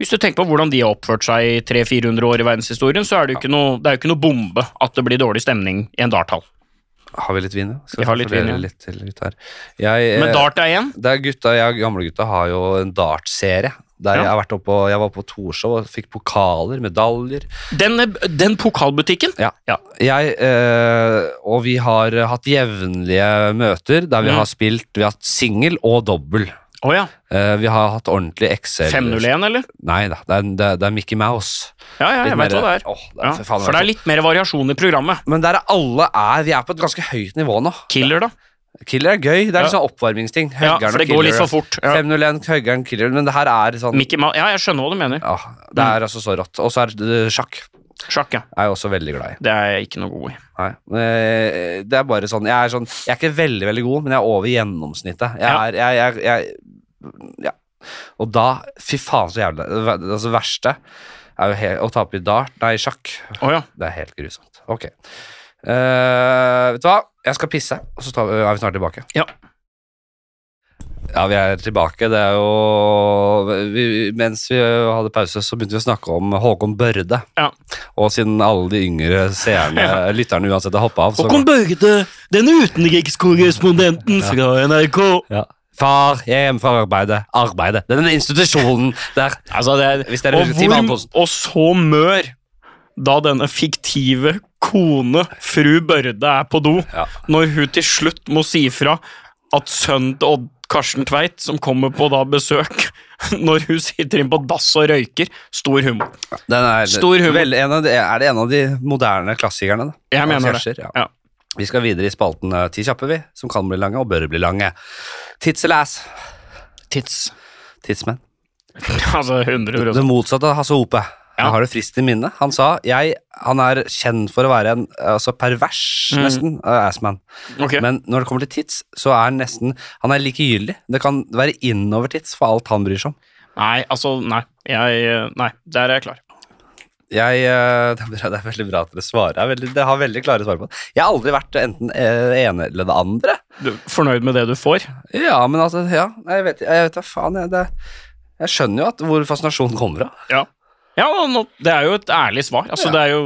[SPEAKER 2] hvis du tenker på hvordan de har oppført seg i 300-400 år i verdenshistorien, så er det jo ikke noe, det er jo ikke noe bombe at det blir dårlig stemning i en darthall.
[SPEAKER 1] Har vi litt vin, ja?
[SPEAKER 2] Vi har litt
[SPEAKER 1] fordele
[SPEAKER 2] vin, ja.
[SPEAKER 1] litt til litt her. Jeg, eh,
[SPEAKER 2] Men dart er igjen.
[SPEAKER 1] det er gutta, jeg og gamlegutta har jo en dartserie. Der
[SPEAKER 2] Ja.
[SPEAKER 1] jeg, har vært oppe, og- jeg var på Torshov og fikk pokaler, medaljer.
[SPEAKER 2] Den, den pokalbutikken
[SPEAKER 1] Ja.
[SPEAKER 2] Ja.
[SPEAKER 1] Jeg, eh, og vi har hatt jevnlige møter der vi
[SPEAKER 2] Mm.
[SPEAKER 1] har spilt Vi har hatt singel og dobbel.
[SPEAKER 2] Å ja.
[SPEAKER 1] Eh, vi har hatt ordentlig Excel
[SPEAKER 2] 501, eller?
[SPEAKER 1] Nei da, det er, det er, det er Mickey Mouse.
[SPEAKER 2] Ja, ja, jeg
[SPEAKER 1] Litt
[SPEAKER 2] vet
[SPEAKER 1] mer-
[SPEAKER 2] hva det er.
[SPEAKER 1] Åh, det er
[SPEAKER 2] Ja,
[SPEAKER 1] for faen
[SPEAKER 2] for det er litt mer variasjon i programmet.
[SPEAKER 1] Men der er alle er Vi er på et ganske høyt nivå nå.
[SPEAKER 2] Killer, da.
[SPEAKER 1] Killer er gøy. Det er
[SPEAKER 2] Ja.
[SPEAKER 1] liksom oppvarmingsting.
[SPEAKER 2] Ja,
[SPEAKER 1] Høggeren
[SPEAKER 2] for det
[SPEAKER 1] og
[SPEAKER 2] går litt
[SPEAKER 1] killer.
[SPEAKER 2] for fort. Ja.
[SPEAKER 1] 501, høggeren, killer. Men det her er sånn
[SPEAKER 2] Mickey Mouse Ja, jeg skjønner hva du mener.
[SPEAKER 1] ja, Det
[SPEAKER 2] Mm.
[SPEAKER 1] er altså så rått. Og så er det sjakk.
[SPEAKER 2] Sjakk, ja.
[SPEAKER 1] Er jeg også veldig glad i.
[SPEAKER 2] Det er jeg ikke noe god i.
[SPEAKER 1] Nei. Eh, Det er bare sånn Jeg er, sånn, jeg er ikke veldig, veldig god, men jeg er over gjennomsnittet. Jeg
[SPEAKER 2] Ja.
[SPEAKER 1] er jeg, jeg, jeg, Ja. Og da Fy faen, så jævlig. Det ver- altså, verste er jo he å tape i dart Nei, i sjakk.
[SPEAKER 2] Å ja.
[SPEAKER 1] Det er helt grusomt. Ok. Eh, vet du hva? Jeg skal pisse, og så tar vi, er vi snart tilbake.
[SPEAKER 2] Ja.
[SPEAKER 1] Ja, vi er tilbake. Det er jo vi, Mens vi hadde pause, så begynte vi å snakke om Håkon Børde.
[SPEAKER 2] Ja.
[SPEAKER 1] Og siden alle de yngre seerne, lytterne uansett, har hoppa av, så
[SPEAKER 2] Håkon Børde, den utenrikskorrespondenten fra NRK.
[SPEAKER 1] ja. Far, jeg er hjemme fra arbeidet. Arbeidet. Det er den institusjonen der.
[SPEAKER 2] Altså, det er,
[SPEAKER 1] Hvis det er
[SPEAKER 2] og,
[SPEAKER 1] ti mann på
[SPEAKER 2] hvor, og så mør da denne fiktive kone, fru Børde, er på do,
[SPEAKER 1] Ja.
[SPEAKER 2] når hun til slutt må si ifra at sønnen til Odd Karsten Tveit, som kommer på da besøk, når hun sitter inne på dass og røyker, stor humor.
[SPEAKER 1] Den er,
[SPEAKER 2] Stor humor.
[SPEAKER 1] Vel, en av de, er det en av de moderne klassikerne? Da?
[SPEAKER 2] Jeg
[SPEAKER 1] Av
[SPEAKER 2] mener det.
[SPEAKER 1] sketsjer, Ja.
[SPEAKER 2] Ja.
[SPEAKER 1] Vi skal videre i spalten eh, Ti kjappe, vi, som kan bli lange og bør bli lange. Tits eller ass?
[SPEAKER 2] Tits.
[SPEAKER 1] Tidsmenn.
[SPEAKER 2] Altså 100
[SPEAKER 1] Det motsatte av Hasse Hope.
[SPEAKER 2] Ja.
[SPEAKER 1] Jeg har det friskt i minnet. Han sa jeg, han er kjent for å være en eh, altså pervers, nesten, eh, assman.
[SPEAKER 2] Mm. Ok.
[SPEAKER 1] Men når det kommer til tits, så er han nesten Han er likegyldig. Det kan være innover-tits for alt han bryr seg om.
[SPEAKER 2] Nei, altså, nei. Jeg, nei, der er jeg klar.
[SPEAKER 1] Jeg, eh, det, er bra, det er veldig bra at dere svarer. Jeg er veldig, det har veldig klare svar på det. Jeg har aldri vært enten eh, det ene eller det andre.
[SPEAKER 2] Du, fornøyd med det du får?
[SPEAKER 1] Ja, men altså Ja, nei, jeg vet jeg vet da faen. Jeg, det, jeg skjønner jo at hvor fascinasjonen kommer av.
[SPEAKER 2] Ja. ja og nå, det er jo et ærlig svar. Altså, det er jo,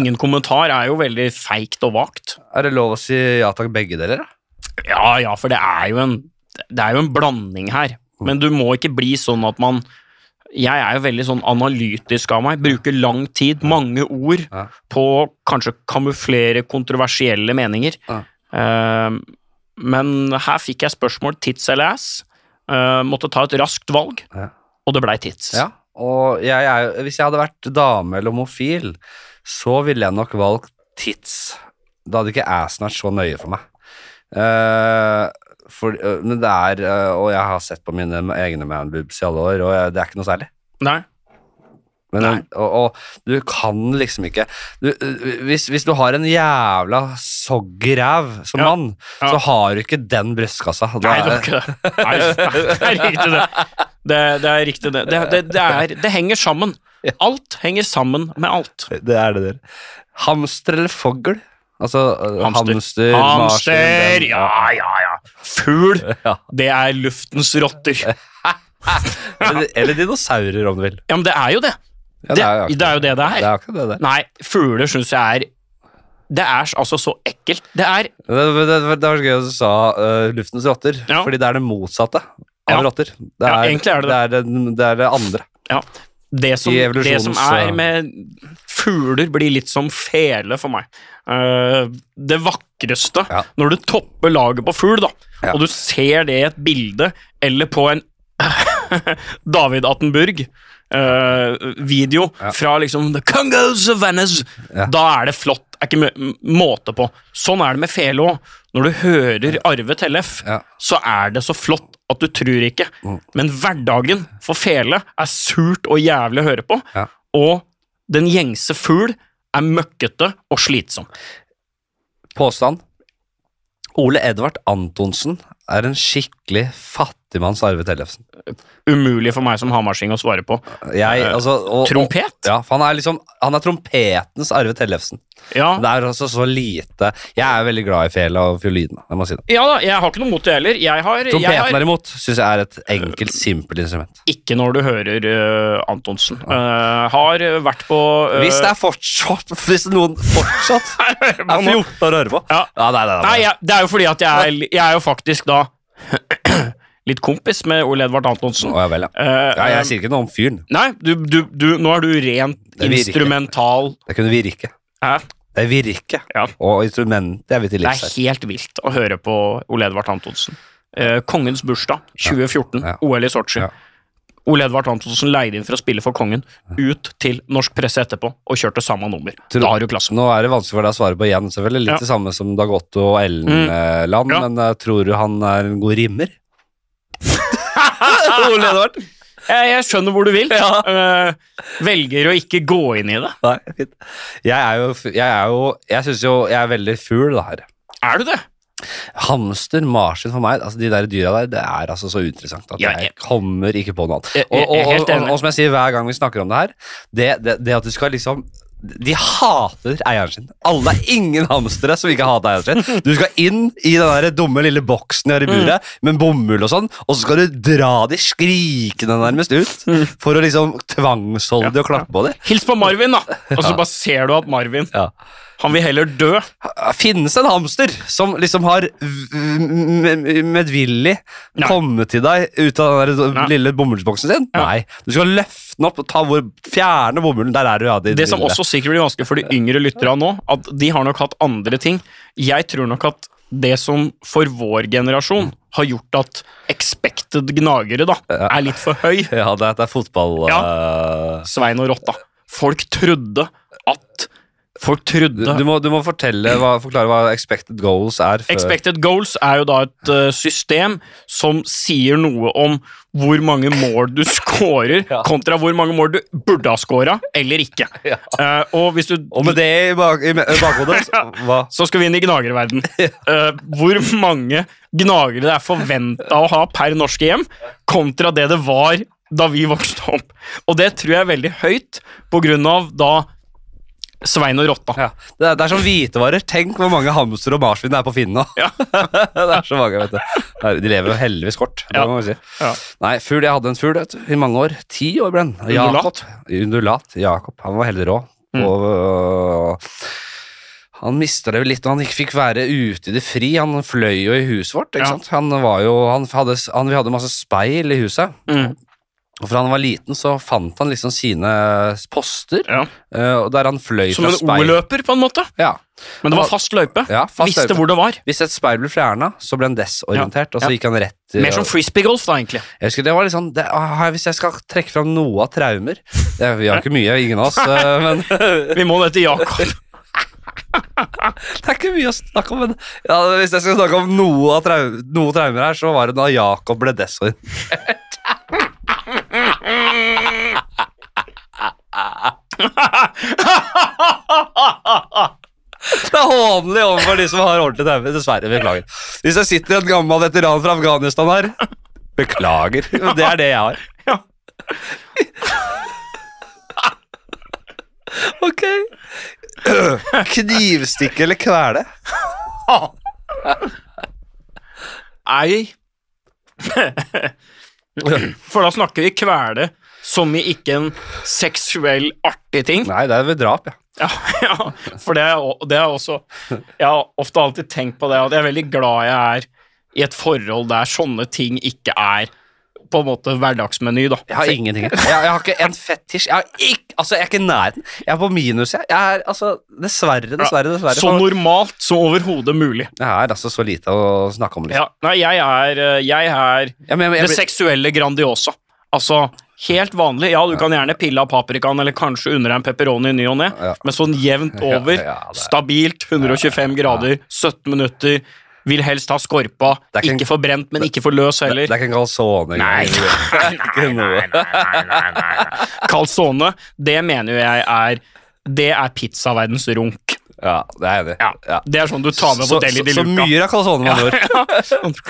[SPEAKER 2] ingen kommentar er jo veldig feigt og vagt.
[SPEAKER 1] Er det lov å si ja takk, begge deler? da?
[SPEAKER 2] Ja, ja, for det er jo en, det er jo en blanding her.
[SPEAKER 1] Mm.
[SPEAKER 2] Men du må ikke bli sånn at man Jeg er jo veldig sånn analytisk av meg. Bruker lang tid, mange ord,
[SPEAKER 1] Ja.
[SPEAKER 2] på å kanskje kamuflere kontroversielle meninger.
[SPEAKER 1] Ja.
[SPEAKER 2] Eh, men her fikk jeg spørsmål tits eller ass. Eh, måtte ta et raskt valg,
[SPEAKER 1] Ja.
[SPEAKER 2] og det blei tits.
[SPEAKER 1] Ja. Og jeg, er jo- hvis jeg hadde vært dame eller homofil, så ville jeg nok valgt tits. Da hadde ikke assen vært så nøye for meg. Eh, for, eh, men det er, eh, og jeg har sett på mine egne manboobs i alle år, og jeg, det er ikke noe særlig.
[SPEAKER 2] Nei.
[SPEAKER 1] Men, eh,
[SPEAKER 2] Nei.
[SPEAKER 1] og, og du kan liksom ikke du, eh, hvis, hvis du har en jævla soggeræv som
[SPEAKER 2] Ja.
[SPEAKER 1] mann,
[SPEAKER 2] Ja.
[SPEAKER 1] så har du ikke den brystkassa. Da-
[SPEAKER 2] Nei, det var ikke det. Nei, det er riktig, det. Det, det er riktig, det. Det, det, det, er, det henger sammen. Alt henger sammen med alt.
[SPEAKER 1] det er det der. Hamster eller fogl? Altså øh,
[SPEAKER 2] Hamster.
[SPEAKER 1] hamster, marsvin,
[SPEAKER 2] Hamster!
[SPEAKER 1] den-
[SPEAKER 2] Ja, ja, ja. Fugl,
[SPEAKER 1] Ja.
[SPEAKER 2] det er luftens rotter. Ja,
[SPEAKER 1] Eller, eller dinosaurer, om du vil.
[SPEAKER 2] men det er jo det.
[SPEAKER 1] Ja,
[SPEAKER 2] Det,
[SPEAKER 1] jo akkurat
[SPEAKER 2] det er jo det det
[SPEAKER 1] det.
[SPEAKER 2] er.
[SPEAKER 1] er akkurat det, det.
[SPEAKER 2] Nei, fugler syns jeg er Det er altså så ekkelt. Det er
[SPEAKER 1] Det, det, det, det var så gøy at du sa øh, luftens rotter,
[SPEAKER 2] Ja.
[SPEAKER 1] fordi det er det motsatte
[SPEAKER 2] Ja.
[SPEAKER 1] av rotter. Det
[SPEAKER 2] Ja,
[SPEAKER 1] er,
[SPEAKER 2] egentlig er det
[SPEAKER 1] det, er den- det, er det andre.
[SPEAKER 2] Ja. Det som,
[SPEAKER 1] I
[SPEAKER 2] det
[SPEAKER 1] evolusjons-
[SPEAKER 2] som er med fugler, blir litt som fele for meg. Eh, det vakreste
[SPEAKER 1] Ja.
[SPEAKER 2] når du topper laget på fugl, da,
[SPEAKER 1] Ja.
[SPEAKER 2] og du ser det i et bilde eller på en David Attenburg-video fra liksom The Congo Savannas,
[SPEAKER 1] Ja.
[SPEAKER 2] da er det flott. Er ikke mø- m- måte på. Sånn er det med fele òg. Når du hører Arve Tellef,
[SPEAKER 1] Ja. Mm.
[SPEAKER 2] så er det så flott at du tror ikke. Men hverdagen for fele er surt og jævlig å høre på.
[SPEAKER 1] Ja.
[SPEAKER 2] Og den gjengse fugl er møkkete og slitsom.
[SPEAKER 1] Påstand. Ole Edvard Antonsen er en skikkelig fattigmanns Arve Tellefsen.
[SPEAKER 2] Umulig for meg som hamarsing å svare på.
[SPEAKER 1] Jeg, altså, og,
[SPEAKER 2] Trompet?
[SPEAKER 1] Og, ja, for han er liksom Han er trompetens Arve Tellefsen.
[SPEAKER 2] Ja.
[SPEAKER 1] Det er altså så lite Jeg er veldig glad i fela og fiolinen, jeg må si det.
[SPEAKER 2] ja da, jeg har ikke noe mot det heller. Jeg har, jeg
[SPEAKER 1] Trompeten
[SPEAKER 2] har
[SPEAKER 1] derimot syns jeg er et enkelt, simpelt instrument.
[SPEAKER 2] ikke når du hører eh, Antonsen. Eh, har vært på eh,
[SPEAKER 1] Hvis det er fortsatt Hvis noen fortsatt er 14 år og hører på
[SPEAKER 2] Ja.
[SPEAKER 1] nei, nei, nei,
[SPEAKER 2] Nei, jeg, det er jo fordi at jeg, er- jeg er jo faktisk da litt kompis med Ole Edvard Antonsen.
[SPEAKER 1] Å, ja vel, ja.
[SPEAKER 2] Eh,
[SPEAKER 1] ja. Jeg sier ikke noe om fyren.
[SPEAKER 2] Nei, du, du, du, nå er du rent
[SPEAKER 1] Det virker.
[SPEAKER 2] instrumental.
[SPEAKER 1] Det kunne virke.
[SPEAKER 2] Hæ?
[SPEAKER 1] Det er virke.
[SPEAKER 2] Ja.
[SPEAKER 1] Og instrumentet er vi til
[SPEAKER 2] Det
[SPEAKER 1] livs
[SPEAKER 2] er
[SPEAKER 1] her.
[SPEAKER 2] helt vilt å høre på Ole Edvard Antonsen. Eh, kongens bursdag 2014,
[SPEAKER 1] Ja.
[SPEAKER 2] OL i Sotsji.
[SPEAKER 1] Ja.
[SPEAKER 2] Ole Edvard Antonsen leide inn for å spille for Kongen, ut til norsk presse etterpå, og kjørte samme nummer.
[SPEAKER 1] Tror-
[SPEAKER 2] Da har du klassen.
[SPEAKER 1] Nå er det vanskelig for deg å svare på igjen, selvfølgelig. Litt
[SPEAKER 2] Ja.
[SPEAKER 1] det samme som Dag Otto og Ellen
[SPEAKER 2] Mm.
[SPEAKER 1] eh, Land,
[SPEAKER 2] Ja.
[SPEAKER 1] men eh, tror du han er en god rimmer? Ole Edvard?
[SPEAKER 2] Jeg, jeg skjønner hvor du vil. Eh, velger å ikke gå inn i det.
[SPEAKER 1] Nei, fint. Jeg er jo, f- jeg er jo, jeg synes jo, jeg er veldig ful da her.
[SPEAKER 2] Er du det?
[SPEAKER 1] Hamster, marsvin for meg, altså de der dyra der, det er altså så interessant at
[SPEAKER 2] Ja,
[SPEAKER 1] jeg
[SPEAKER 2] jeg-
[SPEAKER 1] kommer ikke på noe annet.
[SPEAKER 2] Jeg-
[SPEAKER 1] Og,
[SPEAKER 2] jeg- jeg er
[SPEAKER 1] og,
[SPEAKER 2] helt
[SPEAKER 1] og, og,
[SPEAKER 2] enig.
[SPEAKER 1] og som jeg sier hver gang vi snakker om det her, det, det, det at du skal liksom de hater eieren sin. Alle er ingen hamstere som ikke hater eieren sin. Du skal inn i den der dumme lille boksen de har i
[SPEAKER 2] Mm.
[SPEAKER 1] buret, med bomull og sånn, og så skal du dra de skrikende nærmest ut
[SPEAKER 2] Mm.
[SPEAKER 1] for å liksom tvangsholde de og klappe på de.
[SPEAKER 2] Hils på Marvin, da! Og så bare ser du at Marvin
[SPEAKER 1] Ja.
[SPEAKER 2] Han vil heller dø.
[SPEAKER 1] Eh, Finnes en hamster som liksom har v- m- medvillig kommet til deg ut av den der
[SPEAKER 2] Nei.
[SPEAKER 1] lille bomullsboksen sin?
[SPEAKER 2] Ja.
[SPEAKER 1] Nei. Du skal løfte den opp og ta hvor, fjerne bomullen. Der er du, ja.
[SPEAKER 2] Det som også sikkert blir vanskelig for de yngre lytterne nå, at de har nok hatt andre ting. Jeg tror nok at det som for vår generasjon har gjort at expected gnagere da, er litt for høy,
[SPEAKER 1] Ja, det er, det er fotball... eh,
[SPEAKER 2] Svein og Rotta. Folk trodde at Folk
[SPEAKER 1] Du,
[SPEAKER 2] trodde
[SPEAKER 1] du, må, du må fortelle hva, forklare hva expected goals er. Før.
[SPEAKER 2] Expected goals er jo da et eh, system som sier noe om hvor mange mål du scorer,
[SPEAKER 1] Ja.
[SPEAKER 2] kontra hvor mange mål du burde ha scora, eller ikke.
[SPEAKER 1] Ja.
[SPEAKER 2] Eh, og hvis du
[SPEAKER 1] Og med det i, bak, i me- bakhodet så- hva?
[SPEAKER 2] så skal vi inn i gnagerverden. Eh, hvor mange gnagere det er forventa å ha per norske hjem, kontra det det var da vi vokste opp. Og det tror jeg er veldig høyt, på grunn av da Svein og Rotta.
[SPEAKER 1] Ja. Det, er, det er som hvitevarer. Tenk hvor mange hamster og marsvin det er på Finn nå.
[SPEAKER 2] Ja.
[SPEAKER 1] det er så mange, vet du. Nei, De lever jo heldigvis kort. det
[SPEAKER 2] Ja.
[SPEAKER 1] må man si.
[SPEAKER 2] Ja.
[SPEAKER 1] Nei, fugl, Jeg hadde en fugl vet du, i mange år. Ti år ble den.
[SPEAKER 2] Undulat? Mm.
[SPEAKER 1] Jakob. Undulat. Jakob. Han var helt rå. Og, øh, han mista det vel litt når han ikke fikk være ute i det fri. Han fløy jo i huset vårt. ikke
[SPEAKER 2] Ja.
[SPEAKER 1] sant? Han var jo, han hadde, han, vi hadde masse speil i huset.
[SPEAKER 2] Mm.
[SPEAKER 1] Og fra han var liten, så fant han liksom sine poster,
[SPEAKER 2] Ja.
[SPEAKER 1] eh, og der han fløy
[SPEAKER 2] Som
[SPEAKER 1] fra
[SPEAKER 2] en
[SPEAKER 1] speil.
[SPEAKER 2] O-løper, på en måte.
[SPEAKER 1] Ja.
[SPEAKER 2] Men det var fast løype.
[SPEAKER 1] Ja, fast
[SPEAKER 2] Visste
[SPEAKER 1] løype.
[SPEAKER 2] hvor det var.
[SPEAKER 1] Hvis et speil ble fjerna, så ble han desorientert, og så
[SPEAKER 2] Ja.
[SPEAKER 1] gikk han rett øh, til-
[SPEAKER 2] Mer som frisbeegolf, da, egentlig.
[SPEAKER 1] Jeg husker det var litt sånn det, ah, Hvis jeg skal trekke fram noe av traumer det, Vi har ikke mye, ingen av oss, eh, men det
[SPEAKER 2] Vi må ned til Jakob.
[SPEAKER 1] er ikke mye å snakke om. Men, ja, hvis jeg skal snakke om noe, av trau- noe traumer her, så var det da Jakob ble desorientert. Det er hånlig overfor de som har ordentlig traumer. Dessverre. Beklager. Hvis jeg sitter en gammel veteran fra Afghanistan her Beklager. men Det er det jeg har.
[SPEAKER 2] Ja.
[SPEAKER 1] Ok. Knivstikke eller kvele?
[SPEAKER 2] Nei. For da snakker vi kvele som i ikke en seksuell artig ting.
[SPEAKER 1] Nei, det er ved drap, ja.
[SPEAKER 2] Ja, ja, for det er, o- det er også Jeg har ofte alltid tenkt på det, at jeg er veldig glad jeg er i et forhold der sånne ting ikke er på en måte hverdagsmeny, da.
[SPEAKER 1] Jeg har ingenting. Jeg, jeg har ikke en fetisj. Jeg, har ikke, altså, jeg er ikke i nærheten. Jeg er på minus, jeg. jeg er, altså, dessverre, dessverre, dessverre.
[SPEAKER 2] Så normalt som overhodet mulig.
[SPEAKER 1] sånn- jeg er altså så lite å snakke om. Liksom.
[SPEAKER 2] Ja, nei, jeg er, eh, jeg er
[SPEAKER 1] Ja, men jeg- jeg
[SPEAKER 2] det
[SPEAKER 1] blir-
[SPEAKER 2] seksuelle grandiosa. Altså, helt vanlig. Ja, du kan gjerne pille av paprikaen, eller kanskje under en pepperoni i ny og ne, men sånn jevnt over,
[SPEAKER 1] Ja, ja, det er-
[SPEAKER 2] stabilt, 125 grader, 17 minutter, vil helst ha skorpa,
[SPEAKER 1] Det er ikke en-
[SPEAKER 2] ikke for brent, men ikke for løs
[SPEAKER 1] det,
[SPEAKER 2] heller.
[SPEAKER 1] det er ikke en calzone.
[SPEAKER 2] Nei,
[SPEAKER 1] Det er ikke noe.
[SPEAKER 2] Calzone, det mener jo jeg er Det er pizzaverdens runk.
[SPEAKER 1] Ja, det er jeg enig. i. Ja.
[SPEAKER 2] Det er sånn du tar med på
[SPEAKER 1] Så,
[SPEAKER 2] Deli
[SPEAKER 1] så,
[SPEAKER 2] de
[SPEAKER 1] så
[SPEAKER 2] Luca.
[SPEAKER 1] mye av calzone man gjør.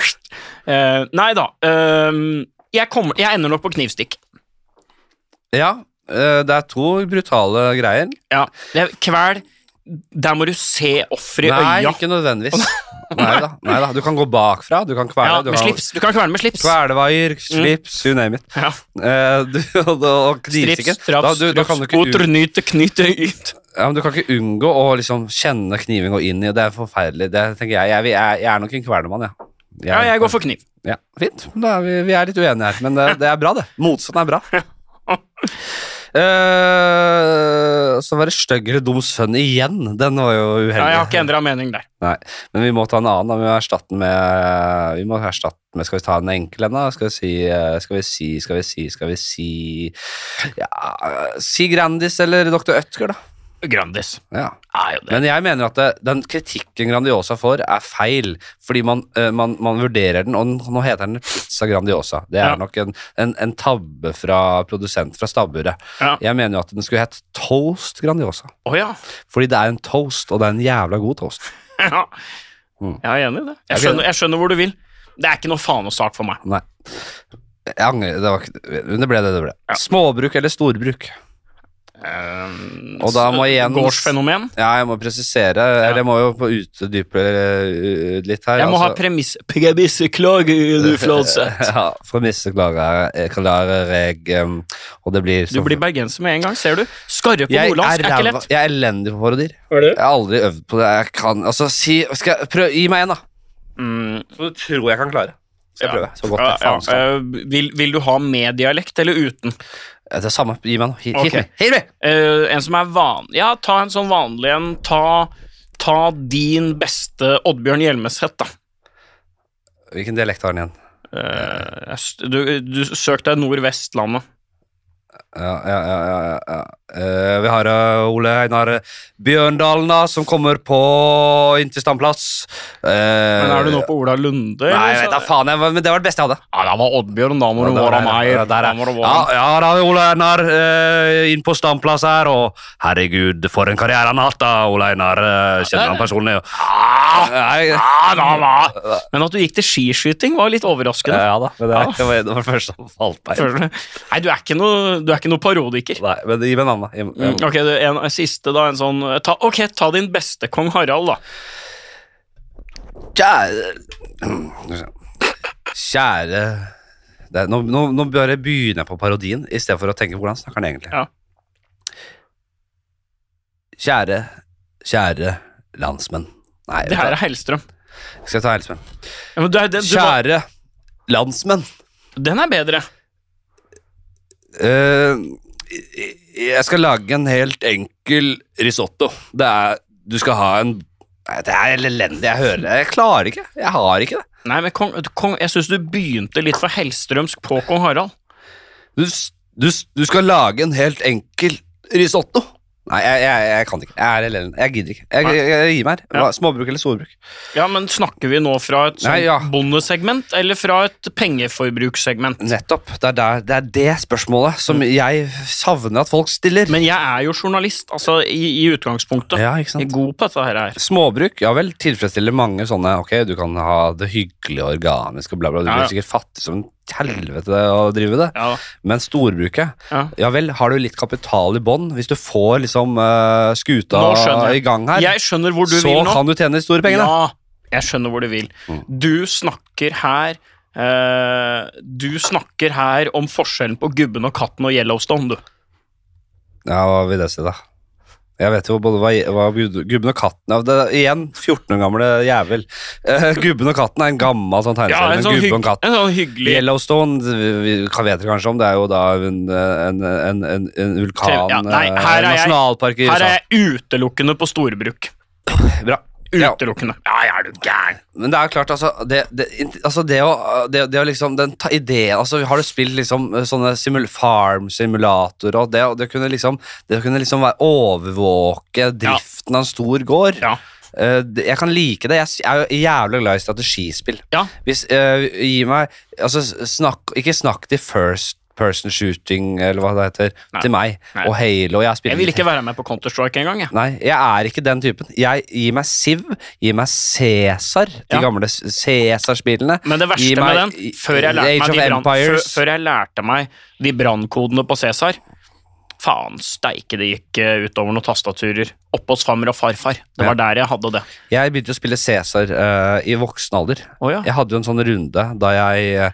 [SPEAKER 2] Eh, nei da. ehm, jeg, kommer, jeg ender nok på knivstikk.
[SPEAKER 1] Ja, eh, det er to brutale greier.
[SPEAKER 2] Ja, det er kvel Der må du se offeret i
[SPEAKER 1] Nei,
[SPEAKER 2] øya.
[SPEAKER 1] ikke nødvendigvis. Nei da, nei da. Du kan gå bakfra, du kan kvele.
[SPEAKER 2] Ja,
[SPEAKER 1] du
[SPEAKER 2] med
[SPEAKER 1] kan
[SPEAKER 2] slips. Du kan kvele med slips.
[SPEAKER 1] Kvelvaier, slips, you name it.
[SPEAKER 2] Ja.
[SPEAKER 1] Eh, du, og, og knivstikken.
[SPEAKER 2] Strips,
[SPEAKER 1] Da-
[SPEAKER 2] straps,
[SPEAKER 1] du- da kan du
[SPEAKER 2] straps,
[SPEAKER 1] ikke ut-
[SPEAKER 2] oter, nyte, knyte, yt.
[SPEAKER 1] Ja, men Du kan ikke unngå å liksom kjenne kniven gå inn i, og det er forferdelig. Det tenker Jeg Jeg, jeg, jeg er nok en kvelermann, ja. Jeg,
[SPEAKER 2] Ja, jeg går for kniv.
[SPEAKER 1] ja, Fint. Da er vi, vi er litt uenige her, men det, det er bra, det. Motstand er bra. Eh, så var det stygg eller dum sønn igjen. Den var jo uheldig.
[SPEAKER 2] Ja, jeg har ikke endra mening der.
[SPEAKER 1] Nei, Men vi må ta en annen. da. Vi må erstatte den med, vi må erstatte den med Skal vi ta en enkel en, da? Skal vi si eh, Skal vi si Skal vi si, skal vi si Ja Si Grandis eller Dr. Ødger, da.
[SPEAKER 2] Grandis.
[SPEAKER 1] Ja.
[SPEAKER 2] Er jo det.
[SPEAKER 1] Men jeg mener at det, den kritikken Grandiosa får, er feil. Fordi man, eh, man, man vurderer den, og den- nå heter den Pizza Grandiosa. Det er
[SPEAKER 2] Ja.
[SPEAKER 1] nok en, en, en tabbe fra produsent fra stabburet.
[SPEAKER 2] Ja.
[SPEAKER 1] Jeg mener jo at den skulle hett Toast Grandiosa.
[SPEAKER 2] Å ja.
[SPEAKER 1] Fordi det er en toast, og det er en jævla god toast.
[SPEAKER 2] ja.
[SPEAKER 1] Mm.
[SPEAKER 2] Jeg er enig i det. Jeg skjønner, jeg skjønner hvor du vil. Det er ikke noe faen og sak for meg.
[SPEAKER 1] Nei. Jeg angrer. Det, var ikke, men det ble det det ble. Småbruk eller storbruk?
[SPEAKER 2] eh,
[SPEAKER 1] Og da må igjen-
[SPEAKER 2] Gårdsfenomen.
[SPEAKER 1] Ja, jeg må presisere, eller jeg må jo få utdype eh, litt her.
[SPEAKER 2] Jeg må ha
[SPEAKER 1] altså.
[SPEAKER 2] premiss... Premisseklage, du Fladseth.
[SPEAKER 1] Ja, premisset klarer, eh, klarer jeg, em, og det blir
[SPEAKER 2] Du
[SPEAKER 1] så-
[SPEAKER 2] blir bergenser med en gang, ser du. Skarre på
[SPEAKER 1] jeg er,
[SPEAKER 2] nordlandsk er ikke
[SPEAKER 1] ræva-
[SPEAKER 2] lett.
[SPEAKER 1] jeg er elendig på parodier.
[SPEAKER 2] Er
[SPEAKER 1] Jeg har aldri øvd på det. Jeg kan Altså, si skal jeg, prøv, Gi meg en, da.
[SPEAKER 2] Mm,
[SPEAKER 1] Så du tror jeg kan klare. Skal jeg
[SPEAKER 2] Ja.
[SPEAKER 1] prøve så godt
[SPEAKER 2] ja,
[SPEAKER 1] jeg faen skal.
[SPEAKER 2] ja. Eh, vil, vil du ha med dialekt eller uten?
[SPEAKER 1] Det er samme. Gi meg en. Hit,
[SPEAKER 2] Ok.
[SPEAKER 1] hit, me, hit me.
[SPEAKER 2] Eh, en som er van... Ja, ta en sånn vanlig en. Ta, ta din beste Oddbjørn Hjelmeset, da.
[SPEAKER 1] Hvilken dialekt har den igjen?
[SPEAKER 2] Eh, jeg s- du, du søk deg Nordvestlandet.
[SPEAKER 1] Ja, ja, ja, ja, ja, ja. Eh, vi har eh, Ole Einar Bjørndalen da, som kommer på inn til standplass.
[SPEAKER 2] Men er du nå på Ola Lunde?
[SPEAKER 1] Nei,
[SPEAKER 2] eller
[SPEAKER 1] jeg vet da
[SPEAKER 2] så-
[SPEAKER 1] faen, jeg, var- men det var det beste jeg hadde.
[SPEAKER 2] Ja, da var Oddbjørn, da må du
[SPEAKER 1] Ja, der
[SPEAKER 2] være
[SPEAKER 1] er-
[SPEAKER 2] meg.
[SPEAKER 1] ja, der er-
[SPEAKER 2] Da må du
[SPEAKER 1] Ja,
[SPEAKER 2] være-
[SPEAKER 1] ja da, Ole Einar eh, inn på standplass her, og herregud, for en karriere han har hatt, da, Ole Einar. eh, kjenner han personlig? og- Nei,
[SPEAKER 2] Ja, Ah, da, da. Men at du gikk til skiskyting var litt overraskende.
[SPEAKER 1] ja da, men det, er- det var det var det første som falt meg inn.
[SPEAKER 2] Føler du- Nei, du er ikke noe, du er ikke noe parodiker.
[SPEAKER 1] Nei, men gi meg en annen, da. Gi meg-
[SPEAKER 2] Mm, Ok, det er en, en siste da, en sånn ta, Ok, ta din beste kong Harald, da.
[SPEAKER 1] Kjære Kjære det, er- nå, nå, nå bare begynner jeg på parodien I stedet for å tenke hvordan snakker han egentlig
[SPEAKER 2] Ja.
[SPEAKER 1] Kjære Kjære landsmenn Nei,
[SPEAKER 2] Det her er Hellstrøm.
[SPEAKER 1] skal jeg ta helsemenn
[SPEAKER 2] Ja, men du, er- den, du, var-
[SPEAKER 1] Kjære landsmenn
[SPEAKER 2] den er bedre.
[SPEAKER 1] Eh, Jeg skal lage en helt enkel risotto Det er, du skal ha en Nei, Det er elendig, jeg hører det Jeg klarer ikke, jeg har ikke det
[SPEAKER 2] Nei, men kong, kong, jeg syns du begynte litt for hellstrømsk på kong Harald.
[SPEAKER 1] Du, s- du, s- du skal lage en helt enkel risotto. Nei, jeg, jeg, jeg kan ikke. Jeg er elendig. Jeg gidder ikke. Jeg, jeg, jeg gir meg her. Hva- Småbruk eller storbruk?
[SPEAKER 2] Ja, men Snakker vi nå fra et sånt
[SPEAKER 1] Nei, ja.
[SPEAKER 2] bondesegment eller fra et pengeforbrukssegment?
[SPEAKER 1] Nettopp. Det er, der, det, er det spørsmålet som jeg savner at folk stiller.
[SPEAKER 2] Mm. Men jeg er jo journalist, altså i, i utgangspunktet.
[SPEAKER 1] ja, ikke
[SPEAKER 2] Jeg er
[SPEAKER 1] sant?
[SPEAKER 2] god på dette her. her.
[SPEAKER 1] Småbruk ja vel, tilfredsstiller mange sånne Ok, du kan ha det hyggelige og organiske og bla, bla. Du
[SPEAKER 2] Ja,
[SPEAKER 1] blir
[SPEAKER 2] ja.
[SPEAKER 1] sikkert fattig som helvete å drive det.
[SPEAKER 2] Ja,
[SPEAKER 1] Men storbruket
[SPEAKER 2] ja.
[SPEAKER 1] Ja vel, har du litt kapital i bånn? Hvis du får liksom eh, skuta
[SPEAKER 2] Nå
[SPEAKER 1] i
[SPEAKER 2] skjønner jeg.
[SPEAKER 1] gang her,
[SPEAKER 2] Jeg skjønner hvor du
[SPEAKER 1] så
[SPEAKER 2] vil nå.
[SPEAKER 1] kan du tjene de store pengene.
[SPEAKER 2] Ja, jeg skjønner hvor du vil.
[SPEAKER 1] Mm.
[SPEAKER 2] Du snakker her eh, Du snakker her om forskjellen på gubben og katten og Yellowstone, du.
[SPEAKER 1] Ja, hva vil det si, da? Jeg vet jo både hva, hva gud- gubben og katten ja, det, er Igjen, 14 år gamle jævel. Eh, gubben og katten er en gammel sånn
[SPEAKER 2] Ja,
[SPEAKER 1] tegneserie.
[SPEAKER 2] en
[SPEAKER 1] men
[SPEAKER 2] sånn,
[SPEAKER 1] gubben og
[SPEAKER 2] hygg,
[SPEAKER 1] katten
[SPEAKER 2] en sånn hyggelig
[SPEAKER 1] Yellowstone vi- vi kan vet dere kanskje om. Det er jo da en, en, en, en, en vulkan
[SPEAKER 2] Ja, nei,
[SPEAKER 1] eh,
[SPEAKER 2] her er jeg-
[SPEAKER 1] Nasjonalpark i
[SPEAKER 2] Her
[SPEAKER 1] USA.
[SPEAKER 2] er jeg utelukkende på storbruk.
[SPEAKER 1] Bra. Ja.
[SPEAKER 2] Utelukkende. Ja, ja, er du gæren.
[SPEAKER 1] Men det er jo klart, altså Det, det, altså det, å, det, det å liksom Den ta, ideen altså, Har du spilt liksom eh, sånne simul farm-simulatorer og det, og det kunne liksom Det å kunne liksom være overvåke driften av en stor gård
[SPEAKER 2] Ja.
[SPEAKER 1] Eh, det- Jeg kan like det. Jeg s- er jo jævlig glad i strategispill.
[SPEAKER 2] Ja.
[SPEAKER 1] Hvis, eh, gi meg altså, s- snakk, Ikke snakk til first person shooting, eller hva det heter,
[SPEAKER 2] Nei.
[SPEAKER 1] til meg.
[SPEAKER 2] Nei.
[SPEAKER 1] Og Halo. Jeg, spiller
[SPEAKER 2] Jeg vil ikke være med på Counter-Strike engang, jeg.
[SPEAKER 1] Nei, jeg er ikke den typen. Jeg Gi meg Siv, gi meg Cæsar, de
[SPEAKER 2] Ja.
[SPEAKER 1] gamle s- Cæsar-spillene.
[SPEAKER 2] Men det
[SPEAKER 1] Gi
[SPEAKER 2] verste
[SPEAKER 1] meg-
[SPEAKER 2] med den, før jeg lærte
[SPEAKER 1] Age
[SPEAKER 2] meg
[SPEAKER 1] of
[SPEAKER 2] de, brann- før,
[SPEAKER 1] Empires.
[SPEAKER 2] før jeg lærte meg de brannkodene på Cæsar Faen steike, det gikk eh, utover noen tastaturer. Oppe hos farmor og farfar. Det var der jeg hadde det.
[SPEAKER 1] Jeg begynte å spille Cæsar eh, i voksen alder.
[SPEAKER 2] Å ja.
[SPEAKER 1] Jeg hadde jo en sånn runde da jeg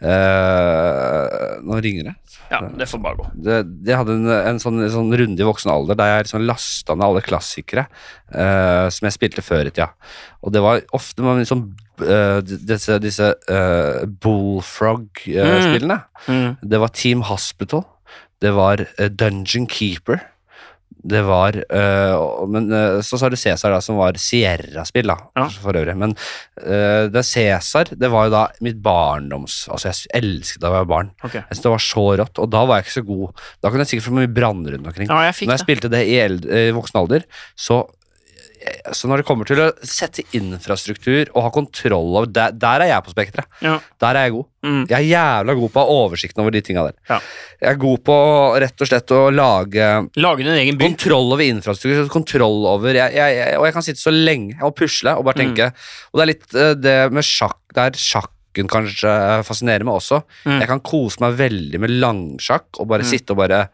[SPEAKER 1] eh, Nå ringer det.
[SPEAKER 2] ja, det får bare gå.
[SPEAKER 1] det, jeg hadde en, en sånn, en sånn runde i voksen alder der jeg liksom lasta ned alle klassikere eh, som jeg spilte før i tida. Og det var ofte man liksom, eh, disse, disse eh, bullfrog-spillene.
[SPEAKER 2] Mm.
[SPEAKER 1] Det var Team Hospital. Det var eh, Dungeon Keeper. Det var eh, og- Men eh, så sa du Cæsar, da, som var Sierra-spill, da,
[SPEAKER 2] Ja.
[SPEAKER 1] for øvrig. Men eh, det Cæsar, det var jo da mitt barndoms Altså, jeg elsket da jeg var barn.
[SPEAKER 2] Ok.
[SPEAKER 1] Jeg synes det var så rått, og da var jeg ikke så god. Da kunne jeg sikkert få mye branner rundt omkring.
[SPEAKER 2] Ja, jeg fikk
[SPEAKER 1] når jeg
[SPEAKER 2] det.
[SPEAKER 1] spilte det i, eld, eh, i voksen alder, så, eh, så når det kommer til å sette infrastruktur og ha kontroll over Der, der er jeg på spekteret.
[SPEAKER 2] Ja.
[SPEAKER 1] Der er jeg god.
[SPEAKER 2] Mm.
[SPEAKER 1] Jeg er jævla god på å ha oversikten over de tinga der.
[SPEAKER 2] Ja.
[SPEAKER 1] Jeg er god på rett og slett å lage
[SPEAKER 2] Lage din egen by.
[SPEAKER 1] Kontroll over infrastruktur, kontroll over jeg, jeg, jeg, Og jeg kan sitte så lenge og pusle og
[SPEAKER 2] Mm.
[SPEAKER 1] bare tenke. Og det er litt eh, det med sjakk der sjakken kanskje fascinerer meg også.
[SPEAKER 2] Mm.
[SPEAKER 1] Jeg kan kose meg veldig med langsjakk og bare sitte og bare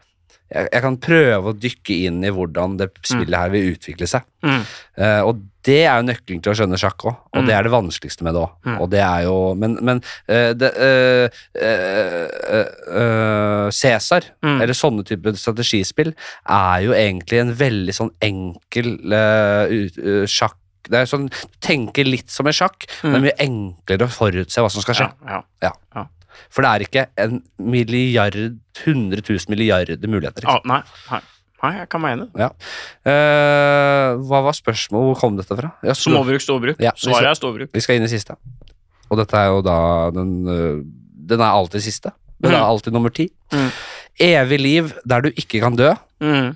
[SPEAKER 1] jeg, jeg kan prøve å dykke inn i hvordan det spillet her vil utvikle seg.
[SPEAKER 2] Mm.
[SPEAKER 1] Eh, og det er jo nøkkelen til å skjønne sjakk òg, og det er det vanskeligste med det òg. Og det er jo Men, men eh, det, eh, eh, eh, eh, Cæsar, eller sånne typer strategispill, er jo egentlig en veldig sånn enkel eh, ut, eh, sjakk det er sånn, Du tenker litt som en sjakk, men det er mye enklere å forutse hva som skal skje.
[SPEAKER 2] Ja, ja.
[SPEAKER 1] For det er ikke en milliard, 100 000 milliarder muligheter. liksom.
[SPEAKER 2] Ah, nei, nei, nei, jeg kan være enig.
[SPEAKER 1] Ja. Eh, hva var spørsmålet? Hvor kom dette fra? Ja,
[SPEAKER 2] Som overbruk, storbruk.
[SPEAKER 1] Ja, vi
[SPEAKER 2] Svaret
[SPEAKER 1] ser-
[SPEAKER 2] er storbruk.
[SPEAKER 1] Vi skal inn i siste. Og dette er jo da den øh, Den er alltid siste. Den er
[SPEAKER 2] Mm.
[SPEAKER 1] alltid nummer ti.
[SPEAKER 2] Mm.
[SPEAKER 1] Evig liv der du ikke kan dø,
[SPEAKER 2] Mm.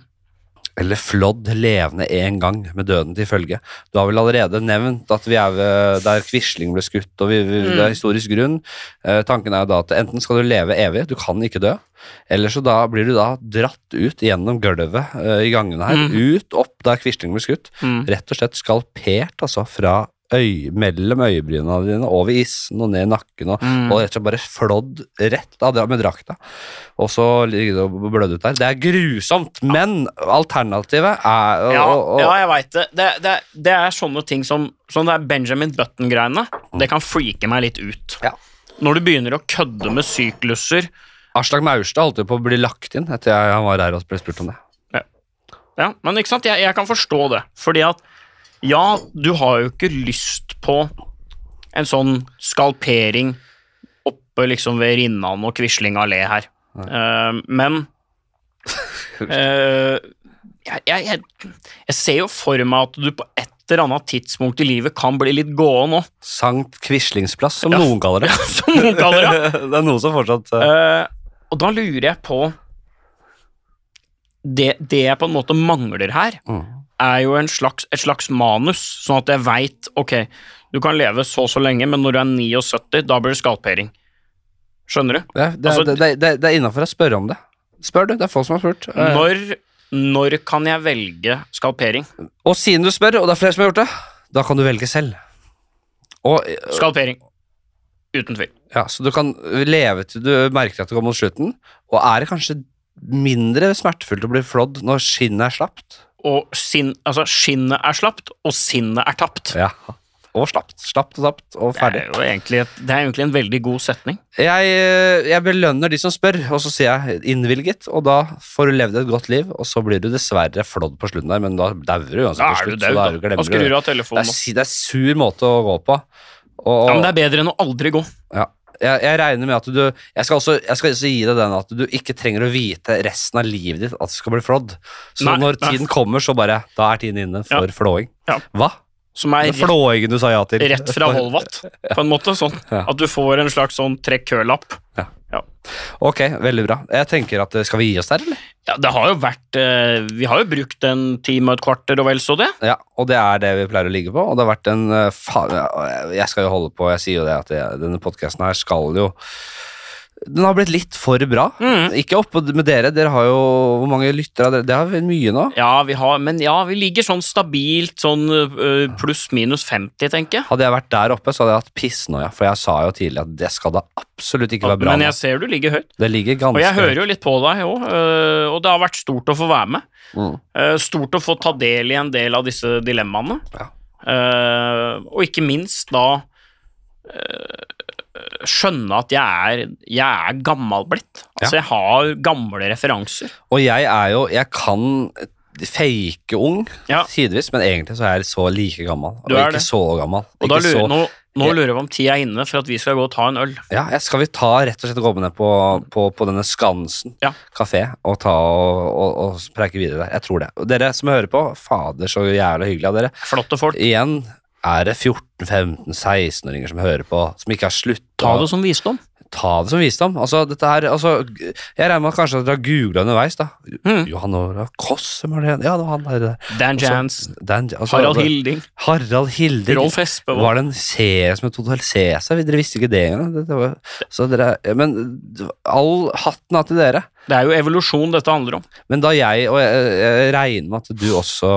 [SPEAKER 1] eller flådd levende en gang med døden til følge. Du har vel allerede nevnt at vi er ved der Quisling ble skutt, og vi, vi,
[SPEAKER 2] Mm.
[SPEAKER 1] det er historisk grunn. Eh, tanken er jo da at enten skal du leve evig, du kan ikke dø, eller så da blir du da dratt ut gjennom gulvet eh, i gangene her, ut opp der Quisling ble skutt,
[SPEAKER 2] Mm.
[SPEAKER 1] rett og slett skalpert, altså, fra øy, mellom øyebrynene dine, over isen og ned i nakken, og,
[SPEAKER 2] Mm.
[SPEAKER 1] og rett og slett bare flådd rett av dra- med drakta. Og så ligger det og blødde ut der. Det er grusomt, men alternativet er å,
[SPEAKER 2] Ja,
[SPEAKER 1] å, å,
[SPEAKER 2] ja jeg veit det. Det, det. det er sånne ting som Sånn det er Benjamin Button-greiene. Det kan freake meg litt ut.
[SPEAKER 1] Ja.
[SPEAKER 2] Når du begynner å kødde med sykluser
[SPEAKER 1] Aslak Maurstad holdt jo på å bli lagt inn etter jeg, han var her og ble spurt om det.
[SPEAKER 2] Ja, men ikke sant? Jeg, jeg kan forstå det. Fordi at ja, du har jo ikke lyst på en sånn skalpering oppe liksom ved Rinnan og Quisling allé her. Eh, men eh, jeg, jeg, jeg, jeg ser jo for meg at du på et eller annet tidspunkt i livet kan bli litt gåen òg,
[SPEAKER 1] Sankt Quislingsplass, som noen kaller det.
[SPEAKER 2] som noen kaller det.
[SPEAKER 1] det er noen som fortsatt eh,
[SPEAKER 2] Eh, og da lurer jeg på Det, det jeg på en måte mangler her,
[SPEAKER 1] Mm.
[SPEAKER 2] er jo en slags, et slags manus, sånn at jeg veit Ok, du kan leve så og så lenge, men når du er 79, da blir det skalpering. Skjønner du?
[SPEAKER 1] Det, det,
[SPEAKER 2] altså-
[SPEAKER 1] det, det, det er innafor å spørre om det. Spør du, det er folk som har spurt. Eh,
[SPEAKER 2] Når, når kan jeg velge skalpering?
[SPEAKER 1] Og siden du spør, og det er flere som har gjort det, da kan du velge selv. Og, eh,
[SPEAKER 2] Skalpering. Uten tvil.
[SPEAKER 1] ja, så du kan leve til du merker at det går mot slutten, og er det kanskje mindre smertefullt å bli flådd når skinnet er slapt?
[SPEAKER 2] Og sinn, altså, skinnet er slapt, og sinnet er tapt.
[SPEAKER 1] Ja. Og slapt. Slapt og tapt og
[SPEAKER 2] Det
[SPEAKER 1] ferdig.
[SPEAKER 2] er jo egentlig, et, det er egentlig en veldig god setning.
[SPEAKER 1] Jeg, eh, jeg belønner de som spør, og så sier jeg innvilget, og da får du levd et godt liv, og så blir du dessverre flådd på slutten der, men da dauer du uansett
[SPEAKER 2] Da
[SPEAKER 1] til
[SPEAKER 2] er du
[SPEAKER 1] slutt. så
[SPEAKER 2] daud,
[SPEAKER 1] da er du
[SPEAKER 2] da. Da
[SPEAKER 1] glemmer du.
[SPEAKER 2] skrur du av
[SPEAKER 1] Det
[SPEAKER 2] telefonen.
[SPEAKER 1] er, si- det er sur måte å gå på. Og,
[SPEAKER 2] Ja, men det er bedre enn å aldri gå.
[SPEAKER 1] Ja. Jeg, jeg regner med at du jeg skal, også, jeg skal også gi deg den at du ikke trenger å vite resten av livet ditt at du skal bli flådd. Så
[SPEAKER 2] Nei,
[SPEAKER 1] når
[SPEAKER 2] nei.
[SPEAKER 1] tiden kommer, så bare Da er tiden inne for
[SPEAKER 2] Ja.
[SPEAKER 1] flåing.
[SPEAKER 2] Ja.
[SPEAKER 1] Hva?
[SPEAKER 2] Som er
[SPEAKER 1] Den
[SPEAKER 2] rett
[SPEAKER 1] flåingen du sa ja til.
[SPEAKER 2] rett fra Volvat, på en måte. Sånn
[SPEAKER 1] Ja.
[SPEAKER 2] at du får en slags sånn trekk-kø-lapp.
[SPEAKER 1] Ok, veldig bra. Jeg tenker at eh, Skal vi gi oss der, eller?
[SPEAKER 2] Ja, det har jo vært eh, Vi har jo brukt en time og et kvarter og vel så det.
[SPEAKER 1] Ja, og det er det vi pleier å ligge på. Og det har vært en eh, fa- ja, Jeg skal jo holde på, jeg sier jo det at jeg, denne podkasten her skal jo Den har blitt litt for bra.
[SPEAKER 2] Mm.
[SPEAKER 1] Ikke oppå med dere, dere har jo Hvor mange lyttere har dere? Det har vi mye nå.
[SPEAKER 2] Ja, vi har Men ja, vi ligger sånn stabilt sånn eh, pluss-minus 50, tenker jeg.
[SPEAKER 1] Hadde jeg vært der oppe, så hadde jeg hatt pissnøya, for jeg sa jo tidlig at det skal da absolutt ikke være bra.
[SPEAKER 2] Men
[SPEAKER 1] nå.
[SPEAKER 2] jeg ser du ligger høyt.
[SPEAKER 1] det ligger ganske
[SPEAKER 2] Og jeg hører jo litt på deg òg, og det har vært stort å få være med.
[SPEAKER 1] Mm.
[SPEAKER 2] Eh, Stort å få ta del i en del av disse dilemmaene.
[SPEAKER 1] Ja.
[SPEAKER 2] Eh, Og ikke minst da eh, skjønne at jeg er, jeg er gammel blitt. Altså, jeg har gamle referanser.
[SPEAKER 1] Og jeg er jo Jeg kan fake ung
[SPEAKER 2] Ja.
[SPEAKER 1] tidvis, men egentlig så er jeg så like gammel.
[SPEAKER 2] Du
[SPEAKER 1] og
[SPEAKER 2] er
[SPEAKER 1] ikke
[SPEAKER 2] det.
[SPEAKER 1] så gammel.
[SPEAKER 2] Og da
[SPEAKER 1] Ikke
[SPEAKER 2] lurer,
[SPEAKER 1] så,
[SPEAKER 2] nå, nå lurer vi om tida er inne for at vi skal gå og ta en øl.
[SPEAKER 1] ja, jeg skal vi ta rett og slett gå ned på, på, på denne Skansen
[SPEAKER 2] Ja.
[SPEAKER 1] kafé og, ta og, og, og preike videre der? Jeg tror det. Og dere som hører på, fader, så jævla hyggelig av dere.
[SPEAKER 2] Flotte folk.
[SPEAKER 1] Igjen er det 14-15-16-åringer som hører på, som ikke har slutta.
[SPEAKER 2] Ta det som visdom.
[SPEAKER 1] ta det som visdom. Altså, dette her, altså, g- jeg regner med at kanskje at dere har googla underveis. da.
[SPEAKER 2] Mm.
[SPEAKER 1] Johan Olav Koss, hvem var det? Ja, det var han der. der.
[SPEAKER 2] Dan Jans,
[SPEAKER 1] Dan, altså,
[SPEAKER 2] Harald
[SPEAKER 1] det-
[SPEAKER 2] Hilding,
[SPEAKER 1] Harald Hilding.
[SPEAKER 2] Rolf Espevold.
[SPEAKER 1] Var det en serie som het Total Cæsar? Dere visste ikke det engang. Dette var- Så dere, men all hatten av til dere.
[SPEAKER 2] Det er jo evolusjon dette handler om.
[SPEAKER 1] Men da jeg, og jeg, jeg regner med at du også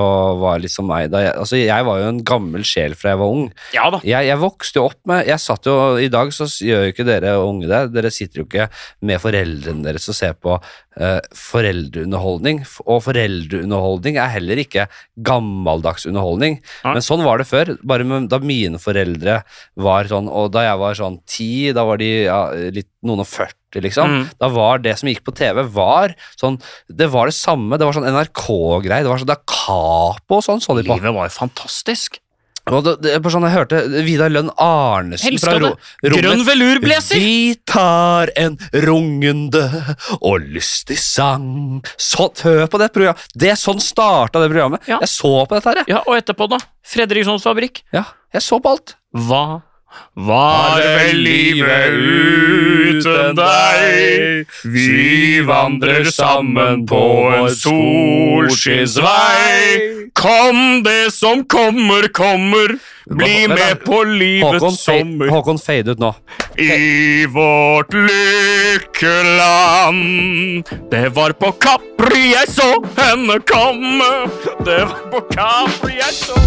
[SPEAKER 1] var litt som meg da jeg, altså jeg var jo en gammel sjel fra jeg var ung.
[SPEAKER 2] Ja da.
[SPEAKER 1] Jeg, jeg vokste jo opp med jeg satt jo, I dag så s- gjør jo ikke dere unge det. Dere sitter jo ikke med foreldrene deres og ser på eh, foreldreunderholdning. F- Og foreldreunderholdning er heller ikke gammeldags underholdning.
[SPEAKER 2] Nei.
[SPEAKER 1] Men sånn var det før. Bare med, da mine foreldre var sånn, og da jeg var sånn ti, da var de ja, litt noen og 40, liksom.
[SPEAKER 2] Mm.
[SPEAKER 1] Da var det som gikk på TV, var sånn Det var det samme. Det var sånn NRK-greie. Det var sånn Da Capo og sånn så de på.
[SPEAKER 2] Livet var jo fantastisk.
[SPEAKER 1] Og det, det, bare sånn, jeg hørte Vidar Lønn Arnesen
[SPEAKER 2] Helska det.
[SPEAKER 1] ro- rommet.
[SPEAKER 2] Grønn velurblazer!
[SPEAKER 1] Vi tar en rungende og lystig sang så, Hør på det programmet. Det er sånn starta det programmet.
[SPEAKER 2] Ja.
[SPEAKER 1] Jeg så på dette her, jeg.
[SPEAKER 2] Ja, og etterpå, da? Fredrikssons fabrikk.
[SPEAKER 1] Ja, jeg så på alt.
[SPEAKER 2] Hva var vel livet uten deg? Vi vandrer sammen på en solskinnsvei. Kom det som kommer, kommer. Bli
[SPEAKER 1] Vent da.
[SPEAKER 2] med på
[SPEAKER 1] Håkon,
[SPEAKER 2] livets
[SPEAKER 1] fade,
[SPEAKER 2] sommer
[SPEAKER 1] Håkon fade ut nå.
[SPEAKER 2] i vårt lykkeland. Det var på Capri jeg så henne komme. Det var på Capri jeg så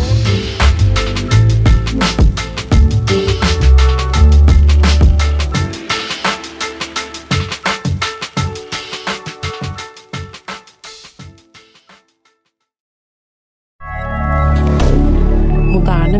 [SPEAKER 5] Moderne